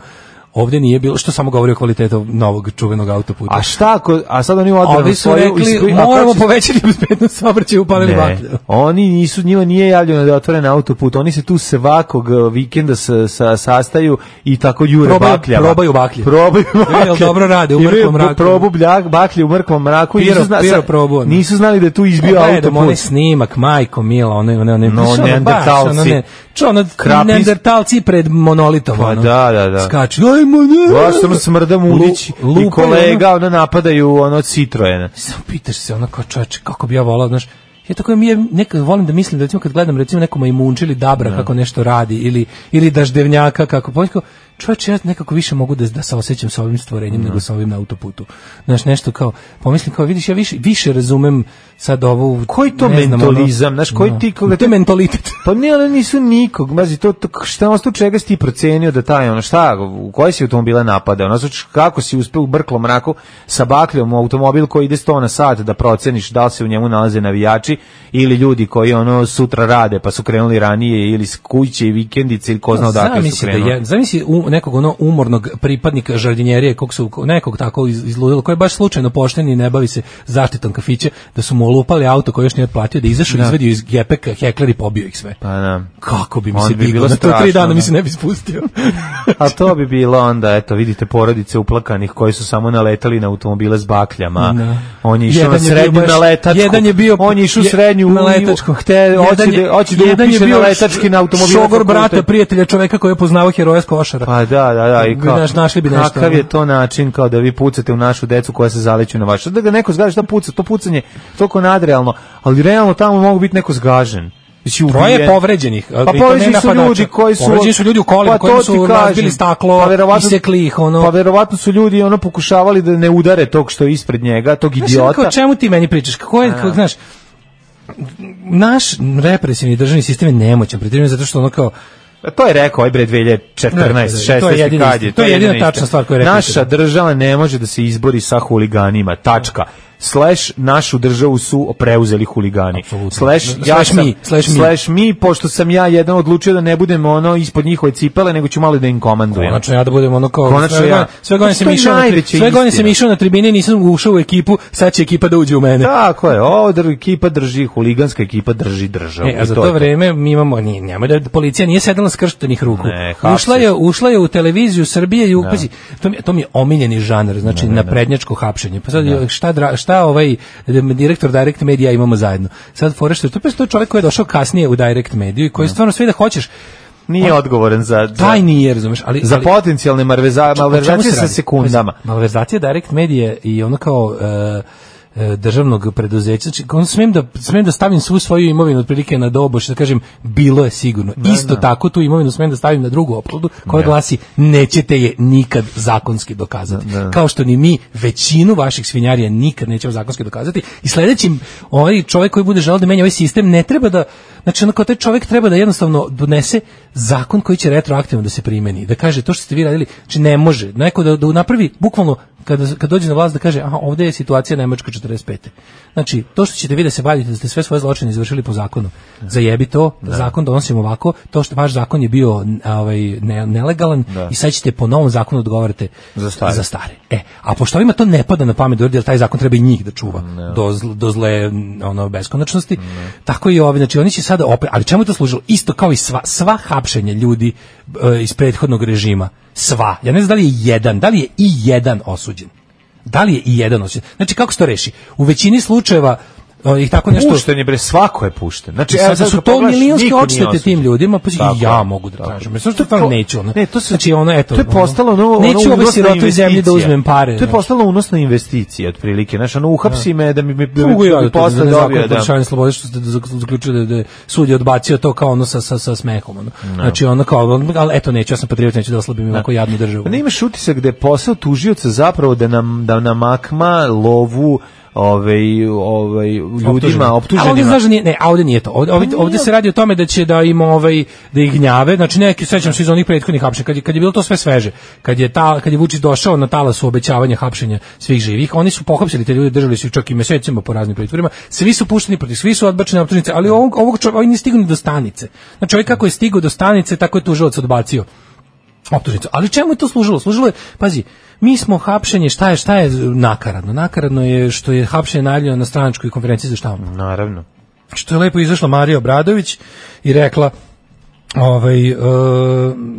F: Ovdje nije bilo, što samo govori o kvalitetu novog čuvenog autoputa.
G: A šta ako, a sad oni odbranu
F: Ovi su
G: svoju...
F: rekli,
G: iskri- a kako
F: moramo
G: će-
F: povećati bezbednost saobraćaja u palili
G: Ne,
F: baklje.
G: oni nisu, njima nije javljeno da je otvoren autoput, oni se tu svakog eh, vikenda sa, sa, sastaju i tako jure
F: Probaju-
G: bakljama.
F: probaju baklje.
G: Probaju
F: Jel
G: baklje.
F: dobro rade u
G: Imaju
F: mrklom mraku?
G: Probu bljak, baklje u mrklom mraku. i
F: Piro-
G: nisu, zna-
F: piro
G: sad-
F: probu, ono.
G: nisu znali da je tu izbio
F: Gledam onaj
G: autoput.
F: snimak, majko mila, ono, ono, ono,
G: No,
F: baš ono,
G: neandertalci.
F: baš ono, ne, čo, ono,
G: Krapis-
F: neandertalci pred monolitom,
G: Pa
F: ono.
G: da, da, da.
F: Skaču, ajmo, ne.
G: Baš ono smrda Mulić
F: Lu- lupaju,
G: i
F: ono.
G: kolega, ono napadaju ono Citroena.
F: samo pitaš se ono kao čoveče kako bi ja volao, znaš, ja tako mi je nekad volim da mislim da recimo kad gledam recimo neko majmunče ili dabra kako nešto radi ili ili daždevnjaka kako poljko čoveče ja nekako više mogu da da se osjećam sa ovim stvorenjem nego sa ovim na autoputu. Znaš nešto kao pomislim kao vidiš ja više više razumem sad ovu
G: Koji to
F: ne znam, ono-
G: mentalizam, znaš, koji ti- koga
F: to je
G: ti-
F: mentalitet.
G: Pa ne, ali nisu nikog, mazi, to, to šta ono čega si ti procenio da taj, ono, šta, u koji si automobile napadao, ono, znači, kako si uspeo u brklom mraku sa bakljom u automobil koji ide 100 na sat da proceniš da li se u njemu nalaze navijači ili ljudi koji, ono, sutra rade pa su krenuli ranije ili s kuće i vikendice ili ko zna odakle dakle su
F: Pa Zamisli da
G: krenuli.
F: je, zamisli u, nekog ono umornog pripadnika žardinjerije kog su nekog tako iz, izludilo koji je baš slučajno pošten i ne bavi se zaštitom kafića da su mu olupali auto koji još nije otplatio da je izašao izvadio iz gepeka hekler i pobio ih sve.
G: Pa da.
F: Kako bi mi
G: Onda
F: se
G: bi
F: diglo,
G: bilo
F: na to tri
G: strašno,
F: dana mi
G: da.
F: se ne bi spustio.
G: A to bi bilo onda, eto, vidite porodice uplakanih koji su samo naletali na automobile s bakljama.
F: Da.
G: On je išao
F: Jedan
G: na
F: je bio
G: srednju
F: baš-
G: na letačku.
F: Jedan je bio
G: on je išao u
F: je-
G: srednju
F: na letačku.
G: Hte, hoće
F: Jedan je-
G: da, hoće da
F: jedan je
G: upiše
F: bio
G: na letački na automobil.
F: Šogor brata, prijatelja čoveka koji je poznavao heroja s košara.
G: Pa da, da, da, i kao,
F: Znaš, našli bi nešto,
G: kakav je
F: ono.
G: to način kao da vi pucate u našu decu koja se zaleću na vaše. Da ga neko zgaže, da puca, to pucanje je toliko nadrealno, ali realno tamo mogu biti neko zgažen. Mislim,
F: Troje
G: ubijen.
F: povređenih.
G: Znači, Pa povređeni su ljudi koji su
F: Povređeni su ljudi u kolima
G: Pa
F: koji
G: to ti
F: su
G: kažem.
F: razbili staklo,
G: Pa verovatno-
F: isekli ih, ono.
G: Pa verovatno su ljudi ono pokušavali da ne udare tog što je ispred njega, tog
F: Znaš, ono
G: idiota.
F: Kao, čemu ti meni pričaš? Kako je, kako, znaš, naš represivni državni sistem je nemoćan, pretjerivno zato što ono kao,
G: Pa To je rekao, aj bre 2014,
F: Da, da, da.
G: 16,
F: To je jedina
G: kad je.
F: istina. To je jedina
G: istina.
F: tačna stvar koju je rekao.
G: Naša država ne može da se izbori sa huliganima. Tačka. Slash našu državu su preuzeli huligani.
F: Apsolutno.
G: Slash,
F: Slash
G: ja sam,
F: mi, slash mi.
G: mi, pošto sam ja jedan odlučio da ne budem ono ispod njihove cipele, nego ću malo da im komandujem.
F: konačno ja da budem ono kao,
G: Konačno
F: sve
G: ja.
F: godine- sve godine
G: Znači,
F: sam
G: to je
F: išao, na tri-
G: najveća
F: sve godine sam
G: istina.
F: išao na tribine i nisam ušao u ekipu, sad će ekipa da uđe u mene.
G: Tako je, ovo dr- ekipa drži, huliganska ekipa drži državu.
F: E, a
G: I
F: za
G: to
F: to
G: je to.
F: vreme mi imamo, nije, nemoj da policija nije sedela skrštenih ruku.
G: Ne, hapsi.
F: ušla, je, ušla je u televiziju Srbije i upazi, to, mi, to mi je omiljeni žanar, znači naprednjačko hapšenje. Pa sad, šta, dra- šta ovaj direktor Direct Media imamo zajedno? Sad, Forešter, to je to je čovjek koji je došao kasnije u Direct Mediju i koji stvarno sve da hoćeš,
G: Nije odgovoran za... za-
F: taj nije, razumeš, ali...
G: za
F: ali-
G: potencijalne marveza,
F: o čemu
G: malverzacije
F: se
G: sa
F: radi?
G: sekundama.
F: Pazi, Malverzacija direkt medije i ono kao e, e, državnog preduzeća. Znači, on smem da, smem da stavim svu svoju imovinu otprilike na doboš, da kažem, bilo je sigurno. Isto tako tu imovinu smem da stavim na drugu opkladu, koja glasi, nećete je nikad zakonski dokazati. Kao što ni mi većinu vaših svinjarija nikad nećemo zakonski dokazati. I sledeći ovaj čovjek koji bude želeo da menja ovaj sistem ne treba da znači onako taj čovjek treba da jednostavno donese zakon koji će retroaktivno da se primeni. Da kaže to što ste vi radili, znači ne može. Neko da, da napravi bukvalno kada kad dođe na vlast da kaže aha ovdje je situacija Nemačka 45. Znači to što ćete vi da se vadite da ste sve svoje zločine izvršili po zakonu. Zajebi to, da zakon donosimo ovako, to što vaš zakon je bio n- ovaj ne- nelegalan i sad ćete po novom zakonu odgovarate
G: Za stare.
F: Za stare. E, a pošto ovima to ne pada na pamet da uradi, jer taj zakon treba i njih da čuva do, zl- do zle n- ono, beskonačnosti, tako i ovi, znači oni će sada opet, ali čemu je to služilo? Isto kao i sva, sva hapšenja ljudi e, iz prethodnog režima, sva, ja ne znam da li je jedan, da li je i jedan osuđen. Da li je i jedan osuđen? Znači kako se to reši? U većini slučajeva e, ih tako nešto...
G: Pušten je, bre, svako je pušten. Znači,
F: I sad
G: evo,
F: da su
G: kad
F: to
G: pogledaš,
F: milijonske
G: niko nije
F: odštete
G: osuđen.
F: tim ljudima, pa i
G: Tako
F: ja
G: je.
F: mogu da
G: Tako je. Pa
F: tražim. Mislim što to neću, ono.
G: Ne, to se,
F: znači ono eto.
G: To je
F: ono,
G: postalo ono, ono
F: neću ovoj
G: unosna
F: sirotoj zemlji da
G: investicija.
F: uzmem pare. znači.
G: To je
F: znaš.
G: postalo unosna investicija, otprilike. Znaš, ono, uhapsi me da mi bi
F: Mogu ja da
G: posle
F: posle
G: dobio, da.
F: da. slobode što ste zak- zaključili da- da je sud je odbacio to kao ono sa, sa, sa smehom. Ono. Znači ono kao, ali eto neću, ja sam patriot, neću da oslabim ovako jadnu državu.
G: Pa Ne imaš utisak da je posao tužioca zapravo da nam da nam akma lovu ovaj ovaj ljudima
F: A ovdje,
G: optuženima.
F: znaš da nije, ne, a ovdje nije to. Ovdje, ovdje, ovdje se radi o tome da će da im ovaj da ih gnjave. Znači neki sećam se iz onih prethodnih hapšenja kad je, kad je bilo to sve sveže. Kad je ta kad je Vučić došao na talasu obećavanja hapšenja svih živih, oni su pohapsili te ljude, držali su ih čak i mesecima po raznim pritvorima. Svi su pušteni protiv, svi su odbačeni na optužnice, ali ovog ovog čovjeka ovaj nije stigao ni do stanice. Znači ovaj kako je stigao do stanice, tako je tužilac odbacio optužnicu. Ali čemu je to služilo? Služilo je, pazi, mi smo hapšenje, šta je, šta je nakaradno? Nakaradno je što je hapšenje najavljeno na stranačkoj konferenciji za štampu
G: Naravno.
F: što je lepo izašla Marija Obradović i rekla ovaj e,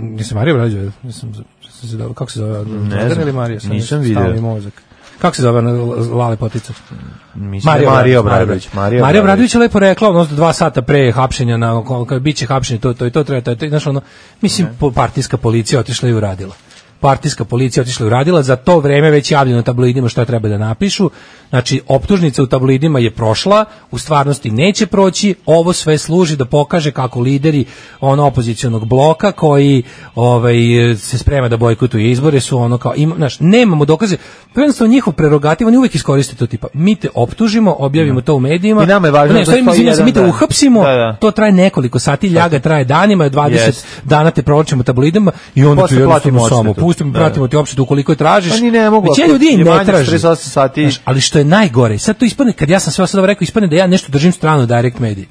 F: nisam Marija Obradović, nisam sam se dobro kako se zove? Ne
G: znam,
F: ili Marija? Sam
G: nisam
F: stalni
G: video.
F: mozak. Kako se zove ona Lale Potica?
G: Mislim Mario, Mario Obradović.
F: Marija Obradović. je lepo rekla, ono, dva sata pre hapšenja, na, kao, biće hapšenje, to, to i to, treba, to, i to, i, znaš, ono, mislim, po- partijska policija otišla i uradila. Partijska policija otišla i uradila, za to vreme već javljeno tabloidima šta treba da napišu, znači, optužnica u tabloidima je prošla, u stvarnosti neće proći, ovo sve služi da pokaže kako lideri ono opozicionog bloka koji ovaj, se sprema da bojkotuju izbore su ono kao, ima, znaš, nemamo dokaze, to je jednostavno njihov prerogativ, oni uvijek iskoriste to tipa, mi te optužimo, objavimo to u medijima,
G: I nama je važno
F: ne,
G: da
F: sorry,
G: stoji
F: izvinjam se, mi te
G: jedan dan.
F: uhapsimo,
G: Da, da.
F: to traje nekoliko sati, ljaga traje danima, 20
G: Jest.
F: dana te provlačimo tabloidima i onda ti
G: Posle platimo
F: jednostavno samo
G: odštetu.
F: pustimo,
G: Da,
F: pratimo
G: da.
F: ti opštetu ukoliko je tražiš.
G: Oni Pa ne mogu,
F: Većina
G: ako
F: ljudi i
G: je
F: ne
G: manje
F: traži.
G: 48 sati.
F: Znaš, ali što je najgore, sad to ispadne, kad ja sam sve ovo sad ovo rekao, ispadne da ja nešto držim strano Direct Mediji.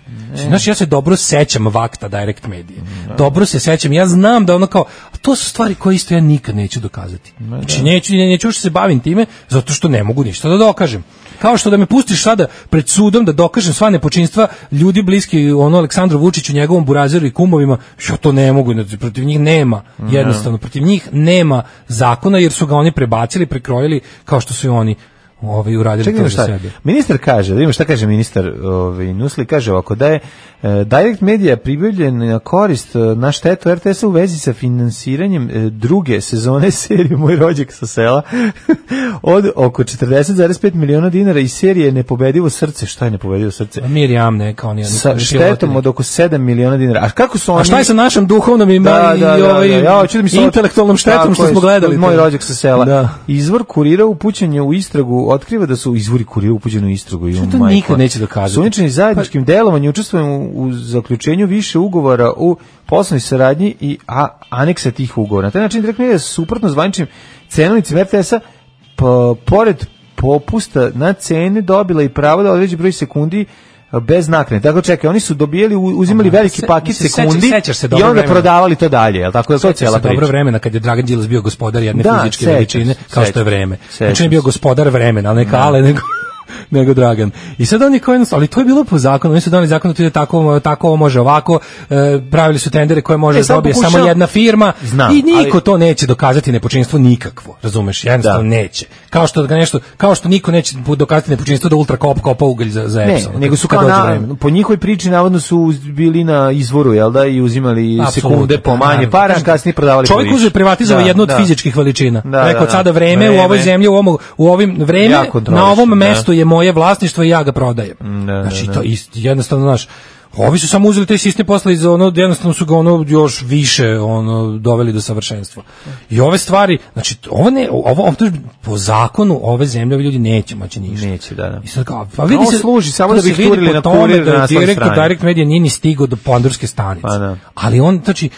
F: Znaš, ja se dobro sećam vakta Direct Medije. Dobro se sećam, ja znam da ono kao, a to su stvari koje isto ja nikad neću dokazati. Znači, neću, ne- neću još se bavim time, zato što ne mogu ništa da dokažem. Kao što da me pustiš sada pred sudom da dokažem sva nepočinstva ljudi bliski ono Aleksandru Vučiću, njegovom burazeru i kumovima, što to ne mogu, znači, protiv njih nema, jednostavno, protiv njih nema zakona jer su ga oni prebacili, prekrojili kao što su i oni ovi uradili
G: Čekaj,
F: to
G: vidimo
F: za
G: šta
F: sebe.
G: Ministar kaže, da vidimo šta kaže ministar ovaj, Nusli, kaže ovako da je e, Direct Media pribavljen na korist e, na štetu RTS-a u vezi sa finansiranjem e, druge sezone serije Moj rođak sa sela od oko 40,5 miliona dinara i serije Nepobedivo srce. Šta je Nepobedivo srce?
F: Mirjam neka oni oni
G: Sa
F: oni
G: štetom od oko 7 miliona dinara. A kako su oni...
F: A šta je sa našom duhovnom i,
G: Da,
F: i
G: da, da,
F: ovaj
G: da. Ja hoću da mi se ovo-
F: intelektualnom štetom
G: Tako
F: što
G: je,
F: smo gledali?
G: Moj
F: to?
G: rođak sa sela.
F: Da.
G: Izvor kurira upućen je u istragu, otkriva da su izvori kurira upućeni u istragu. Što
F: to nikad neće dokazati?
G: Suničani
F: Pa-
G: zajedničkim delovanjem učestvujem u, u zaključenju više ugovora u poslovnoj saradnji i a, aneksa tih ugovora. Na taj način direktno je suprotno zvaničnim cenovnicima RTS-a p- pored popusta na cene dobila i pravo da određi broj sekundi e, bez naknade. Tako čekaj, oni su dobijali, u- uzimali
F: Aha,
G: veliki
F: se-
G: paket
F: se seća-
G: sekundi
F: sećaš se
G: i
F: dobro
G: onda
F: vremena.
G: prodavali to dalje, jel tako? Jel to
F: Sećaš
G: cijela
F: se dobro
G: priča?
F: vremena kad je Dragan Đilas bio gospodar jedne
G: Da,
F: fizičke
G: sećam
F: veličine,
G: se,
F: kao što je
G: sećam se,
F: vreme.
G: sećam
F: Znači on je bio
G: se.
F: gospodar vremena, ali ne Kale, nego nego Dragan. I sad oni koji ali to je bilo po zakonu, oni su doneli zakon da to ide tako, tako ovo može ovako, e, pravili su tendere koje može
G: E,
F: da
G: sad
F: dobije
G: pokušavam-
F: samo jedna firma
G: Znam,
F: i niko
G: ali-
F: to neće dokazati nepočinstvo nikakvo, razumeš, jednostavno
G: Da.
F: neće. Kao što ga nešto, kao što niko neće dokazati nepočinstvo da ultra kop kopa ugalj za, za
G: Ne,
F: Epson,
G: nego su
F: kad
G: kao
F: dođe
G: na,
F: vreme.
G: po njihovoj priči navodno su uz- bili na izvoru, jel da, i uzimali
F: Apsolutno,
G: sekunde po manje
F: naravno.
G: para, a kasnije prodavali po
F: Čovjek
G: više.
F: uzeo i privatizovao
G: Da,
F: jednu od
G: da.
F: fizičkih veličina.
G: Da,
F: Rekao
G: da,
F: sada
G: da.
F: vreme, u ovoj
G: Vreme.
F: zemlji u ovom u ovim vreme
G: Jako
F: na
G: kontrolišu,
F: ovom
G: da.
F: mestu je je moje vlasništvo i ja ga prodajem. znači, to ist, jednostavno, znaš, Ovi su samo uzeli taj sistem posle iz ono, jednostavno su ga ono još više ono doveli do savršenstva. I ove stvari, znači ovo ne, ovo, ovo po zakonu ove zemlje ovi ljudi neće moći ništa.
G: Neće, da, da.
F: I sad kao, pa vidi
G: Ovo
F: se,
G: služi samo
F: to
G: da
F: se
G: bi
F: vidi
G: turili
F: po
G: na
F: tome
G: kurir na
F: da
G: naslovnoj
F: direktor
G: strani.
F: Direct Media nije ni stigao do pandurske stanice.
G: Pa da.
F: Ali on, znači,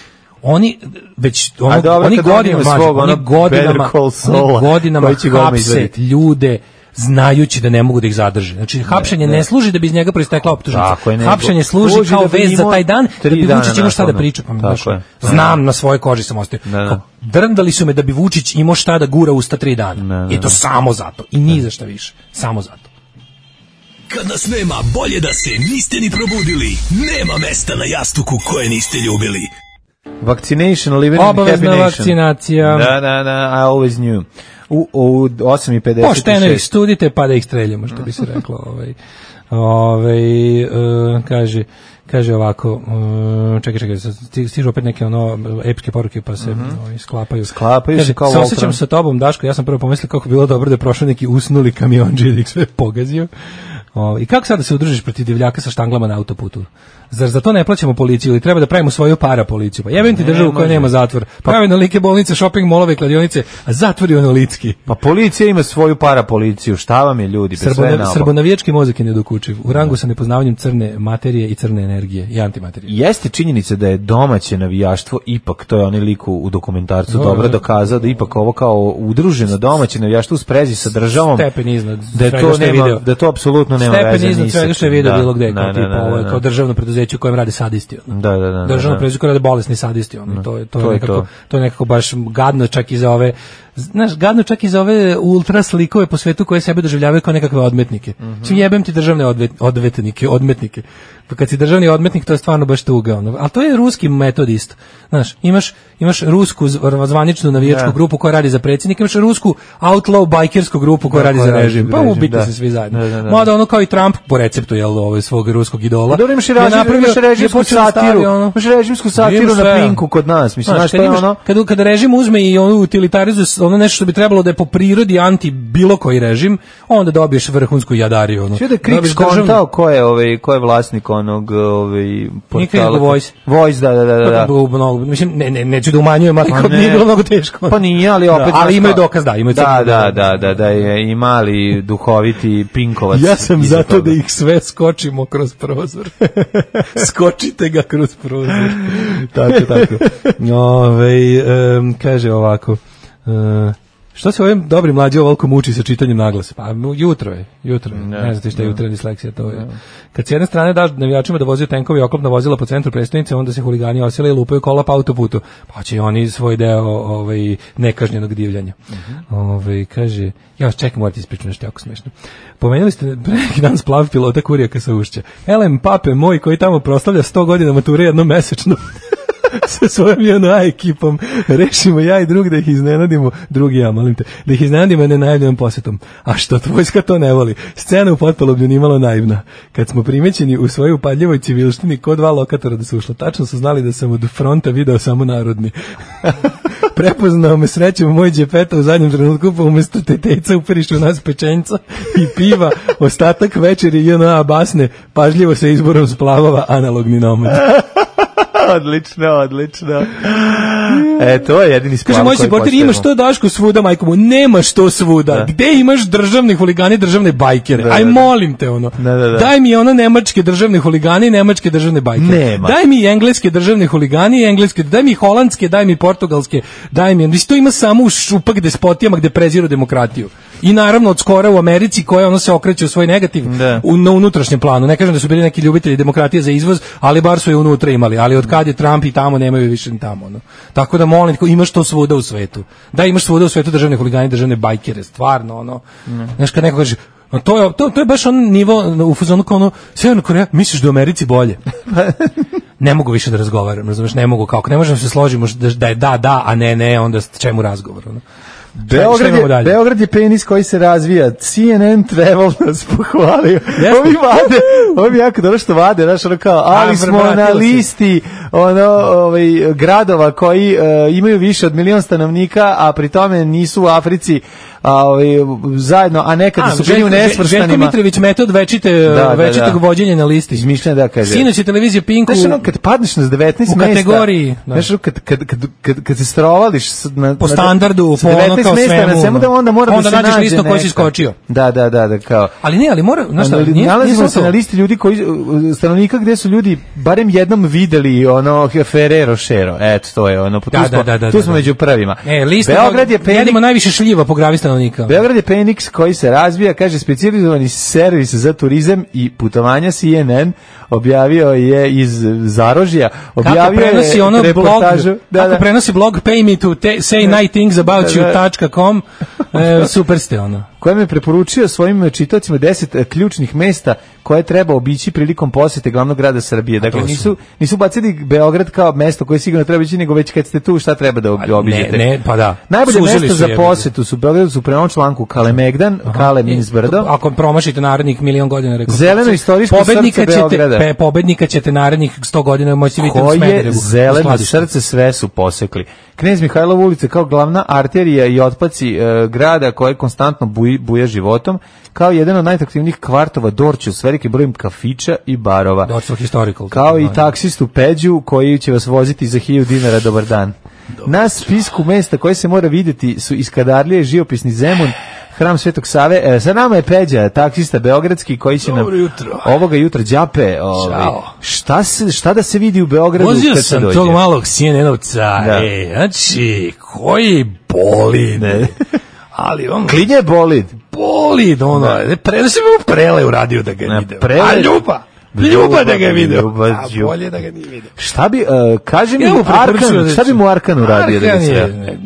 F: oni već ono,
G: A dobro,
F: oni
G: kad on
F: godinama,
G: ima
F: mlađe,
G: svog, ono,
F: oni
G: Better
F: godinama,
G: Call Saula,
F: oni godinama
G: koji će ga odmah
F: hapse
G: izvaditi.
F: ljude znajući da ne mogu da ih zadrže. Znači, hapšenje ne, služi da bi iz njega proistekla optužnica.
G: Tako je, nego-
F: Hapšenje služi,
G: služi
F: kao
G: da bi
F: vez za
G: imao
F: taj dan, da
G: tri
F: bi
G: dana
F: Vučić imao šta da
G: naknadno.
F: priča. Pa, mi
G: Tako
F: znaš,
G: je.
F: znam, na svojoj koži sam ostavio.
G: Da, da.
F: Kao, Drndali su me da bi Vučić imao šta da gura usta tri dana. I to samo zato. I ni za šta više. Samo zato.
J: Kad nas nema, bolje da se niste ni probudili. Nema mesta na jastuku koje niste ljubili.
G: Vaccination, living
F: Obavezna
G: in happy nation.
F: vakcinacija.
G: Da, da, da, I always knew. U, u 8.56.
F: Pošteno ih studite pa da ih streljamo, što bi se reklo. Ovaj. Ovaj, e, kaže, kaže ovako, e, čekaj, čekaj, sad sti- stižu opet neke ono epske poruke pa se ovaj, sklapaju.
G: Mhm. Sklapaju se
F: Kaže,
G: kao
F: osjećam
G: Voltron."
F: sa tobom, Daško, ja sam prvo pomislio kako bi bilo dobro da je prošao neki usnuli kamion da ih sve pogazio. O, I kako sada se udružiš protiv divljaka sa štanglama na autoputu? Zar za to ne plaćamo policiju ili treba da pravimo svoju para policiju? Pa jebem ti državu koja nema zatvor. Prave na like bolnice, shopping molove i kladionice, a ono zatvor je onolitski.
G: Pa policija ima svoju parapoliciju, šta vam je ljudi? Pre sve
F: Srbona,
G: naopako.
F: srbonavijački mozak je nedokučiv. U rangu sa nepoznavanjem crne materije i crne energije i antimaterije.
G: Jeste činjenica da je domaće navijaštvo ipak, to je onaj lik u, u dokumentarcu
F: Da,
G: dobro
F: da.
G: dokazao da ipak ovo kao udruženo domaće navijaštvo u sprezi sa državom
F: Stepen iznad
G: da je
F: svega
G: to
F: što je
G: nema,
F: video.
G: da to apsolutno nema veze
F: Stepen iznad
G: ni sa
F: svega što je
G: čim.
F: video
G: Da,
F: bilo gde, kao
G: da,
F: tipa
G: da,
F: ovo je
G: da,
F: kao
G: da.
F: državno preduzeće u kojem rade sadisti. ono.
G: Da, da, da,
F: Državno
G: da.
F: preduzeće u kojem rade bolesni sadisti. ono, i To, je, to,
G: To
F: je
G: je
F: nekako,
G: to.
F: to. je nekako baš gadno čak i za ove znaš, gadno čak i za ove ultra slikove po svetu koje sebe doživljavaju kao nekakve odmetnike. Mm
G: Mhm.
F: jebem ti državne odvet, odvetnike, odmetnike. Pa kad si državni odmetnik, to je stvarno baš tuga. Ono. Ali to je ruski metod isto. Znaš, imaš, imaš rusku zv- zvaničnu navijačku
G: Da.
F: grupu koja radi za predsjednika, imaš rusku outlaw bajkersku grupu koja
G: Da,
F: radi
G: koja
F: za
G: radi
F: režim.
G: za
F: Pa
G: režim,
F: ubiti
G: da.
F: se svi zajedno.
G: Da, da, da.
F: Mada ono kao i Trump po receptu, jel, ovaj, svog ruskog idola.
G: Pa dobro imaš i
F: je
G: režim,
F: napravio-
G: imaš
F: je
G: režimsku
F: počeo da stavi,
G: satiru,
F: ono-
G: imaš režimsku satiru
F: Imaš
G: na
F: sve. ono.
G: Pinku kod nas, mislim, znaš,
F: Znaš,
G: to
F: kad
G: je
F: imaš-
G: ono-
F: Kad, kad režim uzme i ono utilitarizuje s- ono nešto što bi trebalo da je po prirodi anti bilo koji režim, onda dobiješ vrhunsku jadariju. Ono.
G: Sve da je Krik
F: Dobiješ državnu-
G: skontao ko je, ovaj, ko je vlasnik onog ovaj, portala.
F: nego Voice.
G: Voice, da, da, da. da. da.
F: Mnogo- mnogo- pa, mislim, ne, ne, neću da umanjujem, ali
G: Pa
F: kod
G: ne.
F: nije bilo mnogo teško.
G: Pa nije, ali opet...
F: Da, ali
G: znaš
F: imaju
G: kao-
F: dokaz, da, imaju
G: da,
F: crtu
G: da,
F: dokaz.
G: da, da, da je i mali duhoviti pinkovac.
F: Ja sam
G: iza
F: zato
G: toga.
F: da ih sve skočimo kroz prozor. Skočite ga kroz prozor.
G: Tako, tako.
F: Ove, kaže ovako, e, što se ovim dobri mlađi ovoliko muči sa čitanjem naglasa? Pa mu- jutro je, jutro je. Ne, znate šta je jutra disleksija, to je. Kad s jedne strane daš navijačima da vozio tenkovi i oklopna vozila po centru prestonice, onda se huligani osjele i lupaju kola po autoputu. Pa će i oni svoj deo ovaj, nekažnjenog divljanja. Ovaj, kaže, ja vas čekam, morate ispričati nešto jako smešno. Pomenuli ste pre neki dan splav pilota Kurijaka sa Ušća. Elem, pape moj koji tamo proslavlja 100 godina mature jednom mesečno. sa svojom jedna ekipom rešimo ja i drug da ih iznenadimo drugi ja molim te da ih iznenadimo nenajavljenom posetom a što tvojska to ne voli scena u potpaloblju nimalo naivna kad smo primećeni u svojoj upadljivoj civilštini ko dva lokatora da su ušla tačno su znali da sam od fronta video samo narodni prepoznao me srećom moj džepeta u zadnjem trenutku pa umesto tetejca uperišu u nas pečenca i piva ostatak večeri JNA basne pažljivo sa izborom splavova analogni nomad
G: odlično, odlično. E, to je jedini splav
F: Kaže moj
G: koji
F: supporter
G: postajemo.
F: imaš to Daško svuda, majko mu, nemaš to svuda. Gde imaš državne huligane, i državne bajkere?
G: Da,
F: Aj
G: da, da.
F: molim te ono.
G: Da, da, da.
F: Daj mi ono nemačke državne huligane i nemačke državne bajkere.
G: Nema.
F: Daj mi engleske državne huligane i engleske, daj mi holandske, daj mi portugalske, daj mi. Mislim to ima samo u šupak despotijama gde preziru demokratiju. I naravno od skora u Americi koja ono se okreće u svoj negativ
G: Da.
F: u, na unutrašnjem planu. Ne kažem da su bili neki ljubitelji demokratije za izvoz, ali bar su je unutra imali. Ali od kad je Trump i tamo nemaju je više ni tamo. Ono. Tako da molim, ko- imaš to svuda u svetu. Da, imaš svuda u svetu državne huligane, državne bajkere, stvarno. Ono. Znaš, kad neko kaže, "A to je, to, to je baš on nivo u fazonu kao ono, Sjeverna Koreja, misliš da je u Americi bolje? ne mogu više da razgovaram, razumeš, ne mogu kako, ne možemo se složimo da, da je da, da, a ne, ne, onda s- čemu razgovor, ono. Šta- šta
G: Beograd
F: imamo
G: je,
F: dalje?
G: Beograd je penis koji se razvija. CNN Travel nas pohvalio.
F: Jeste.
G: Ovi vade, ovi jako dobro što vade, znaš, ono kao, ali
F: A,
G: smo
F: vratilo
G: na
F: se.
G: listi ono, ovaj, gradova koji e, imaju više od milion stanovnika, a pri tome nisu u Africi a, ovaj, zajedno, a nekada su bili u
F: Željko
G: nesvrstanima.
F: Mitrović metod večite,
G: da,
F: večitog
G: da.
F: vođenja na listi.
G: Izmišljena, da, kaže.
F: Sinoć je televizija Pinku.
G: Znaš ono, kad padneš na 19
F: U
G: mesta,
F: kategoriji, da.
G: znaš ono, kad, kad, kad, kad, kad se strovališ s- na,
F: Po
G: na-
F: standardu,
G: sa
F: po ono kao
G: mesta,
F: svemu,
G: na svemu, da
F: ono.
G: onda mora
F: Onda
G: da se nađe
F: nađeš listu na kojoj si
G: nešto.
F: skočio.
G: Da, da, da, da, kao.
F: Ali ne, ali mora, znaš šta,
G: Anali-
F: nije, nije
G: Nalazimo
F: samo
G: se
F: to.
G: na listi ljudi koji uh, stanovnika gde su ljudi barem jednom videli ono Ferrero Rocher. Eto to je ono. Tu
F: Da,
G: smo,
F: da, da, da,
G: tu smo
F: da.
G: među prvima.
F: E, lista,
G: Beograd je penik,
F: jedemo najviše šljiva po gravi stanovnika.
G: Beograd je Phoenix koji se razvija, kaže specijalizovani servis za turizam i putovanja CNN objavio je iz Zarožja,
F: Kako
G: objavio
F: prenosi
G: je
F: ono blog,
G: reportažu.
F: kako prenosi blog pay me to te, say night things about
G: Da, da.
F: you.com, e, super ste ono.
G: kojem je preporučio svojim čitocima 10 ključnih mesta koje treba obići prilikom posete glavnog grada Srbije. Dakle,
F: to su-
G: nisu, nisu bacili Beograd kao mesto koje sigurno treba ići, nego već kad ste tu, šta treba da ob- obiđete?
F: ne, pa da.
G: Najbolje
F: Suzili
G: mesto
F: su
G: za
F: jebe.
G: posetu su u Beogradu su prema ovom članku Kalemegdan, Kale Minsbrdo.
F: Ako promašite narednih milion godina rekao.
G: Zeleno istorijsko
F: pobednika
G: srce
F: ćete,
G: Beograda.
F: Pe, pobednika ćete narednih 100 godina moći vidjeti u
G: koje
F: Smederevu. u
G: zeleno
F: skladištu.
G: srce sve su posekli. Knez Mihajlov ulica kao glavna arterija i otpaci e, grada koje konstantno buji, buja životom, kao jedan od najatraktivnijih kvartova Dorću s velikim brojem kafića i barova.
F: Dortford Historical.
G: Kao i
F: tako.
G: taksistu Peđu koji će vas voziti za 1000 dinara dobar dan. Na spisku mesta koje se mora vidjeti su Iskadarlije, Živopisni Zemun, Hram Svetog Save. E, sa nama je Peđa, taksista beogradski koji će nam
K: Dobro jutro.
G: ovoga jutra đape, ovaj,
K: Ćao.
G: šta, se, šta da se vidi u Beogradu
F: Vozio
G: kad se
F: sam
G: dođe?
F: tog malog CNN-ovca,
G: Da.
F: e, znači, koji boli, ne. Ali on
G: Klinje bolid.
F: boli, ono, da. preda se mu prele uradio da ga
G: Ne,
F: vide.
G: Prele-
F: A ljuba, ljuba da ga vide.
G: Ljuba,
F: A
G: Ljuba.
F: bolje da ga nije vidio.
G: Šta bi, e, kaži mi
F: Ja mu preporučujem
G: Arkan,
F: da
G: šta bi
F: će-
G: mu Arkan uradio da ga
F: Arkan
G: sve?
F: je-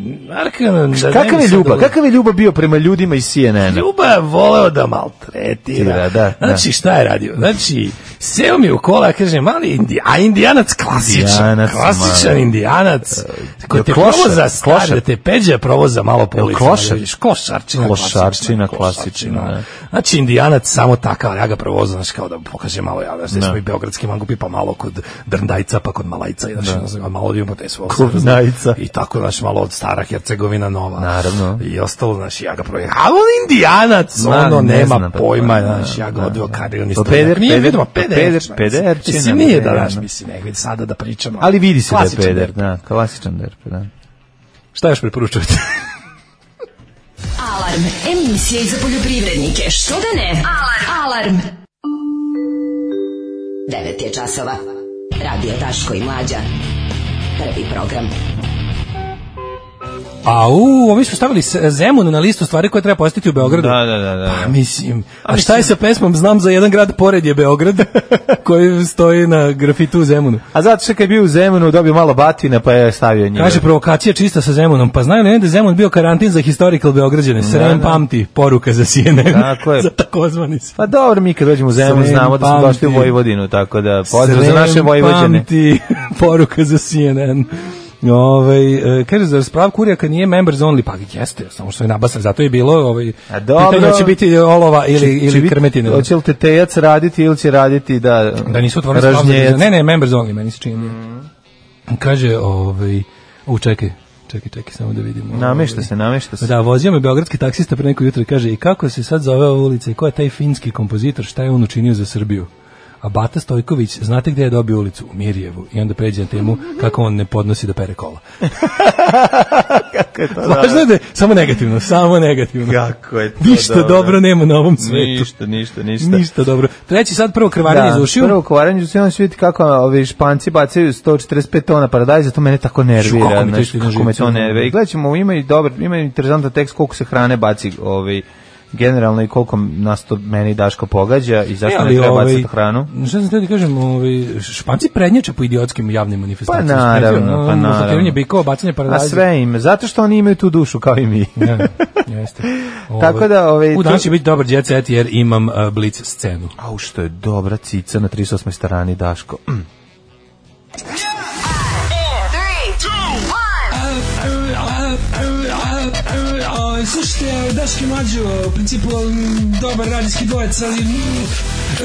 F: Arkan, da ne
G: Kakav
F: bi
G: je
F: sad
G: ljubav?
F: ovo-
G: Kakav je ljubav bio prema ljudima iz CNN-a?
F: Ljuba je voleo da maltretira.
G: Da, da, da.
F: Znači, šta je radio? Znači, seo mi u kola, kaže, mali indi, a indijanac klasičan.
G: Indijanac,
F: klasičan
G: mali. E,
F: indijanac. Ko
G: jel
F: te
G: klošar?
F: provoza star,
G: Klošar?
F: da te peđa provoza malo po
G: Jel
F: ulici.
G: klošar?
F: Klošarčina,
G: Klošarčina, klasična, da.
F: klasična. Znači, indijanac samo takav, ja ga provozam, znači, kao da pokaže malo, ja, znači, smo i beogradski mangupi, pa malo kod drndajca, pa kod malajca, i, znači, malo idemo po te svoje.
G: Klubnajca.
F: I tako, znači, malo od stara Hercegovina nova.
G: Naravno.
F: I ostalo, znači, ja ga projem. A on indijanac,
G: Ma,
F: ono,
G: ne
F: nema
G: znam, pa,
F: pojma,
G: da,
F: znači, ja ga
G: da,
F: odveo
G: da.
F: kada on
G: Pa,
F: istorija.
G: peder,
F: Nije
G: peder,
F: vidimo,
G: pa,
F: peder,
G: peder,
F: znači,
G: pederčina,
F: Mislim, nije da,
G: peder,
F: daš,
G: da.
F: mislim, nego sada da pričamo.
G: Ali vidi se da je
F: Klasičan
G: peder, da, klasičan da je peder.
F: Šta još preporučujete?
D: Alarm. Emisija i za poljoprivrednike. Što da ne? Alarm. Alarm. 9 je časova. Radio Daško i Mlađa. Prvi program.
F: A Pa, u, ovi su stavili s- Zemun na listu stvari koje treba posjetiti u Beogradu.
G: Da, da, da, da.
F: Pa, mislim, a šta je sa pesmom Znam za jedan grad pored je Beograd koji stoji na grafitu u Zemunu.
G: A zato što kad je bio u Zemunu dobio malo batina pa je stavio njega.
F: Kaže provokacija čista sa Zemunom. Pa znaju li ne da je Zemun bio karantin za historical Beograđane? Srem
G: da.
F: pamti, poruka za CNN.
G: Tako je.
F: za takozvani s-
G: Pa dobro, mi kad dođemo u Zemun
F: Srem
G: znamo da smo došli u
F: pamti.
G: Vojvodinu, tako da pozdrav za
F: Srem
G: naše Vojvođane.
F: pamti, poruka za CNN. Ovaj e, kaže za sprav kurjaka nije members only, pa jeste, samo što je nabasan, zato je bilo ovaj,
G: A dobro.
F: pitanje će biti olova ili,
G: Će- će
F: ili
G: biti-
F: krmetine.
G: Hoće li tetejac raditi ili će raditi da
F: Da nisu otvorili spavu za
G: ražnjejac?
F: dizajn. Ne, ne, members only, meni se čini.
G: Mm.
F: Kaže, ovaj, u, čekaj, čekaj, čekaj, samo da vidimo.
G: Namešta
F: Ovaj,
G: se, namešta se.
F: Da, vozio me beogradski taksista pre neko jutro i kaže i kako se sad zove ova ulica i ko je taj finski kompozitor, šta je on učinio za Srbiju? A Bata Stojković, znate gdje je dobio ulicu? U Mirjevu. I onda pređe na temu kako on ne podnosi da pere kola. Važno je da je samo negativno, samo negativno.
G: Kako je to
F: Ništa dobro. nema na ovom svetu.
G: Ništa, ništa, ništa.
F: Ništa, dobro. Treći sad prvo krvarenje iz ušiju.
G: prvo kovarenje ušiju, onda ću vidjeti kako ovi španci bacaju 145 tona paradajza, to mene tako nervira.
F: Kako mi to
G: znaš,
F: ide na
G: kako me
F: živce.
G: to nervira. I gledat ćemo, ima i dobar, ima i interesantan tekst koliko se hrane baci ovi, generalno i koliko nas to meni i Daško pogađa i zašto ne,
F: ali,
G: treba
F: ovaj,
G: bacati hranu.
F: Šta sam htio da kažem, ovaj, Španci prednjače po idiotskim javnim manifestacijama.
G: Pa naravno,
F: Znači, ono,
G: pa naravno.
F: maltretiranje bikova, bacanje
G: A
F: paradajza.
G: sve im, zato što oni imaju tu dušu kao i mi.
F: Ja, jeste. Ovaj,
G: Tako da, ovaj,
F: U
G: to-
F: danas će biti dobar jet set jer imam uh, blic scenu.
G: Au, što je dobra cica na 38. strani, Daško. Mm.
J: Slušajte, Daški Mađo, u principu dobar radijski dvojec, ali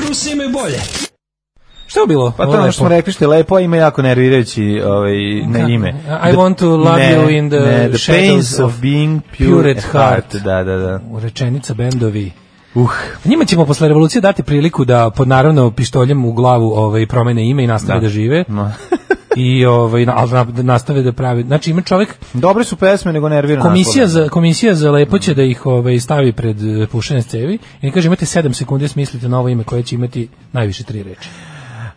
J: Rusi imaju bolje.
F: Šta je bilo?
G: Pa to
F: Ovo
G: je ono
F: lepo.
G: što smo rekli što je lepo, a ima jako nervirajući ovaj, na ime.
F: I want to love
G: ne,
F: you in the
G: ne, the
F: shadows
G: pains of
F: of
G: being pure,
F: pure
G: at
F: at
G: heart.
F: heart.
G: Da, da, da.
F: Rečenica bendovi.
G: Uh,
F: Njima ćemo posle revolucije dati priliku da pod naravno pištoljem u glavu ovaj promene ime i nastave da, žive.
G: No.
F: I ovaj na, ali na- nastave da prave. Znači ima čovjek
G: Dobre su pesme, nego nervira
F: komisija
G: naslov.
F: za komisija za lepo će da ih ovaj stavi pred eh, pušenje s cevi i kaže imate 7 sekundi smislite novo ime koje će imati najviše tri reči.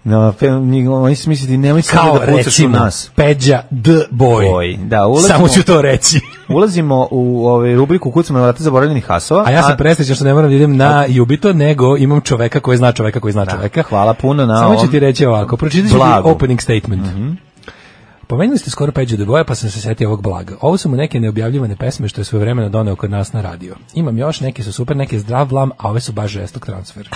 G: No, pe, njih- oni su misliti, nemoj samo
F: Kao
G: da pucaš u
F: recimo
G: nas.
F: Peđa D boy.
G: Boy. Da, ulazimo-
F: Samo ću to reći.
G: Ulazimo u ovaj, rubriku Kucamo na vrata zaboravljenih hasova.
F: A ja sam presrećan što ne moram da idem na Jubito, nego imam čoveka koji zna čoveka koji zna čoveka.
G: hvala puno na
F: Samo ću
G: ovom
F: ti reći ovako, pročitat ću ti
G: blagu. Mhm.
F: opening statement. Pomenuli ste skoro Peđu Deboja, pa sam se setio ovog blaga. Ovo su mu neke neobjavljivane pesme što je svoje vremena doneo kod nas na radio. Imam još, neke su super, neke zdrav vlam, a ove su baš žestok transfer.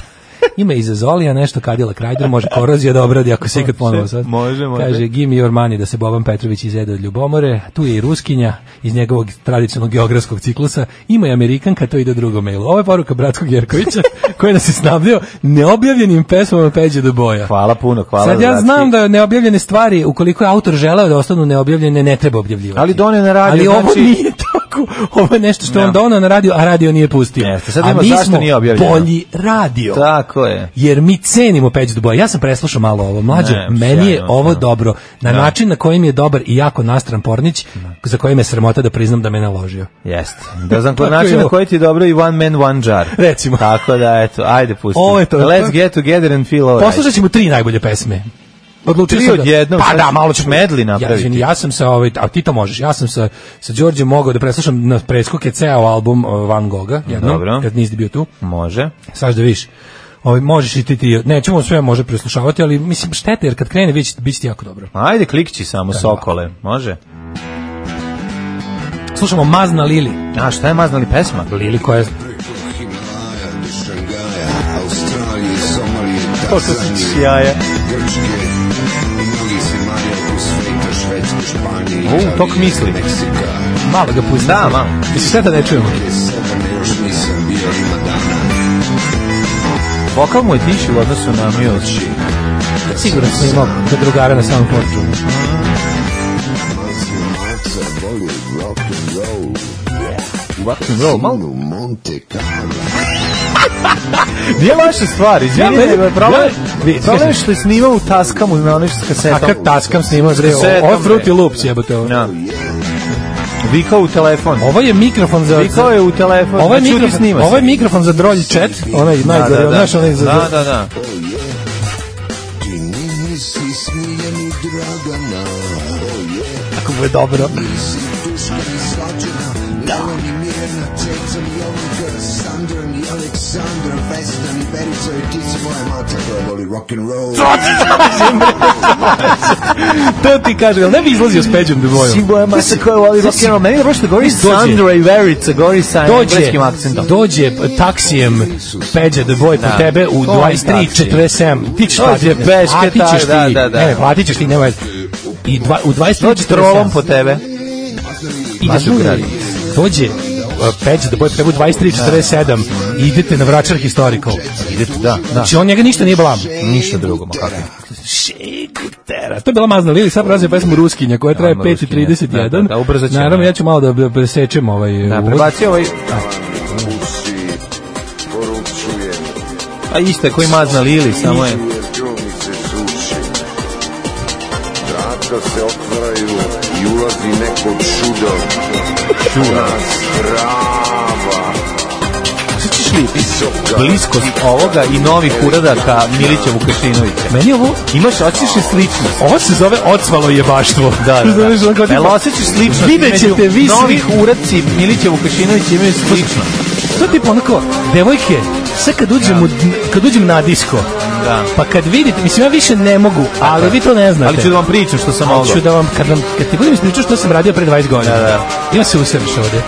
F: Ima i za Zolija nešto kadila krajder, može korozija da obradi ako se ikad ponovo sad.
G: Može, može.
F: Kaže, give me your money da se Boban Petrović izjede od Ljubomore, tu je i Ruskinja iz njegovog tradicionalnog geografskog ciklusa, ima i Amerikanka, to ide u drugom mailu. Ovo je poruka Bratskog Jerkovića, koji nas je snabdeo neobjavljenim pesmama Peđe do boja.
G: Hvala puno, hvala.
F: Sad ja
G: Zlatki.
F: znam da neobjavljene stvari, ukoliko je autor želeo da ostanu neobjavljene, ne treba objavljivati.
G: Ali doneo na radio,
F: Ali ovo
G: znači-
F: nije tako. Ovo je nešto što je on donao na radio, a radio nije pustio.
G: Jeste, sad
F: a
G: ima
F: mi
G: zašto
F: smo
G: nije objavljeno.
F: bolji radio
G: Tako je.
F: jer mi cenimo Peđu Duboja. Ja sam preslušao malo ovo mlađe,
G: Ne,
F: meni je
G: sjajno,
F: ovo
G: sjajno.
F: dobro. Na način na koji mi je dobar i jako nastran Pornić, za koji me sramota da priznam da me naložio.
G: Jeste. Da znam kod
F: Tako je
G: način na
F: ovo.
G: koji ti je dobro i one man, one jar.
F: Recimo.
G: Tako da, eto, ajde pusti.
F: Ovo je to.
G: Let's get together and feel alright.
F: Poslušat ćemo tri najbolje pesme. Odlučio
G: Tri
F: sam da-
G: odjednom,
F: Pa
G: sad
F: da,
G: ćeš
F: malo ću
G: medley znači, napraviti.
F: Ja, izvini, ja sam sa ovaj, a ti to možeš. Ja sam sa sa Đorđem mogao da preslušam na preskoke ceo album uh, Van Gogha, jednom,
G: Dobro.
F: kad nisi bio tu.
G: Može.
F: Saš da vidiš. Ovaj možeš i ti, ti nećemo sve može preslušavati, ali mislim šteta jer kad krene biće biće ti jako dobro.
G: Ajde, klikći samo sokole. Može.
F: Slušamo Mazna Lili.
G: A, šta je maznali pesma?
F: Lili koja je
G: To što su sjaje. U, tok misli.
F: malo ga pusti.
G: Da, malo.
F: Mislim šteta da ne čujemo.
G: Vokal mu je tiši u odnosu na Muse.
F: Siguran sam imao kod drugara na samom poču.
G: Roll, malo. Nije vaša stvar, izvinite,
F: Ja, meni-
G: nego je problem,
F: ja- vi-
G: problem je što je snimao u taskamu na onoj s
F: A
G: kasetom.
F: kad taskam snimao, bre,
G: E, Sve je
F: ovo je
G: tamo,
F: Fruity
G: bre.
F: Loops, jebote ovo.
G: Ja. Vikao u telefon.
F: Ovo je mikrofon za...
G: Vikao je u telefon.
F: Ovo je,
G: Znači, ti
F: mikrofon,
G: snima
F: ovo je
G: se.
F: mikrofon za drolj chat, onaj najgore, da, znaš onaj za...
G: da, da, da.
F: Kako mu je dobro. To ti kaže, jel ne bi izlazio s Peđom Debojom?
G: Sibo je masa koja voli
F: Znači,
G: rock and roll. Meni je prošlo govori
F: dođe.
G: Sandra i Verica, govori sa
F: Dođe,
G: engleskim akcentom.
F: dođe taksijem Peđa Deboj po
G: Da.
F: tebe u
G: To je
F: 23.47. Ti ćeš
G: Dođe
F: platiti.
G: bez
F: Platit
G: ketar,
F: ćeš
G: da,
F: ti.
G: da, da.
F: Ne, platit ćeš ti, nemoj. I dva, u 23.47.
G: Dođe trolom po tebe.
F: I na
G: Baš
F: drugi
G: ukrali.
F: dođe uh, Peđa da boje prebu 23.47 i idete na Vračar Historical.
G: Idete, da, da.
F: Znači on njega ništa nije blam.
G: Ništa drugo, ma kako.
F: Šekutera. To je bila mazna Lili, sad razvije pesmu Ruskinja koja traje
G: Ajmo, Ruskinja.
F: 5.31.
G: Da, da, da, ubrzat ćemo.
F: Naravno, ja ću malo da- da presečem ovaj
G: Da,
F: uvod.
G: prebacio ovaj... A iste koji mazna Lili, samo je...
L: Vrata se otvaraju i ulazi neko čudo. Čuna strava.
G: Sjećaš li bliskost ovoga i novih uradaka Milića Vukašinovića?
F: Meni je ovo,
G: Imaš, osjećaš li sličnost?
F: ovo se zove ocvalo jebaštvo.
G: Da, E, da, da.
F: Znaš, ono kao tipa,
G: Jel osjećaš sličnost?
F: Vidjet
G: između
F: ćete vi svi.
G: Novih uradci Milića Vukašinovića imaju sličnost.
F: To je tipa ono kao, devojke, sad kad uđem, u, kad uđem na disko,
G: Da.
F: pa kad vidite, mislim ja više ne mogu, ali vi to ne znate.
G: Ali ću da vam pričam što sam mogao.
F: Hoću da vam, kad, vam, kad ti budem ispričao što sam radio pre 20 godina.
G: Da, da.
F: Ja se usreš ovde.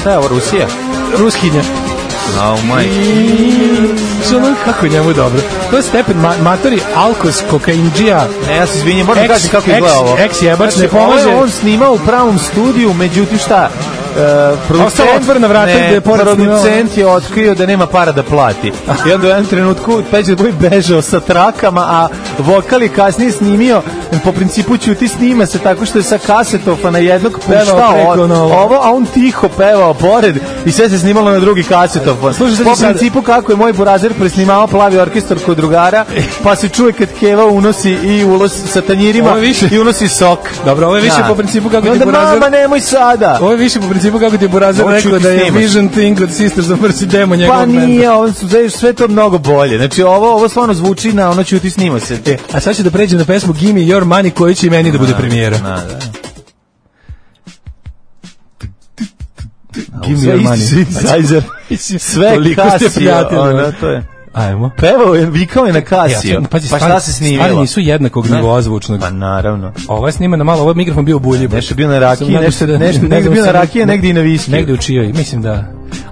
G: Šta je ovo, Rusija?
F: Ruskinja.
G: Oh my.
F: Što ono, kako je njemu dobro. To je stepen ma matori, alkos, kokainđija,
G: Ne, ja se izvinjam, moram da
F: Ex-
G: kažem kako izgleda
F: ex-
G: ovo.
F: ex jebač ne
G: ovo je
F: pomaže.
G: on snima u pravom studiju, međutim šta? e,
F: Ostalo otvorena vrata
G: ne,
F: gde je porez
G: producent je otkrio da nema para da plati. I onda u jednom trenutku Peđa Boj bežao sa trakama, a vokal je kasnije snimio, po principu ćuti snima se tako što je sa kasetofa na jednog
F: Pevao
G: puštao
F: preko
G: o-
F: na ovo.
G: ovo, a on tiho pevao pored i sve se snimalo na drugi Pa, kasetofon.
F: Slušaj, sad
G: po
F: ti sad-
G: principu kako je moj burazer presnimao plavi orkestar kod drugara, pa se čuje kad Keva unosi i ulos sa tanjirima
F: Ovo je više-
G: i unosi sok.
F: Dobro, ovo je više po principu kako
G: I
F: ti
G: onda,
F: burazer-
G: Mama, nemoj sada.
F: Ovo je više po principu kako ti je Burazer
G: Ovo ću
F: rekao
G: ti
F: da je
G: snimaš.
F: Vision Thing od Sisters of Mercy demo njegovog
G: Pa
F: benda.
G: nije, ovo su sve- sve to mnogo bolje. Znači ovo ovo stvarno zvuči na ono ćuti snima se. Te.
F: A sad ću da pređem na pesmu Gimme Your Money koja će i meni da bude premijera.
G: Na, da.
F: Gimme
G: Sve
F: Your
G: isti
F: Money. Znači,
G: synthesizer. Sve
F: Toliko ste
G: kasio.
F: prijatelji,
G: ono,
F: ono.
G: to je.
F: Ajmo.
G: Pevao je, vikao je na
F: Ja,
G: kasio.
F: sad, pazi,
G: pa šta
F: stvari-
G: se
F: Stvari
G: snimilo?
F: nisu jednakog nivoa zvučnog.
G: Pa naravno.
F: Ovo je snimano Ovaj malo, ovo je mikrofon bio u bulji.
G: Nešto je bio na rakiji,
F: Sam nadao
G: nešto-
F: se
G: nešto-
F: ne
G: negde
F: znam,
G: bio na
F: sam-
G: rakiji, a negde i na viskiju.
F: Negde u čijoj, mislim da.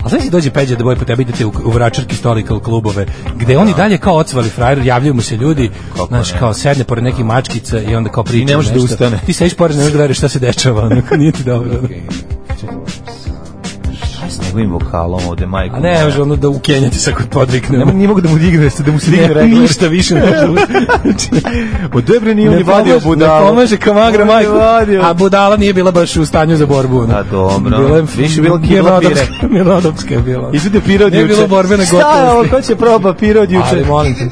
F: A znaš ti dođe Peđa da boje po tebi idete u, u vračarki historical klubove, gde oni dalje kao ocvali frajer, javljaju mu se ljudi, znaš, kao sedne pored nekih mačkica i onda kao priča
G: ne može da
F: nešto.
G: ustane.
F: Ti sediš pored, ne možeš da veriš šta se dešava, onako, nije ti dobro. ono.
G: S njegovim vokalom ovde, majko.
F: A ne, može ono da ukenjati sa kod podvikne.
G: Ne, ne mogu da mu digne, da mu se digne
F: Ne,
G: regler.
F: ništa više ne može.
G: O debre nije on
F: Ne
G: ni vadio
F: pomaže-
G: budalu.
F: Ne pomaže kamagra
G: On je
F: majku.
G: vadio.
F: A budala nije bila baš u stanju za borbu. ono.
G: A dobro.
F: Bila je
G: Više je bila kibla
F: mirnodopska- Mirnodopska je bila.
G: Izvede pira od
F: Nije
G: juče.
F: bilo borbene
G: Šta je ovo,
F: gotovosti.
G: ko će proba pira od juče?
F: Ali molim te.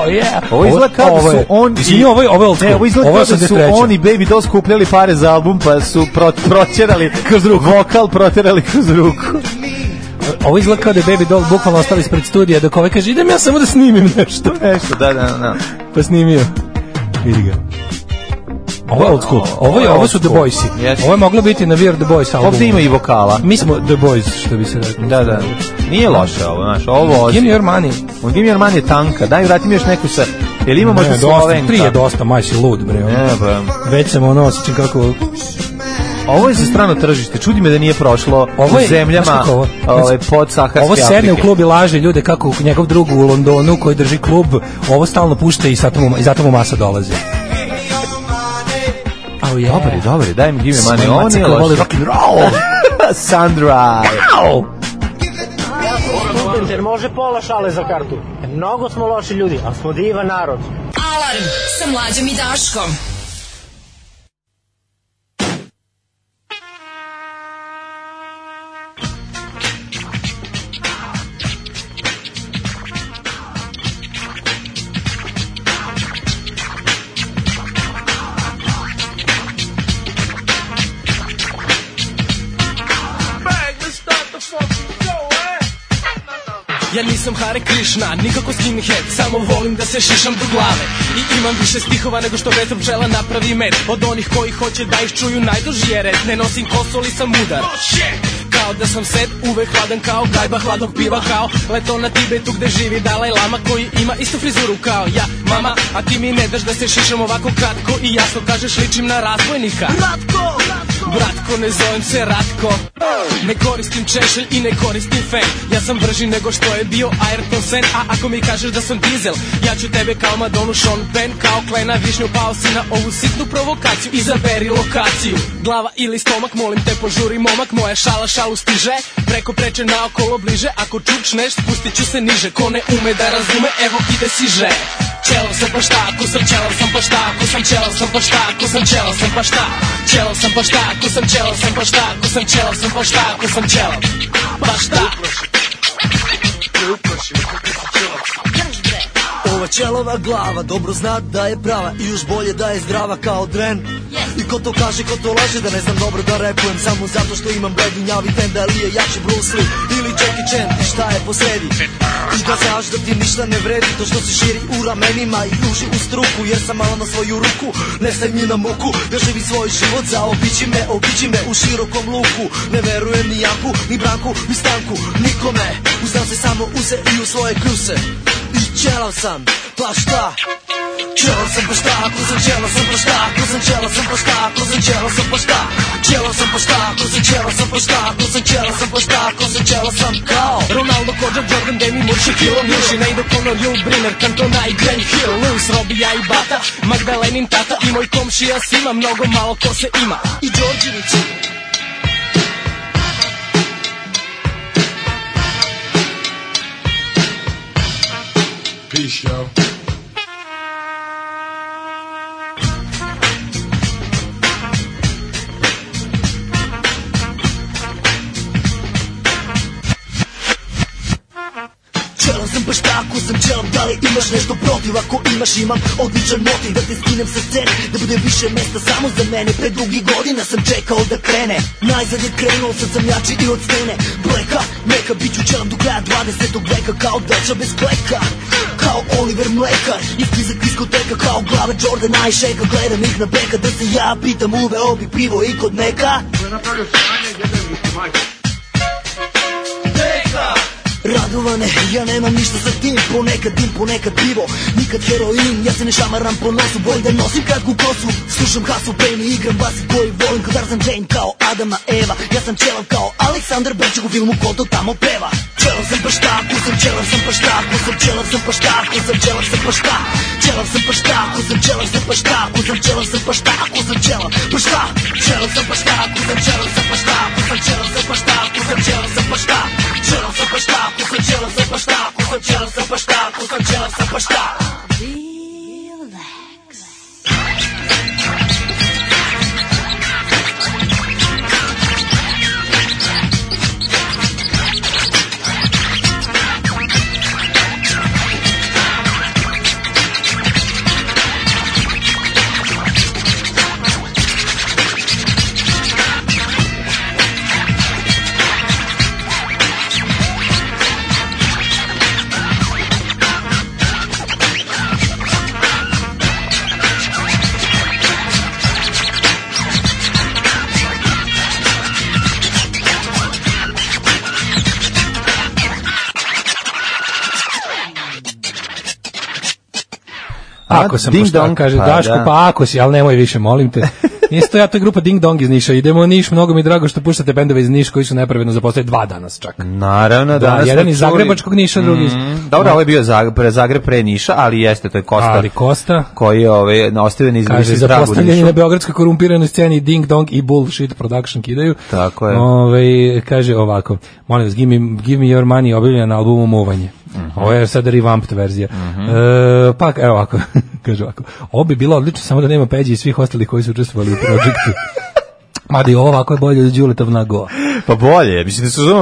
F: Oh, yeah.
G: Ovo izgleda kao da
F: ovo
G: su
F: je-
G: on i-
F: Izvini, ovo je ovo je old
G: Ne,
F: school.
G: ovo izgleda kao da su
F: 83..
G: on i Baby Doll skupljali pare za album, pa su pro, proćerali kroz ruku. Vokal proterali kroz ruku.
F: Ovo izgleda kao da je Baby Doll bukvalno ostao ispred studija dok ovaj kaže idem ja samo da snimim nešto.
G: Nešto, da, da, da.
F: Pa snimio. Vidi ga. Ovo je old school. Ovo, je, ovo su The Boysi.
G: Jeste.
F: Ovo je moglo biti na We Are The Boys albumu.
G: Ovde ima i vokala.
F: Mi smo The Boys, što bi se reklo.
G: Da, da. Nije loše ovo, znaš, ovo
F: Give me
G: ozi.
F: your money.
G: Give me je tanka. Daj, vrati mi još neku sa... Jel ima možda
F: Ne, dosta,
G: Slovenka?
F: tri je dosta, maj si lud, bre. ono.
G: Ne, pa...
F: Već sam ono osjećam kako...
G: Ovo je za strano tržište. Čudi me da nije prošlo
F: Ovo je,
G: u
F: znaš
G: zemljama
F: kako ovo?
G: ovaj,
F: Znači,
G: pod Saharske
F: Ovo sedne u
G: Afrike.
F: klub i laže ljude kako njegov drug u Londonu koji drži klub, ovo stalno pušta i zato mu, i zato mu masa dolazi. Au je.
G: Dobar je, dobar je, daj mi give me money.
F: Svoj
G: Ovo
F: maca
G: nije
F: koji voli
G: loše.
F: rock'n'roll.
G: Sandra.
F: Au!
M: Jer može pola šale za kartu. Mnogo smo loši ljudi, ali smo divan narod.
D: Alarm sa mlađom i Daškom.
J: Ja nisam Hare Krishna, nikako skinhead Samo volim da se šišam do glave I imam više stihova nego što vetar pčela napravi med Od onih koji hoće da ih čuju najduži je red Ne nosim kosu, ali sam mudar Kao da sam sed, uvek hladan kao gajba hladnog piva Kao leto na Tibetu gde živi Dalaj Lama Koji ima istu frizuru kao ja, mama A ti mi ne daš da se šišam ovako kratko I jasno kažeš ličim na razbojnika Bratko, ne zovem se Ratko Ne koristim češelj i ne koristim fen Ja sam brži nego što je bio Ayrton Sen A ako mi kažeš da sam dizel Ja ću tebe kao Madonu Sean Penn Kao klena višnju pao si na ovu sitnu provokaciju Izaberi lokaciju Glava ili stomak, molim te požuri momak Moja šala šalu stiže Preko preče naokolo bliže Ako čučneš, spustit ću se niže Ko ne ume da razume, evo ide siže Čelav sam pa šta, ako sam čelav sam pa šta, ako sam čelav sam pa šta, ako sam čelav sam pa šta, čelav sam pa šta, ako sam čelav sam pa šta, ako sam čelav sam pa šta, ako sam čelav, pa šta. Ova čelova glava dobro zna da je prava i još bolje da je zdrava kao dren I ko to kaže, ko to laže da ne znam dobro da repujem Samo zato što imam bledinjavi ten da li je jači Bruce Lee ili Jackie Chan I šta je posredi I da znaš da ti ništa ne vredi to što se širi u ramenima i uži u struku Jer sam malo na svoju ruku, ne staj mi na muku Ja živim svoj život, zaobiđi me, obiđi me u širokom luku Ne verujem ni Janku, ni Branku, ni Stanku, nikome Uznam se samo u se i u svoje kljuse I ćelav sam, pa šta? Čelo sam pa šta, ako sam čelo sam pa šta, ako sam čelo sam pa šta, ako sam čelo sam pa šta, čelo sam pa šta, ako sam čelo sam pa šta, ako sam čelo sam pa šta, ako sam čelo sam kao Ronaldo, Kođa, Jordan, Demi, Murši, Kilo, Murši, Nejdo, Conor, Jul, Briner, Cantona i Grant Hill, Lewis, Robija i Bata, Magdalenin tata i moj komšija Sima, mnogo malo ko se ima i Đorđević Čelom sam baš tako sam čelom Da li imaš nešto protiv Ako imaš imam odličan motiv Da te skinem sa scene Da bude više mesta samo za mene Pre drugih godina sam čekao da krene Najzad je krenuo sad sam jači i od stene Bleka, meka, bit ću čelom do kraja 20. veka Kao deča bez pleka Kao Oliver Mlekar I stizak diskoteka Kao glave Jordana i Šeka Gledam ih na beka Da se ja pitam uveo bi pivo i kod neka Radovane, ja nemam ništa sa tim Ponekad dim, ponekad pivo Nikad heroin, ja se ne šamaram po nosu Bolje da nosim kratku kosu Slušam Hasu Payne i igram basi koji volim Kao Tarzan Jane, kao Adama Eva Ja sam čelav kao Aleksandar Bečak u filmu Ko to tamo peva Čelav sam pa šta, ko sam čelav sam pa šta Ko sam čelav sam pa šta, ko sam čelav sam pa šta Čelav sam pa šta, ko sam čelav sam pa šta Ko sam čelav sam pa šta, ko sam čelav pa šta Čelav sam pa šta, ko sam čelav sam pa šta Ko sam čelav sam pa šta, ko sam čelav sam pa šta Čelav sam pa šta, ko sam čelav sam pa šta Ko sam čelav sam pa šta, ko sam čelav sam pa šta
F: Ako sam pošta, kaže Daško, pa ako si, ali nemoj više, molim te. Isto ja, to je grupa Ding Dong iz Niša. Idemo u Niš, mnogo mi je drago što puštate bendove iz Niš koji su nepravedno zapostavili dva danas čak.
G: Naravno,
F: Da,
G: danas smo
F: jedan iz
G: čuli-
F: Zagrebačkog Niša, drugi iz...
G: Mm, Dobro, ovo je bio Zagreb pre, Zagreb pre Niša, ali jeste, to je Kosta.
F: Ali Kosta,
G: koji je ovaj, na- ostavio na
F: kaže,
G: izbrisan trag u
F: zapostavljeni
G: Nišu.
F: na beogradskoj korumpiranoj sceni Ding Dong i Bullshit Production kidaju.
G: Tako je.
F: Ove, kaže ovako, molim vas, give me, give me your money objavljena na albumu Muvanje. Ovo je sada revamped verzija. E, pa, evo ovako, kaže ovako, ovo bi bilo odlično, samo da nema peđi i svih ostalih koji su učestvovali u projektu. Mada i ovo ovako je bolje od Đuletov Nagoa.
G: Pa bolje, mislim da se zove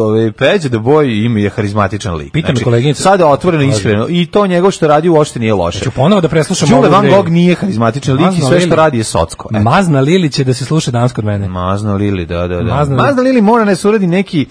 G: ovaj Peđa da boji ima je harizmatičan lik.
F: Pita me koleginica.
G: Sada otvoreno iskreno i to njegov što radi uopšte nije loše.
F: Ću ponovo Znači, da preslušam
G: Đule
F: ovu
G: Van
F: vreme.
G: Gogh nije harizmatičan lik i
F: Mazno
G: sve što
F: Lili.
G: radi je socko. eto.
F: Mazna Lilić će da se sluša danas kod mene.
G: Mazno Lili, da, da, da.
F: Mazno
G: Mazno,
F: Lili.
G: Lili mora ne uradi neki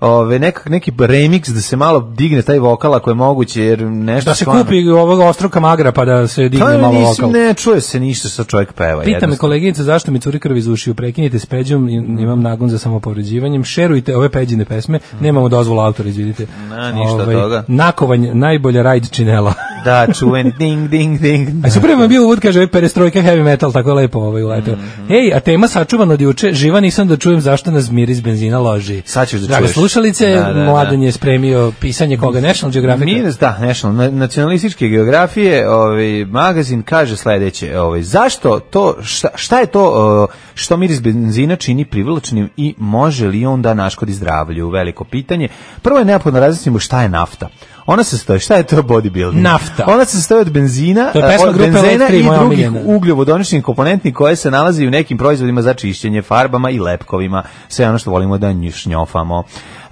G: ove, nekak, neki remix da se malo digne taj vokal ako je moguće, jer nešto...
F: Da se
G: stvarno-
F: kupi ovog ostruka magra pa da se digne
G: Pa
F: malo
G: nisi,
F: lokal.
G: ne čuje se ništa sa čovjek peva.
F: Pita me
G: jednostavno. Mm.
F: koleginica zašto mi curi krv iz ušiju, prekinite s peđom, im- imam nagon za samopovređivanjem, šerujte ove peđine pesme, nemamo dozvolu autora, Ovaj, izvidite.
G: Mm. Na, ništa od toga.
F: Nakovanj, najbolja rajd činela.
G: Da, čuveni ding, ding, ding.
F: A super vam je bio uvod, kaže, ove perestrojka heavy metal, tako je lepo ovaj uleteo.
G: Mm-hmm.
F: Ej, a tema sačuvan od juče, živa nisam da čujem zašto nas mir iz benzina loži.
G: Sad ćeš da
F: Drage
G: čuješ.
F: slušalice,
G: Da, da, da.
F: Mladen je spremio pisanje koga, National Geographic.
G: Mir, da, National, na- nacionalističke geografije, ovaj, magazin kaže sledeće, ovaj, zašto to, šta, šta je to o, što miris benzina čini privlačnim i može li on da naškodi zdravlju? Veliko pitanje. Prvo je neophodno razjasnimo šta je nafta. Ona se stoji, šta je to bodybuilding?
F: Nafta.
G: Ona se stoji od benzina,
F: To je pesma
G: od
F: grupe
G: benzena
F: Electric,
G: i
F: moja
G: drugih
F: omiljena.
G: ugljovodoničnih komponentni koje se nalazi u nekim proizvodima za čišćenje, farbama i lepkovima, sve ono što volimo da njušnjofamo.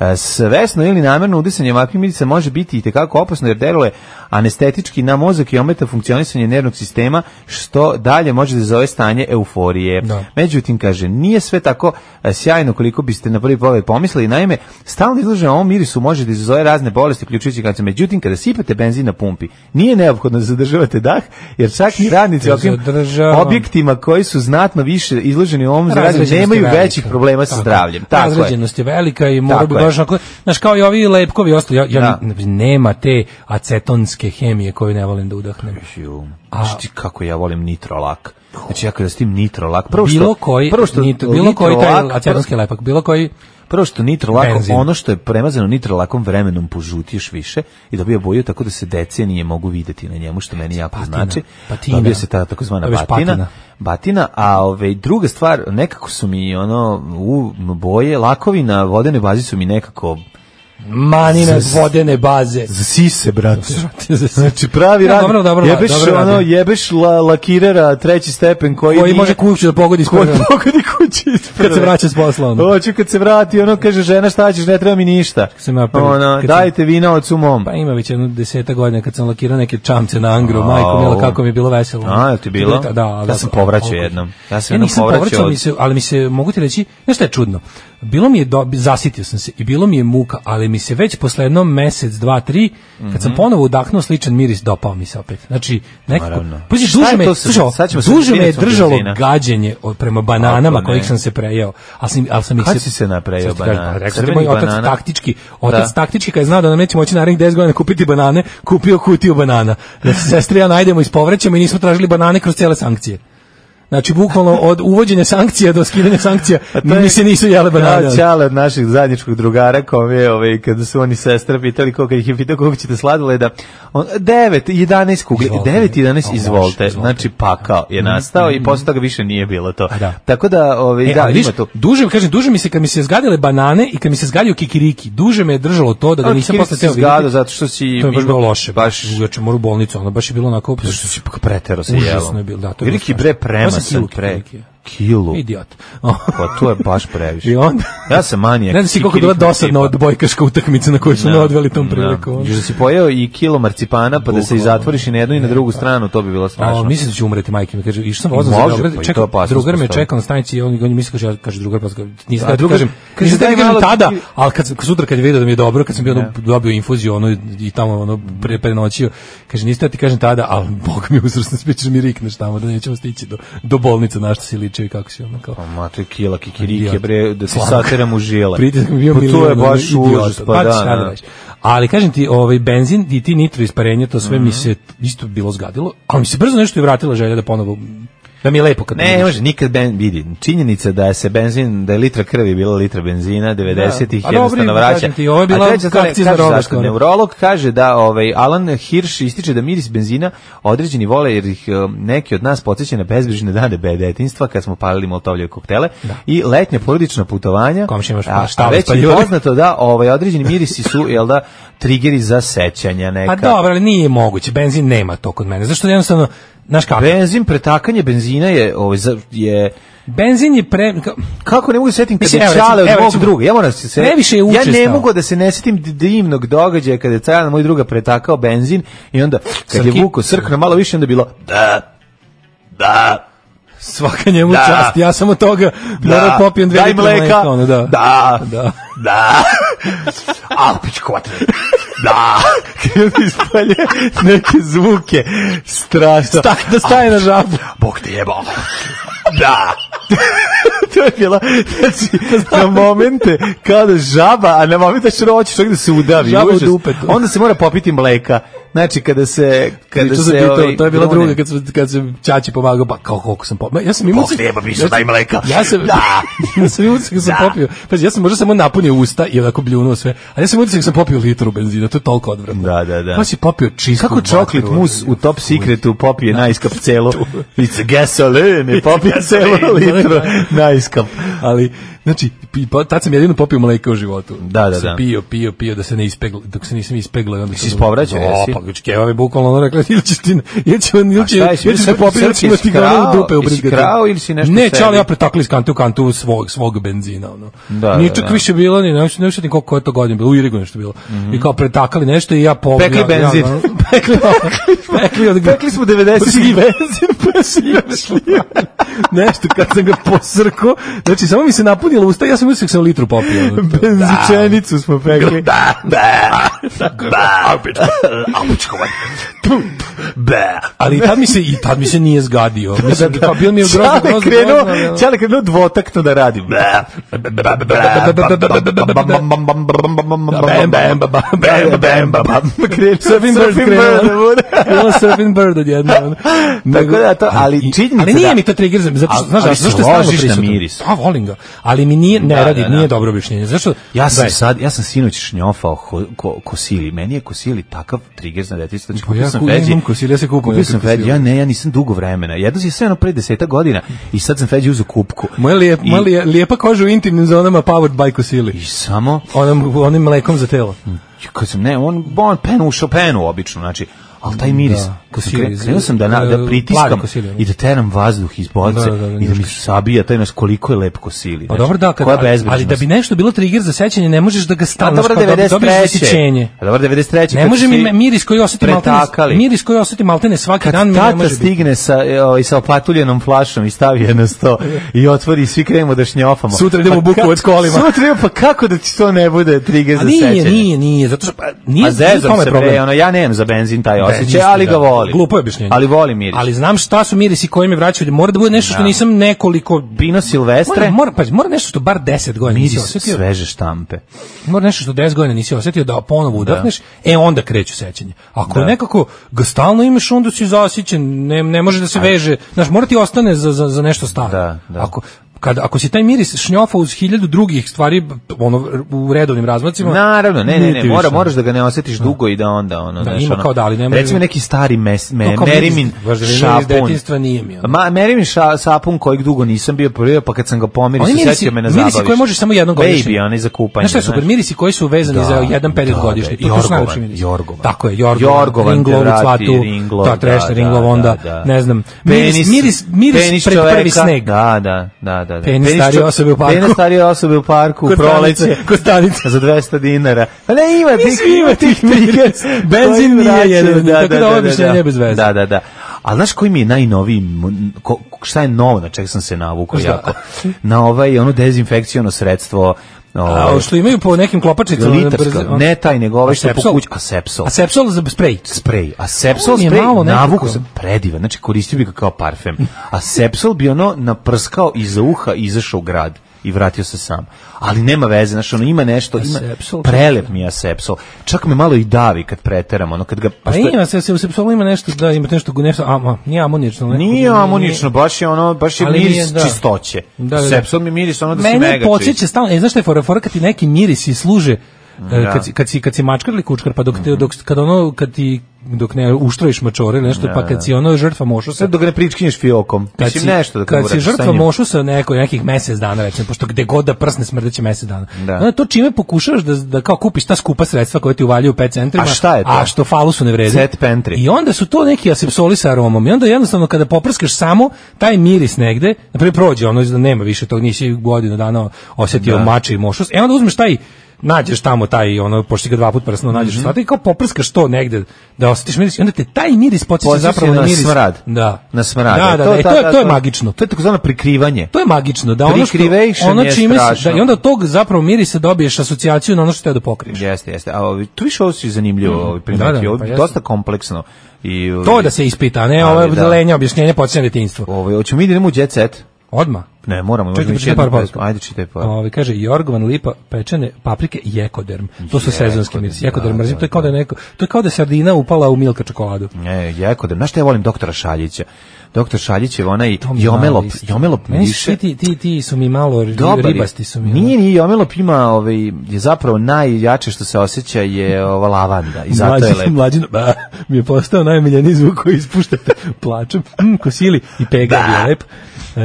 G: E, Svesno ili namerno udisanje ovakvih mirica može biti i tekako opasno jer deluje anestetički na mozak i ometa funkcionisanje nervnog sistema što dalje može da zove stanje euforije.
F: Da.
G: Međutim, kaže, nije sve tako e, sjajno koliko biste na prvi pogled pomislili. Naime, stalno izložen ovom mirisu može da izazove razne bolesti, uključujući kancer. Međutim, kada sipate benzin na pumpi, nije neophodno da zadržavate dah, jer čak i radnici u ovakvim
F: Zadržavam.
G: objektima koji su znatno više izloženi ovom zarazu
F: Razređenost je
G: nemaju
F: velika.
G: većih problema sa
F: Tako.
G: zdravljem. Tako je.
F: Razređenost je velika i mora
G: Tako
F: bi
G: je.
F: moraš onako, znaš, kao i ovi lepkovi i ostali, ja, ja
G: Da.
F: n- nema te acetonske hemije koju ne volim da udahnem.
G: Ju, Znaš ti kako ja volim nitrolak. Znači ja kada s tim nitrolak, prvo što,
F: bilo koji,
G: prvo što
F: nit- bilo koji taj
G: nitrolak-
F: acetonski lepak, bilo koji,
G: Prvo što nitrolakom,
F: Benzin.
G: ono što je premazano nitrolakom vremenom požuti još više i dobija boju tako da se decenije mogu videti na njemu, što meni jako
F: Patina,
G: znači.
F: patina.
G: Dobija se ta takozvana
F: Dobiješ
G: batina.
F: patina.
G: Batina. a ove, druga stvar, nekako su mi ono, u, boje, lakovi na vodene bazi su mi nekako
F: manina
G: Z-
F: vodene baze.
G: za sise, brate.
F: Srate za sve.
G: Znači pravi
F: Ja,
G: rad,
F: dobro, dobro,
G: jebeš,
F: dobro radi.
G: ono, jebeš la, lakirera treći stepen koji,
F: koji
G: nije-
F: može kuću da pogodi s
G: Koji
F: prve.
G: pogodi kući iz
F: Kad se
G: prve.
F: vraća s posla, ono.
G: Hoću kad se vrati, ono kaže žena šta ćeš, ne treba mi ništa.
F: sam ja prvi-
G: Ono,
F: kad sam-
G: dajte vina od sumom.
F: Pa ima već jedno deseta godina kad sam lakirao neke čamce na Angro, majko
G: Au.
F: mila, kako mi je bilo veselo.
G: A, jel ti bilo?
F: Da, da,
G: Ja
F: da,
G: sam povraćao
F: koliko-
G: jednom. Ja sam
F: ja
G: jednom
F: nisam
G: povraćao
F: povraćao,
G: od-
F: mi se, ali mi se, mogu ti reći, znaš šta je čudno? Bilo mi je, do, zasitio sam se i bilo mi je muka, ali mi se već posle jednom mesec, dva, tri, kad
G: Mhm.
F: sam ponovo udahnuo sličan miris, dopao mi se opet. Znači, nekako,
G: Naravno.
F: pazi,
G: Šta
F: duže
G: je
F: me,
G: to sa-
F: slušaj, ovo,
G: sad ćemo sa
F: duže me je
G: svinjicom
F: držalo
G: brzina.
F: gađenje od, prema bananama
G: Kako ne?
F: kojih sam se prejeo. Ali sam, ali sam ih
G: Kad si se naprejao
F: Sad ti kažem,
G: banana?
F: pa Rekao ti
G: Crvenih
F: moj otac
G: banana?
F: taktički, otac
G: Da.
F: taktički kad je znao da nam neće moći narednih 10 godina kupiti banane, kupio kutiju banana. Da se sestri ja najdemo iz povraćamo i nismo tražili banane kroz cijele sankcije. Znači, bukvalno od uvođenja sankcija do skidanja sankcija,
G: Pa to je-
F: mi se nisu jele banane.
G: Da, Ćale od naših zadnjičkog drugara kome, ovaj, kada su oni sestra pitali koliko ih je pitao koliko ćete sladoleda, on, 9, 11 kugli,
F: Izvolite.
G: 9, 11,
F: A, može,
G: izvolite,
F: izvolite.
G: znači pakao je nastao i posle toga više nije bilo to.
F: A, da.
G: Tako da, ovaj,
F: E,
G: da,
F: ali viš,
G: ima to.
F: duže, kažem, duže mi se kad mi se zgadile banane i kad mi se zgadio kikiriki, duže me je držalo to da ga
G: Ali
F: nisam
G: kikiriki
F: posle
G: si
F: teo vidjeti.
G: zgadao zato što si
F: To je baš
G: imao-
F: bilo loše.
G: baš-
F: ja ću moram u bolnicu, ono baš je bilo onako...
G: Zašto si pak pretero se
F: Užasno
G: jelo?
F: je bilo, da, to je bilo
G: Veliki
F: strašno.
G: bre
F: Ja sam
G: premasan
F: kilu
G: pre.
F: kikirikija.
G: Kilu.
F: Idiot.
G: Pa to je baš previše.
F: I onda...
G: Ja sam manijak.
F: Ne znam si koliko je bila
G: kikiriknog
F: dosadna
G: E, tipa.
F: odbojkaška utakmica na koju su me
G: Da,
F: odveli tom
G: da.
F: prilikom. ono.
G: Još da si pojeo i kilo marcipana, pa da se i
F: Bukvalno. pa-
G: zatvoriš i na jednu i na drugu stranu, to bi bilo
F: A,
G: strašno.
F: mislim da ću umreti, majke mi kaže, išao sam vozom za
G: Može,
F: Beograd,
G: pa i to
F: čekam,
G: opasnost
F: drugar me
G: postoji.
F: čeka na stanici i on, on misli, kaže, ja, kaže drugar, pa kaže, nisam
G: A
F: da
G: drugar-
F: kažem,
G: kaže,
F: nisam da
G: daj
F: ti kažem
G: malo da
F: tada,
G: ti-
F: ali kad, sam- kad sutra kad je vidio da mi je dobro, kad sam bio ono, dobio infuziju ono, i tamo ono, pre, prenoćio, kaže, nisam da ti kažem tada, ali bog mi uzrasno spičeš mi rikneš tamo, da nećemo stići do, do bolnice, na što si ličio i kako si ono kao.
G: Pa, Ma, to je kila kikirike,
F: Idiot.
G: bre, da se
F: Slatko.
G: sateram u žile.
F: Pritisak mi je bio
G: Pa to je
F: milion, ono,
G: baš
F: idiota.
G: užas, pa
F: Pa
G: da,
F: šta da
G: da.
F: radiš? Ali kažem ti, ovaj benzin i ti nitro isparenje, to sve
G: Mhm.
F: mi se isto bilo zgadilo, ali mi se brzo nešto i vratila želja da ponovo da mi je lepo kad
G: Ne, ne može, nikad ben, vidi, činjenica da se benzin, da je litra krvi bila litra benzina, 90-ih
F: Da. A
G: jednostavno
F: dobro,
G: vraća.
F: kažem ti, ovo je bila
G: A treća stvar,
F: akcizna
G: kaže
F: roba
G: zašto,
F: skoro.
G: Neurolog kaže da ovaj, Alan Hirsch ističe da miris benzina određeni vole, jer ih um, neki od nas podsjeća na bezbrižne dane be- detinjstva, kad smo palili moltovljive koktele, i letnja porodična putovanja.
F: Komšijama
G: a,
F: pa šta
G: a već je
F: spaljivali.
G: poznato da ovaj, određeni mirisi su, jel da, trigeri za sećanja neka.
F: Pa dobro, ali nije moguće, benzin nema to kod mene. Zašto jednostavno, znaš kako,
G: Benzin, pretakanje benzina je, ovaj, za- je
F: benzin je pre... ka-
G: Kako ne mogu da se setim kada
F: Mislim,
G: je
F: evo, recimo,
G: Čale od
F: evo,
G: mog
F: recimo,
G: druga? Ja moram se se...
F: previše je
G: Ja ne
F: učestao.
G: mogu da se ne setim d- divnog događaja kada je Čale moj druga pretakao benzin i onda kad je
F: Srki?
G: vuko srkno malo više onda je bilo da, da,
F: Svaka njemu
G: Da.
F: čast, ja sam od toga
G: da,
F: moram popijem dve
G: daj
F: litre
G: mleka,
F: mleka, ono, da.
G: da,
F: Da.
G: da, a pičku materinu, da. I onda ispalje neke zvuke, strašno.
F: Tak, da staje na žabu.
G: Bog te jebao. Da. to je bila, znači, na momente kada žaba, a na momente što ono hoćeš čovjek da se udavi.
F: Žaba u
G: užas.
F: dupetu.
G: Onda se mora popiti mleka. Znači, kada se... Kada
F: Kada
G: se,
F: se pitao,
G: ovaj,
F: to je bila
G: grune.
F: druga kad se kad se ćaći pomagao, pa kao koliko sam popio. Ja sam imao
G: Bog te jeba, bišu, daj mleka.
F: Ja sam
G: Da.
F: ja sam imao utisak da sam
G: Da.
F: popio. Pa ja sam možda samo napunio usta i onako bljunuo sve. A ja sam imao utisak da sam popio litru benzina, to je toliko odvratno.
G: Da, da, da.
F: Pa si popio čistu
G: Kako čoklit
F: vatru,
G: mus
F: ono.
G: u Top Secretu popije najskap celo? It's gasoline, i popije celo
F: gasoline,
G: litru
F: da, da.
G: najskap.
F: ali znači pi- pa, tad sam jedino popio mleka u životu.
G: Da, da,
F: Sam
G: da.
F: Pio, pio, pio da se ne ispegla, dok se nisam ispegla i onda
G: Jesi ispovraćao, jesi?
F: Pa keva mi bukvalno ono rekla ili ćeš ti ili će ili će
G: šta, jesi
F: ili ćeš se
G: bio
F: popiti ili
G: srpski,
F: ćemo ti
G: jesi
F: ga
G: krao?
F: u dupe
G: Jesi
F: ubrigati.
G: krao ili si nešto
F: Ne,
G: sebi?
F: čali ja pretakli iz kante u kantu svog svog benzina ono.
G: Da,
F: Nije
G: da,
F: čak
G: da.
F: više bilo ni ne znam ne znam koliko je to godina bilo, u Irigu nešto bilo. I kao pretakali nešto i ja po
G: Mhm. Pekli
F: ja- ja-
G: benzin.
F: ono, Pekli od pekli od
K: Pekli smo 90
F: šljive.
K: pa šljive.
F: Nešto kad sam ga posrko, znači samo mi se napunilo usta, ja sam mislio da sam litru popio.
K: Benzičenicu smo pekli.
G: Da, da, da, opet, opučkovan, da,
F: Ali tad mi se i tad mi se nije zgadio. Mislim da kao bio mi je grozno
K: Čale
F: grozno.
K: krenuo,
F: grozno, ali-
K: Čale krenuo dvotakno da radi.
G: da,
K: Krenuo
F: Surfing bird krenuo. Bilo surfing bird odjedno. ono. Nego-
K: da to, ali
F: i-
K: činjenica
F: Ali nije
K: da-
F: mi to trigger, za- zato što,
G: Ali-
F: znaš,
G: ali
F: zašto
G: se
F: je stalno
G: ložiš na
F: prisutan?
G: miris.
F: Pa, volim ga. Ali mi nije, ne
G: Da,
F: radi,
G: da, da.
F: nije dobro objašnjenje. Zašto?
G: Ja sam
F: Gledaj,
G: sad, ja sam sinoć šnjofao ho- ko, kosili. Meni je kosili takav trigger za detinjstvo. Znači,
F: Pa
G: kupio
F: ja
G: sam
F: ku-
G: feđi.
F: imam kosili, ja se kupim
G: Kupio
F: neke
G: sam feđi.
F: kosile.
G: Ja ne, ja nisam dugo vremena. Jedno si sve ono pre deseta godina i sad sam feđi uzeo kupku.
F: Moja, lijep, moja lije- lijepa koža u intimnim zonama powered by
G: I
F: Kosili.
G: samo,
F: Onom, onim mlekom za telo.
G: Znači, kad sam, ne, on, on penu ušao penu obično, znači, ali taj miris,
F: Da,
G: kad sam
F: kosili,
G: kre- krenuo sam da, na, da
F: e,
G: pritiskam
F: plavi kosili, ono.
G: i da teram vazduh iz boce
F: Da, da, da,
G: i da mi
F: ništa.
G: sabija taj nas koliko je lep kosili.
F: Pa dobro da, kad,
G: koja
F: ali, ali da
G: bezbrižnost.
F: bi nešto bilo trigger za sećanje, ne možeš da ga
G: A
F: stalno
G: dobro
F: kao dobi- dobiješ
G: 93.
F: zasićenje.
G: A dobro 93.
F: Ne
G: kad
F: može mi
G: si
F: me- miris koji osetim maltene,
G: pretakali.
F: miris koji osetim maltene svaki
G: Kad
F: dan mi ne
G: tata
F: može biti.
G: stigne sa, e, ovaj, sa opatuljenom flašom i stavi je na sto i otvori i svi krenemo da šnjofamo. Pa
F: Sutra idemo u Bukovac
G: kako-
F: kolima.
G: Sutra idemo, pa kako da ti to ne bude trigger
F: A
G: za sećanje?
F: nije, nije, nije, zato što pa, nije
G: A
F: u tome
G: zezam se
F: problem.
G: bre, ono, ja nemam za benzin taj osjećaj,
F: Isto,
G: ali
F: da.
G: ga volim.
F: Glupo je objašnjenje.
G: Ali volim miris.
F: Ali znam šta su mirisi koji me vraćaju. Mora da bude nešto što
G: Da.
F: nisam nekoliko
G: Pino Silvestre,
F: Mora, mora, pa, mora nešto što bar 10 godina nisi
G: miris
F: osetio.
G: sveže štampe.
F: Mora nešto što 10 godina nisi osetio da ponovo udahneš, e onda kreću sećanje. Ako
G: Da.
F: nekako ga stalno imaš, onda si zasićen, ne, ne može da se veže. Znaš, mora ti ostane za, za, za nešto staro.
G: Da, da.
F: Ako, kad, ako si taj miris šnjofa uz hiljadu drugih stvari ono, u redovnim razmacima...
G: Naravno, ne, ne,
F: nije
G: ne,
F: ti
G: mora,
F: više. ono.
G: moraš da ga ne osjetiš dugo i da onda, ono,
F: Da,
G: znaš,
F: ima
G: ono,
F: kao da, ali ne može-
G: Recimo neki stari mes, me,
F: To kao
G: Merimin
F: važda,
G: šapun.
F: Iz detinjstva nije mi. ono.
G: Ma, Merimin ša, sapun kojeg dugo nisam bio prvi, pa kad sam ga pomirio,
F: Oni
G: se
F: mirisi-
G: setio me na
F: mirisi
G: zabaviš.
F: koje možeš samo jednom godišnje.
G: Baby, onaj za kupanje.
F: Znaš šta je super, mirisi koji su vezani
G: Da,
F: za jedan period
G: da,
F: godišnje.
G: da,
F: to, to su
G: Jorgovan,
F: najlepši mirisi.
G: Jorgovan.
F: Tako je, Jorgovan,
G: Jorgovan te
F: Ringlovu
G: vrati,
F: cvatu,
G: Ringlov,
F: ta trešna
G: da,
F: Ringlov,
G: da,
F: onda,
G: da, da.
F: ne znam, miris,
G: Penis-
F: miris, miris
G: penis
F: pred
G: čoveka.
F: prvi sneg.
G: Da, da, da, da. da.
F: Penis starije
G: čo-
F: osobe u parku.
G: Penis starije osobe u parku, u
F: Kod
G: proleće.
F: stanice, kod stanice.
G: Za 200 dinara. Pa ne, ima tih,
F: Mislim, ima tih trigger. Benzin nije
G: vraćaju,
F: jedan od njih, tako da ovo objašnjenje nije bez veze.
G: Da, da, da. Ali znaš koji mi je najnoviji, m- ko, šta je novo, na čega sam se navukao
F: Šta?
G: jako? Na ovaj, ono dezinfekcijono sredstvo,
F: A,
G: ovaj,
F: što imaju po nekim klopačicama. na
G: litarsko,
F: brzo-
G: ne taj, nego ovaj što po
F: ono. Asepsol?
G: kući, asepsol
F: Asepsol za sprej.
G: sprej. A Sepsol
F: On je
G: sprej
F: malo nekako-
G: navuku sam predivan, znači koristio bi ga kao parfem. A Sepsol bi ono naprskao iza uha i izašao u grad i vratio se sam. Ali nema veze, znači ono ima nešto, ima
F: Asepsol-
G: prelep mi je Sepsol. Čak me malo i davi kad preteram, ono kad ga
F: Pa
G: pošto-
F: ima se, se u sepsolu ima nešto, da ima nešto, nešto, ama, nije amonično. ali nekako-
G: Nije amonično, baš je ono, baš je
F: Ali
G: miris
F: nije, da.
G: čistoće.
F: Da, da, da.
G: Sepsol mi miris ono da si
F: Mene
G: mega čist.
F: podsjeća stalno, e, znaš šta je fora, fora kad ti neki mirisi služe, e,
G: Da. Mhm.
F: kad, si, kad, si, kad si mačkar ili kučkar, pa dok, te, dok, kad ono, kad ti, dok ne uštrojiš mačore ili nešto, pa kad si ono žrtva mošusa,
G: Sad dok ne pričkinješ fiokom,
F: kad
G: mislim nešto da
F: kad si
G: uradiš sa
F: žrtva
G: njim.
F: mošusa neko, nekih mesec dana, recimo, pošto gde god da prsne smrdeće mesec dana.
G: Da.
F: Onda to čime pokušavaš da, da kao kupiš ta skupa sredstva koje ti uvaljuju u pet centrima,
G: A šta je to?
F: a što falusu ne vredi.
G: Set pantry.
F: I onda su to neki asepsoli sa aromom. I onda jednostavno kada poprskaš samo taj miris negde, na primer prođe ono da nema više tog nisi godinu dana osetio mači i mošus. E onda uzmeš taj nađeš tamo taj ono pošto si ga dva puta prsno nađeš
G: Mhm.
F: mm i kao poprskaš to negde da osetiš miris i onda te taj miris podsjeća
G: Podsjeća
F: zapravo
G: na
F: na miris
G: smrad.
F: da
G: Na smrad.
F: da, da, da, e, to, je, to je magično
G: To je takozvano prikrivanje.
F: to je magično da ono što
G: Prikrivation
F: ono
G: je
F: čime se
G: strašno.
F: da i onda od tog zapravo mirisa dobiješ asocijaciju na ono što te da pokriješ.
G: Jeste, jeste. A ovi, tu više ovo si zanimljivo ovi primetio.
F: Da, da,
G: Ovo
F: pa
G: je
F: jeste.
G: dosta kompleksno. I, ovi,
F: To da se ispita, a ne
G: Ali
F: ovo
G: da.
F: lenja objašnjenje počinje detinjstvo.
G: Ovo, hoćemo mi da idemo u jet set?
F: Odma.
G: Ne, moramo.
F: Čekaj,
G: možemo ići
F: čitaj
G: jednu
F: par poruka.
G: pesmu. Ajde, čitaj par.
F: Ovi kaže Jorgovan lipa pečene paprike i jekoderm. To su sezonski mirisi. Jekoderm
G: da,
F: mrzim,
G: da,
F: to je kao da je neko, to je kao da je sardina upala u milka čokoladu.
G: Ne, jako da. Znaš šta ja volim doktora Šaljića? Doktor Šaljić je onaj
F: mi je
G: jomelop.
F: malo isto.
G: Jomelop
F: Meni su
G: više.
F: svi ti, ti, ti su mi malo ri-
G: Dobar je.
F: ribasti su mi. ono.
G: Nije, nije, Jomelop ima, ovaj, je zapravo najjače što se osjeća je ova lavanda i zato je
F: Mlađi-
G: lepo.
F: mlađi- ba, mi je postao najmiljeniji zvuk koji ispuštate plačem, mm, kosili i pega je bio lep. E,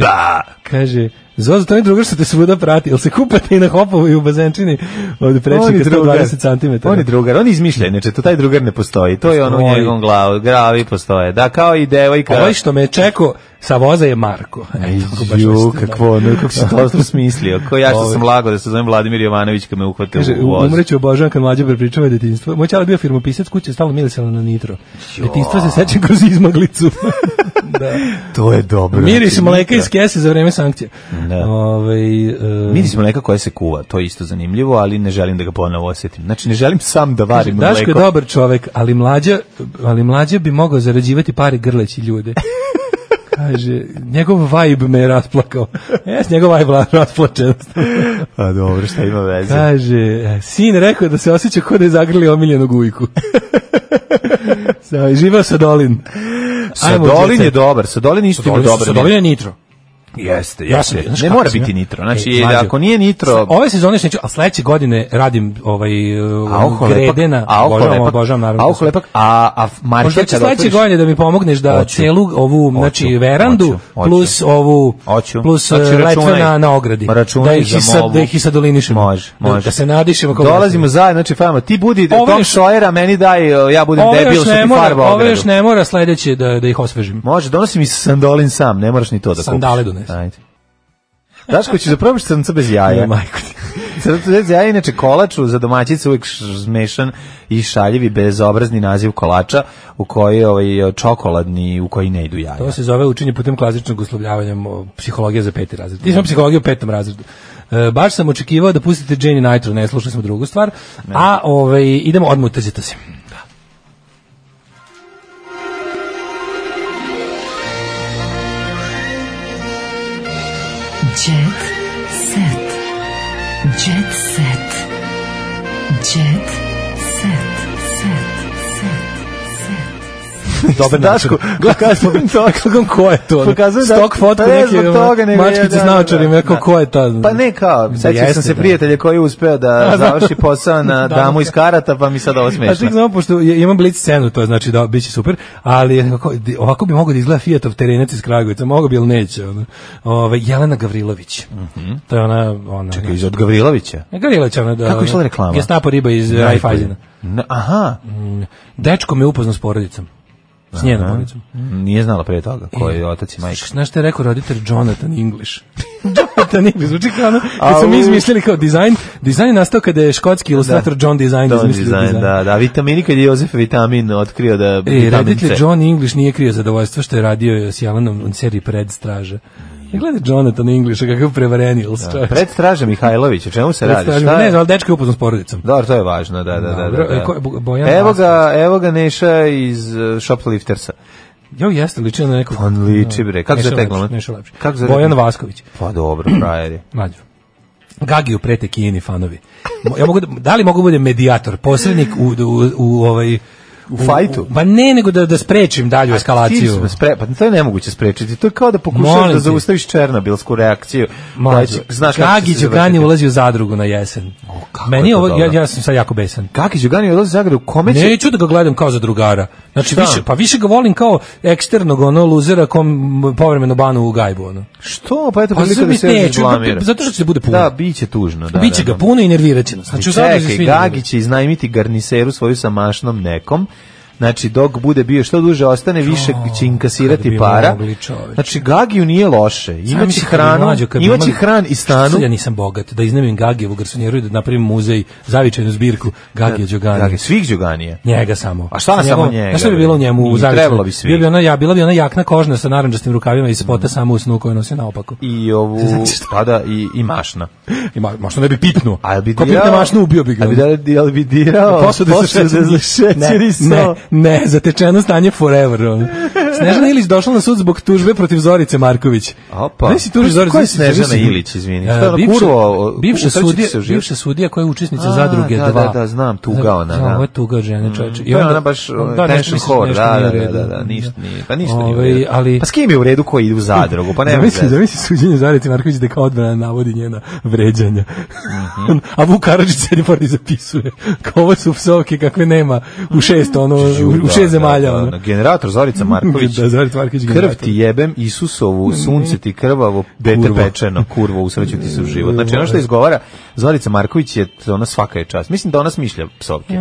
G: Da.
F: Kaže, Zozo, to je drugar što te svuda prati. Jel se kupate i na hopovu i u bazenčini od
G: On je
F: prečnika
G: drugar.
F: 120 cm?
G: On je drugar, on izmišlja, inače, to taj drugar ne postoji. To je ono u
F: Postoji.
G: njegovom glavu, gravi postoje. Da, kao i devojka.
F: Ovaj što me čekao sa voza je Marko.
G: Ej,
F: Eto, ako baš
G: ju,
F: mislite, da.
G: kakvo, ono, kako si to to smislio. Ko ja što
F: Ovaj.
G: sam lago da se zovem Vladimir Jovanović kad me uhvate
F: Kaže,
G: u voz.
F: umreću obožavam kad mlađe prepričava detinjstvo. Moj čale je bio firmopisac, kuće je stalno mirisala na nitro. Detinjstvo se sećam kroz izmaglicu. da.
G: To je dobro.
F: Miris
G: Znači,
F: mleka
G: nitra.
F: iz kese za vreme sankcija.
G: Da.
F: Ovaj, e,
G: Miris mleka koja se kuva, to je isto zanimljivo, ali ne želim da ga ponovo osjetim. Znači, ne želim sam da varim
F: Daško
G: mleko.
F: je dobar čovek, ali mlađa, ali mlađa bi mogao zarađivati pare grleći ljude. Kaže, njegov vibe me je rasplakao. Jes, njegov vibe la- rasplačen.
G: A dobro, šta ima veze?
F: Kaže, sin rekao da se osjeća kod da je zagrlio omiljenog ujku. Sa, živeo Sadolin. Ajmo,
G: Sadolin
F: djeca.
G: je dobar, Sadolin isto ima
F: Sadolin,
G: dobar.
F: Sadolin je nitro.
G: Jeste,
F: Ja sam,
G: jeste.
F: znaš
G: ne
F: kako
G: mora
F: sam
G: biti
F: ja?
G: nitro. Znači,
F: E, mlađo.
G: ako nije nitro,
F: Ove sezone još neću, a sledeće godine radim ovaj uh,
G: a oko
F: grede
G: lepak,
F: na
G: a oko
F: obožavam,
G: lepak,
F: obožavam naravno.
G: a oko lepak, a, a marker
F: Možda će
G: kada
F: sledeće
G: otvoriš-
F: godine da mi pomogneš da
G: Hoću.
F: celu ovu
G: Hoću,
F: znači verandu
G: hoću, hoću.
F: plus ovu
G: Hoću.
F: plus
G: Znači,
F: znači,
G: računaj.
F: na, na ogradi.
G: Računaj
F: da ih
G: za
F: i sad
G: movu.
F: da ih i sadolinišemo.
G: Može,
F: Da-
G: može.
F: Da, se nadišemo kako
G: Dolazimo zajedno, znači fajamo, ti budi
F: Ovo
G: Tom
F: još-
G: Sawyer, a meni daj, e, ja budem
F: Ove
G: debil
F: još
G: što ti
F: ne mora,
G: farba
F: ove
G: ogradu.
F: još ne mora sledeće da da ih osvežim.
G: Može, donosi mi sandolin sam, ne moraš ni to da kupiš.
F: Sandale donesi.
G: Ajde. Daško će zapravo crnca bez jaja.
F: Ne, majko ti.
G: Crnca bez jaja, inače kolaču za domaćice uvijek š- zmešan i šaljivi bezobrazni naziv kolača u koji je ovaj, čokoladni, u koji ne idu jaja.
F: To se zove učenje putem klasičnog uslovljavanja o, psihologija za peti razred. Ti smo psihologiju u petom razredu. E, baš sam očekivao da pustite Jenny Nitro, ne slušali smo drugu stvar. A ovaj, idemo odmah u trzite se.
D: Jet set. Jet set. Jet set. Set.
F: Dobar
G: Daško, pokazujem to.
F: Kako ko je to? ono?
G: Pokazujem da-
F: Stok fotku ono,
G: Pa ne
F: neke
G: zbog toga, nego je,
F: mačkice
G: da,
F: s
G: da,
F: naočarima,
G: da,
F: rekao
G: da.
F: ko je ta?
G: Pa ne kao,
F: Da
G: sećam
F: jeste,
G: sam se
F: da.
G: prijatelja koji je uspeo da završi posao na
F: Damu
G: damu iz karata, pa mi sad ovo
F: A tek
G: smešno.
F: znamo, pošto je- imam blic scenu, to znači da biće super, ali je nekako- di- ovako bi mogao da izgleda Fiatov terenac iz Kragujevca, mogo bi, ali neće. Ono. Ove, Jelena Gavrilović. To je ona... ona
G: Čekaj, iz od Gavrilovića.
F: Gavrilović, ona da...
G: Kako je išla reklama?
F: Gestapo riba iz eh, Raiffeisena.
G: Na- Aha,
F: Dečko me upoznao s porodicom. S njenom porodicom.
G: nije znala pre toga
F: E,
G: koji je otac i majka.
F: Znaš šta je rekao roditelj Jonathan English? Jonathan English, zvuči kao ono, kad su mi
G: Au.
F: izmislili kao dizajn, dizajn je nastao kada je škotski ilustrator John Design
G: Don
F: izmislio
G: dizajn,
F: dizajn.
G: da, da, vitamini kad je Jozef Vitamin otkrio da
F: E,
G: vitamin
F: reditelj
G: C.
F: John English nije krio zadovoljstvo što je radio s Jelenom u seriji Predstraže. I gledaj Jonathan Englisha kakav prevarenil da. čovječ.
G: Pred straže Mihajlović, o čemu se radi?
F: Predstraže,
G: Šta
F: ne
G: je?
F: znam, ali dečko je upoznan s porodicom.
G: Dobro, to je važno, da, da, da. da,
F: Dobro,
G: da.
F: e, ko je Bo- Bojan
G: evo ga, evo ga Neša iz uh, Shopliftersa.
F: Jo, jeste, liči na nekog...
G: On liči, bre. Kako
F: Neša
G: se taj
F: Lepšić,
G: glumac?
F: Neša Lepšić.
G: Kako se-
F: Bojan Vasković.
G: Pa dobro, frajer je.
F: Mlađo. Gagiju prete kijeni fanovi. Mo- Ja mogu da, da li mogu budem medijator, posrednik u, u, u ovaj... U
G: fajtu?
F: Pa ne, nego da, da sprečim dalju
G: Cilj
F: eskalaciju.
G: smo spre, pa to je nemoguće sprečiti. To je kao da pokušaš
F: Molim
G: da
F: te.
G: zaustaviš Černobilsku reakciju. koja
F: Mlađo,
G: će- znaš kako će
F: Gagi
G: se
F: Đogani
G: završiti.
F: ulazi u zadrugu na jesen.
G: kako
F: Meni
G: je
F: je
G: to
F: ovo, ja,
G: dobro.
F: ja sam sad jako besan.
G: Gagi Đugani odlazi u Zagreb, kome će...
F: Neću da ga gledam kao za drugara. Znači
G: Šta?
F: više, pa više ga volim kao eksternog ono luzera kom m, povremeno banu u gajbu ono.
G: Što? Pa eto,
F: Pa
G: prilika da
F: zato mi
G: se Jođe
F: neću,
G: izblamira.
F: zato što će bude puno.
G: Da, bit će tužno. Da,
F: Biće
G: da,
F: ga
G: da.
F: puno i nervirat će nas. Znači u zadruzi se
G: Čekaj,
F: svi
G: Gagi
F: nerviraju.
G: će iznajmiti garniseru svoju sa mašnom nekom. Znači, dok bude bio što duže ostane, više će
F: kad
G: inkasirati
F: bi
G: para.
F: mogli, čoveče.
G: Znači, Gagiju nije loše. Imaće
F: Zamisli kad bi
G: hranu,
F: mlađo, kad bi
G: imaće
F: imali-
G: hran i stanu.
F: Što Ja nisam bogat, da iznemim Gagijevu garsonjeru i da napravim muzej, zavičajnu zbirku Gagije Đogani.
G: Gagi, svih Đuganije.
F: Njega samo.
G: A šta samo
F: Sa njegovom-
G: njega,
F: Znaš šta bi
G: bre?
F: bilo u njemu? u
G: Nije,
F: zavičaju?
G: trebalo bi svi. Mm.
F: Bio bi ona, ja, bila bi ona jakna kožna sa narandžastim rukavima i spota samo u snu koju nosi naopako.
G: I ovu, pada, i, i mašna.
F: I ma, možda ne bi pitnuo.
G: A jel bi
F: Ko pitne mašnu, ubio bi ga.
G: A bi da, jel bi dirao?
F: Posude sa
G: Posude
F: šećerom.
G: šećer i
F: Ne,
G: so.
F: ne, ne, zatečeno stanje forever. ono. Snežana Ilić došla na sud zbog tužbe protiv Zorice Marković.
G: Opa.
F: Ne si tuži
G: Ko-
F: Zorice.
G: ko je
F: Zorice-
G: Snežana
F: Zorice-
G: Ilić, izvini?
F: E,
G: Šta je ona,
F: bivša-
G: kurva, o-
F: Bivša
G: utrči
F: sudija,
G: se u život?
F: bivša sudija koja je učesnica
G: A,
F: zadruge
G: da, da,
F: 2.
G: da, znam, tuga ona, da. Mm,
F: Ovo je tuga od žene, čoveče. I
G: To je
F: onda-
G: ona baš ono, o,
F: da,
G: tension
F: nešto mi se-
G: hor,
F: nešto
G: da,
F: nije
G: da,
F: u redu.
G: da, da, ništa nije, pa ništa nije u
F: Ovaj,
G: redu.
F: ali-
G: Pa s kim je u redu koji ide u zadrugu, pa ne
F: Da misli, da
G: veze.
F: misli suđenje Zarici Marković da kao odbrana navodi njena vređanja. A Vuk Karadžić sedi pored i zapisuje. Kao ovo su psovke kakve nema u šest, ono, u- u šest zemalja, ono.
G: generator Zorica Marković.
F: Da, Zorica Marković,
G: Krv
F: generator.
G: ti jebem, Isusovu, sunce ti krvavo, dete
F: Kurvo. Ovaj.
G: pečeno, kurvo, usreću ti se u život. Znači, ono što izgovara, Zorica Marković je, ona svaka je čast. Mislim da ona smišlja psovke.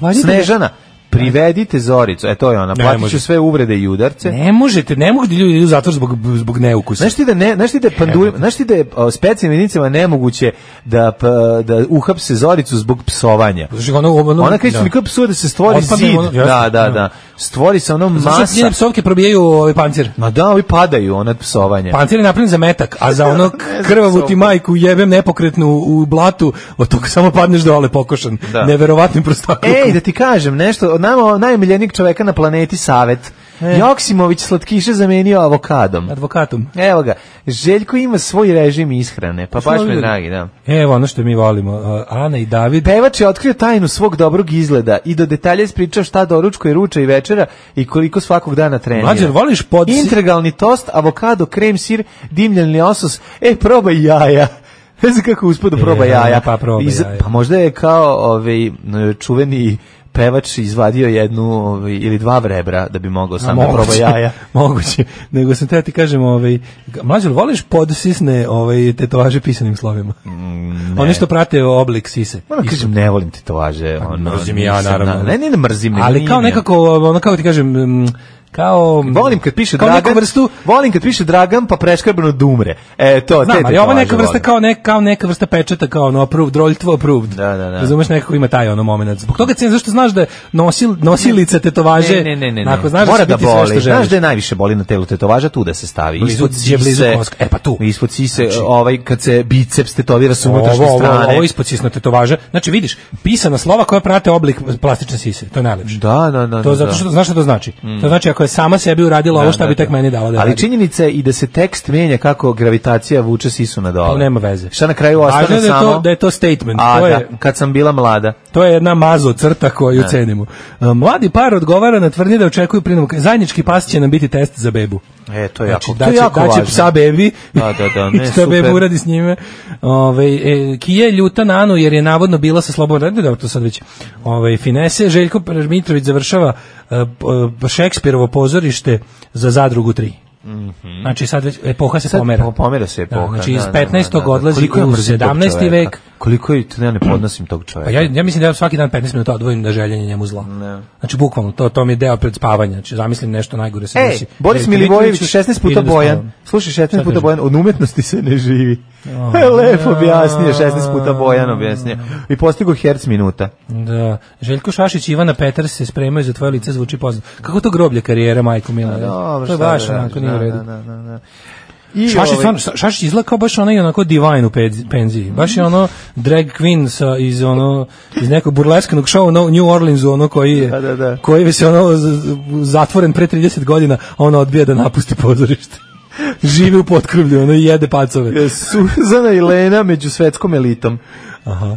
G: Snežana, privedite Zoricu. E, to je ona.
F: Ne,
G: Platit ću
F: može.
G: sve uvrede i udarce.
F: Ne možete, ne mogu da ljudi idu u zatvor zbog, zbog neukusa.
G: Znaš ti da ne, znaš ti da je pandurim, znaš ti da je o, specijalnim jedinicama nemoguće da p- da uhapse Zoricu zbog psovanja.
F: Znači, ono- ono-
G: ona kaže
F: da.
G: mi kao psuje da se stvori
F: Otpadne
G: zid.
F: ono-
G: da,
F: jasno,
G: da,
F: da. Znači,
G: da. Stvori se ono
F: Znaš što njene
G: masa.
F: psovke probijaju ovaj pancir?
G: Ma da, ovi padaju ona od psovanja.
F: Pancir je napravljen za metak, a za ono krvavu ti majku jebem nepokretnu u blatu, od toga samo padneš dole pokošan.
G: Da.
F: Neverovatnim prostakom.
G: Ej, da ti kažem nešto, od nama najmiljenijeg čoveka na planeti Savet.
F: E.
G: Joksimović slatkiše zamenio avokadom.
F: Advokatom.
G: Evo ga, Željko ima svoj režim ishrane, pa baš me
F: Ovi-
G: dragi, da.
F: Evo ono što mi volimo, uh, Ana i David.
G: Pevač je otkrio tajnu svog dobrog izgleda i do detalja ispričao šta doručkuje ruča i večera i koliko svakog dana trenira.
F: Mlađer, voliš pod...
G: Integralni tost, avokado, krem, sir, dimljeni osos. E, probaj jaja. Ne znam kako uspada proba
F: E,
G: jaja.
F: pa probaj jaja.
G: Pa možda je kao ovaj, n- čuveni pevač izvadio jednu ovaj, ili dva vrebra da bi mogao sam da
F: moguće,
G: proba jaja.
F: moguće. Nego sam te ti kažem, ovaj, mlađer, voliš podsisne ovaj, tetovaže pisanim slovima? Mm, One što prate oblik sise.
G: Moram
F: Isto.
G: kažem, ne volim tetovaže. Ono,
F: Pa, mrzim i ja,
G: nisam,
F: naravno.
G: na- Ne, ne, ne mrzim. ne,
F: Ali
G: nije
F: kao
G: mi je.
F: nekako, ono kako ti kažem, mm, kao...
G: Volim kad piše
F: kao
G: Dragan,
F: neku vrstu,
G: volim kad piše Dragan pa preškrbano dumre. E, to, te
F: znam, ali
G: tetovaže
F: ovo neka vrsta
G: volim.
F: kao, ne, kao neka vrsta pečata, kao ono approved, roljtvo approved.
G: Da, da, da.
F: Razumeš nekako ima taj ono moment. Zbog toga cijenim, zašto znaš da nosil, nosilica tetovaže,
G: Ne, ne, ne, ne, ne.
F: Ako znaš
G: Mora
F: da, će
G: da
F: biti sve što
G: boli. Znaš
F: želiš.
G: da je najviše boli na telu tetovaža tu da se stavi.
F: Blizu-
G: ispod
F: gdje je blizu
G: sise.
F: koska. E, pa tu.
G: Ispod sise, ovaj kad se biceps tetovira sa unutrašnje
F: ovo,
G: strane.
F: Ovo, ovo ispod sisno tetovaža. Znači, vidiš, pisana slova koja prate oblik plastične sise. To je najlepše.
G: Da, da, da.
F: To
G: da,
F: zato
G: da. Mm.
F: što znaš šta to znači. To znači ako je sama sebi uradila ovo šta
G: Da,
F: bi
G: da,
F: tek
G: da.
F: meni dala da
G: Ali
F: radi.
G: činjenica je i da se tekst menja kako gravitacija vuče sisu na dole.
F: To Pa nema veze.
G: Šta na kraju
F: Važno
G: ostane
F: je da je to-
G: samo?
F: da je to statement.
G: A,
F: To
G: da,
F: je-
G: kad sam bila mlada.
F: To je jedna mazo crta
G: E.
F: koju cenimo. A, Mladi par odgovara na tvrdnje da očekuju prinavka. Zajednički pas će nam biti test za bebu.
G: E, to je jako,
F: Znači,
G: to je
F: daće,
G: jako
F: daće
G: važno.
F: psa bebi.
G: Da, da, da, ne,
F: I šta bebu
G: super.
F: uradi s njime. Ove, e, Kija je ljuta na Anu jer je navodno bila sa slobodom. Da, da, to sad već. Ove, finese, Željko Mitrović završava e, p- e, Šekspirovo pozorište za zadrugu 3. Znači sad već epoha se
G: Mhm. Sad
F: pomera.
G: po- pomera se epoha.
F: Da, znači iz
G: da, da, da,
F: 15.
G: da, da.
F: odlazi
G: Koliko ja
F: u
G: mrzim tog
F: 17.
G: čoveka.
F: vek.
G: Koliko je, to ja ne podnosim tog čoveka.
F: Pa ja, ja mislim da ja svaki dan 15 minuta odvojim da željenje njemu zla. Znači bukvalno, to, to mi je deo pred spavanje. Znači zamislim nešto najgore se
G: Ej,
F: desi.
G: Boris
F: Željko
G: Milivojević,
F: Mitroviću,
G: 16 puta
F: idem da
G: Bojan.
F: spavam.
G: Slušaj, 16
F: Šta
G: puta
F: kaže?
G: Bojan, od umetnosti se ne živi.
F: Oh,
G: Lepo objasnio, 16 puta Bojan objasnio. I postigo herc minuta.
F: Da. Željko Šašić i Ivana Petar se spremaju za tvoje lice zvuči poznato. Kako to groblje karijera, majko Mila? je?
G: Pa Dobro,
F: to je
G: šta da
F: baš
G: radiš,
F: onako nije u
G: da,
F: redu.
G: da, da, da. I
F: Šašić,
G: ovaj-
F: stvarno, Ša- Šašić izgleda kao baš onaj onako divine u pez- penziji. Baš je ono drag queen sa, iz, ono, iz nekog burlesknog show no, New Orleansu, ono koji je,
G: Da, da, da.
F: koji se ono z- z- zatvoren pre 30 godina, a ona odbija da napusti pozorište. Živi u potkrovlju, ono i jede pacove.
G: Suzana i Lena među svetskom elitom.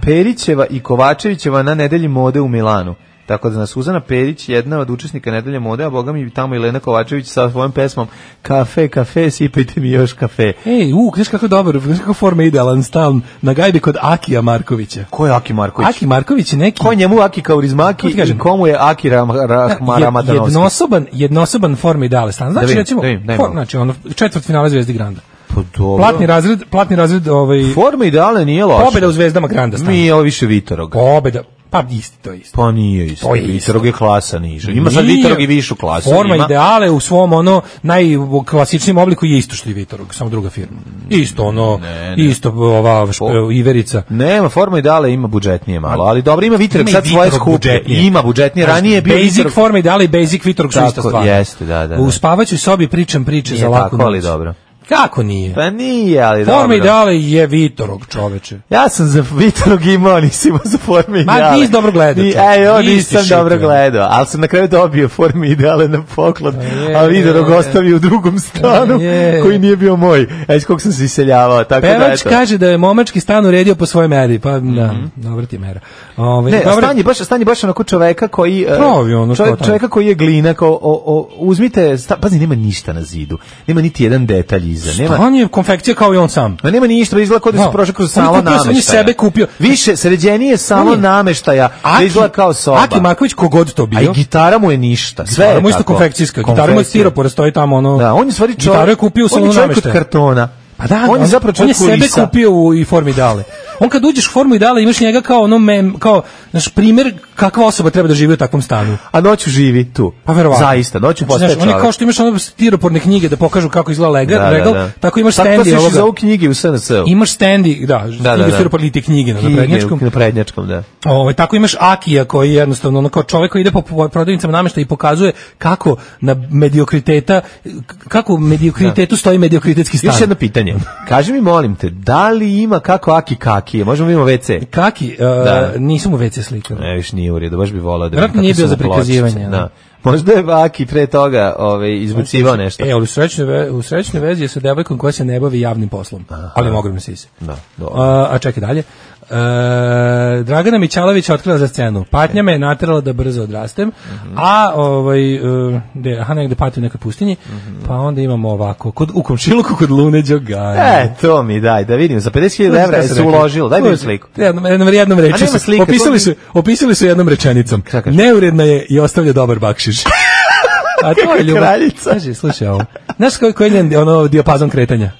G: Perićeva i Kovačevićeva na nedelji mode u Milanu. Tako da na Suzana Perić, jedna od učesnika nedelje mode, a boga mi tamo i Lena Kovačević sa svojom pesmom Kafe, kafe, sipajte mi još kafe.
F: Ej, u, znaš kako je dobar, znaš kako forma idealan stan na gajbi kod Akija Markovića.
G: Ko je Aki Marković?
F: Aki Marković je neki
G: Ko je njemu Aki Kaurizmaki
F: Kako ti kažem?
G: i komu je Aki Ram- Rahma
F: je-
G: Ramadanovski?
F: jednosoban, jednosoban forma ideale stan. Znači,
G: vidim,
F: recimo,
G: da vidim, daj
F: for-
G: malo.
F: znači, ono, četvrt finale Zvezdi Granda.
G: Pa dobro.
F: Platni razred, platni razred ovaj
G: Forma ideale nije loša.
F: pobeda u Zvezdama Granda stan.
G: Nije ovo više Vitorog.
F: Pobeda, pa isti to je isto.
G: Pa nije isto.
F: To je isto.
G: Vitorog je klasa niža. Ima sad
F: Nije.
G: Vitorog i višu klasu.
F: Forma
G: ima.
F: ideale u svom ono najklasičnijem obliku je isto što i Vitorog, samo druga firma. Isto ono, isto ova šp- Iverica.
G: Nema, forma ideale ima budžetnije malo, ali dobro, ima Vitorog
F: Ima i
G: sad svoje
F: Vitorog
G: skuplje.
F: budžetnije.
G: Ima budžetnije, ranije je bio
F: Basic
G: Vitorog.
F: forma ideale i Basic Vitorog su
G: Tako,
F: ista stvar.
G: jeste, da, da, da.
F: U spavaćoj sobi pričam priče
G: Nije
F: za laku
G: tako, ali
F: noć.
G: dobro.
F: Kako nije?
G: Pa nije, ali
F: Forma
G: dobro.
F: ideale je Vitorog, čoveče.
G: Ja sam za Vitorog imao, nisi imao za forme ideale.
F: nisi dobro gledao,
G: Ni-
F: čovječe.
G: E, jo,
F: Nisi
G: nisam dobro
F: šikran.
G: gledao, ali sam na kraju dobio forme ideale na poklon,
F: Pa
G: a Vitorog ostavio u drugom stanu,
F: Je.
G: koji nije bio moj. E, iz kog sam se iseljavao, tako da,
F: Pevač
G: eto. Mhm.
F: kaže da je momački stan uredio po svojoj meri, pa da, dobra ti je mera. Ovaj, Ove,
G: Ne,
F: dobra-
G: stanje baš stanje baš onako čoveka koji e,
F: Pravi ono
G: čovek-
F: kao tamo.
G: čoveka koji je glina kao o, o, uzmite sta, pazi nema ništa na zidu. Nema niti jedan detalj iza. Nema,
F: Nema. On je konfekcija kao i on sam.
G: Ma nema ništa, pa izgleda kao da
F: No.
G: se prošao kroz
F: On je
G: salo
F: kupio- on je
G: nameštaja.
F: sebe kupio.
G: Više, sređenije salo
F: On je-
G: nameštaja, da izgleda kao soba.
F: Aki Marković kogod to bio.
G: A i gitara mu je ništa. Sve
F: Gitara
G: je
F: mu je isto
G: tako.
F: konfekcijska. Gitara mu je od
G: Konfekcija.
F: stiropora, stoji tamo ono.
G: Da, on je u stvari čovjek.
F: Gitaru je kupio
G: on
F: u
G: je
F: salonu
G: čovjek od
F: nameštaja.
G: kartona.
F: Pa da,
G: on je zapravo
F: on je
G: čovjek
F: sebe
G: kulisa.
F: kupio u i formi dale. On kad uđeš u formu i dale imaš njega kao ono mem, kao naš primer kakva osoba treba da živi u takvom stanu.
G: A noću živi tu.
F: Pa verovatno.
G: Zaista, noću postaje
F: Znaš,
G: čovjek.
F: oni kao što imaš ono stiroporne knjige da pokažu kako izgleda legal, regal, tako imaš
G: Tako
F: stendi
G: se
F: ovoga.
G: za ovu knjige u SNS-u.
F: Imaš stendi, da, da, da,
G: da.
F: stiroporne te knjige na prednjačkom.
G: Na prednjačkom, da.
F: Ovaj tako imaš Akija koji je jednostavno ono kao čovjek koji ide po- po prodavnicama nameštaja i pokazuje kako na mediokriteta k- kako u mediokritetu stoji mediokritetski stan.
G: Još jedno pitanje. Kaži mi, molim te, da li ima kako Aki Kakije? Možemo imamo WC?
F: Kaki,
G: Da.
F: uh, nisu mu WC slike.
G: Ne, više nije u redu, baš bi volao da...
F: Vjerojatno
G: vidim
F: nije
G: kako
F: bio
G: su mu
F: za prikazivanje,
G: pločice,
F: da.
G: Da. Možda je Aki pre toga ovaj, izbucivao nešto.
F: E, ali u srećnoj, ve, u srećnoj vezi je sa devojkom koja se ne bavi javnim poslom, ali ima ogromne sise.
G: Da, dobro.
F: A, a čekaj dalje. E, Dragana Mićalović je otkrila za scenu. Patnja me je naterala da brzo odrastem, a ovaj, e, de, aha, negde pati u nekoj pustinji, pa onda imamo ovako, kod, u komšiluku kod Lune Đogana.
G: E, to mi daj, da vidim. Za 50.000 evra je se uložilo. Daj mi jednu sliku.
F: Jednom, jednom, jednom rečju.
G: nema
F: su-
G: slike,
F: Opisali
G: to
F: su,
G: mi-
F: opisali su jednom rečenicom.
G: kažeš?
F: Neuredna je i ostavlja dobar bakšiš. A to je ljubav.
G: kraljica.
F: Kaže, slušaj ovo. Znaš koji, koji je njen ono, diopazon kretanja?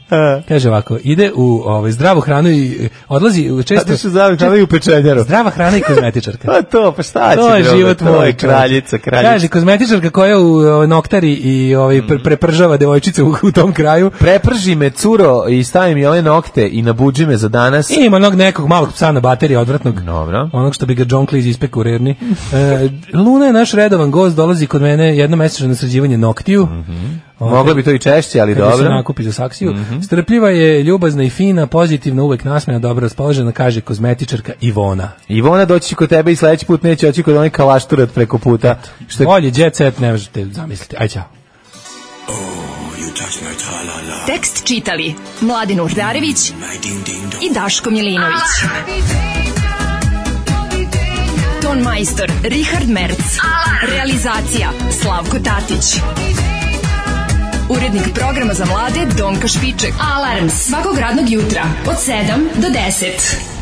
F: Kaže ovako, ide u ovaj, zdravu hranu i e, odlazi u često...
G: Zato što zavim kada i u pečenjaru.
F: Zdrava hrana i kozmetičarka.
G: Pa to, pa šta će?
F: To je
G: drugo?
F: život
G: To je
F: moj.
G: Kraljica,
F: čoveče.
G: kraljica. Mm.
F: Kaže, kozmetičarka koja u ovaj, noktari i ovaj, pre- prepržava devojčice u, u tom kraju.
G: Preprži me, curo, i stavi mi ove nokte i nabuđi me za danas.
F: I Ima onog nekog malog psa na baterije odvratnog.
G: Dobro.
F: Onog što bi ga John Cleese ispekao u rerni. E, Luna je naš redovan gost, dolazi kod mene jednomesečno na sređivanje noktiju. Ovaj,
G: Moglo bi to i češće, ali
F: Kada se
G: Mhm. dobro. Mhm.
F: nakupi za saksiju. Strpljiva je, ljubazna i fina, pozitivna, uvek nasmena, dobro raspoložena, kaže kozmetičarka Ivona.
G: Ivona doći kod tebe i sledeći put neće oći kod onaj kalašturat preko puta. Što je
F: Bolje, jet set, ne možete zamisliti. Aj, čao.
D: Tekst čitali Mladin Urdarević i Daško Milinović. Ton majstor Richard Merc. Realizacija Slavko Tatić. Urednik programa za mlade Donka Špiček. Alarms svakog radnog jutra od 7 do 10.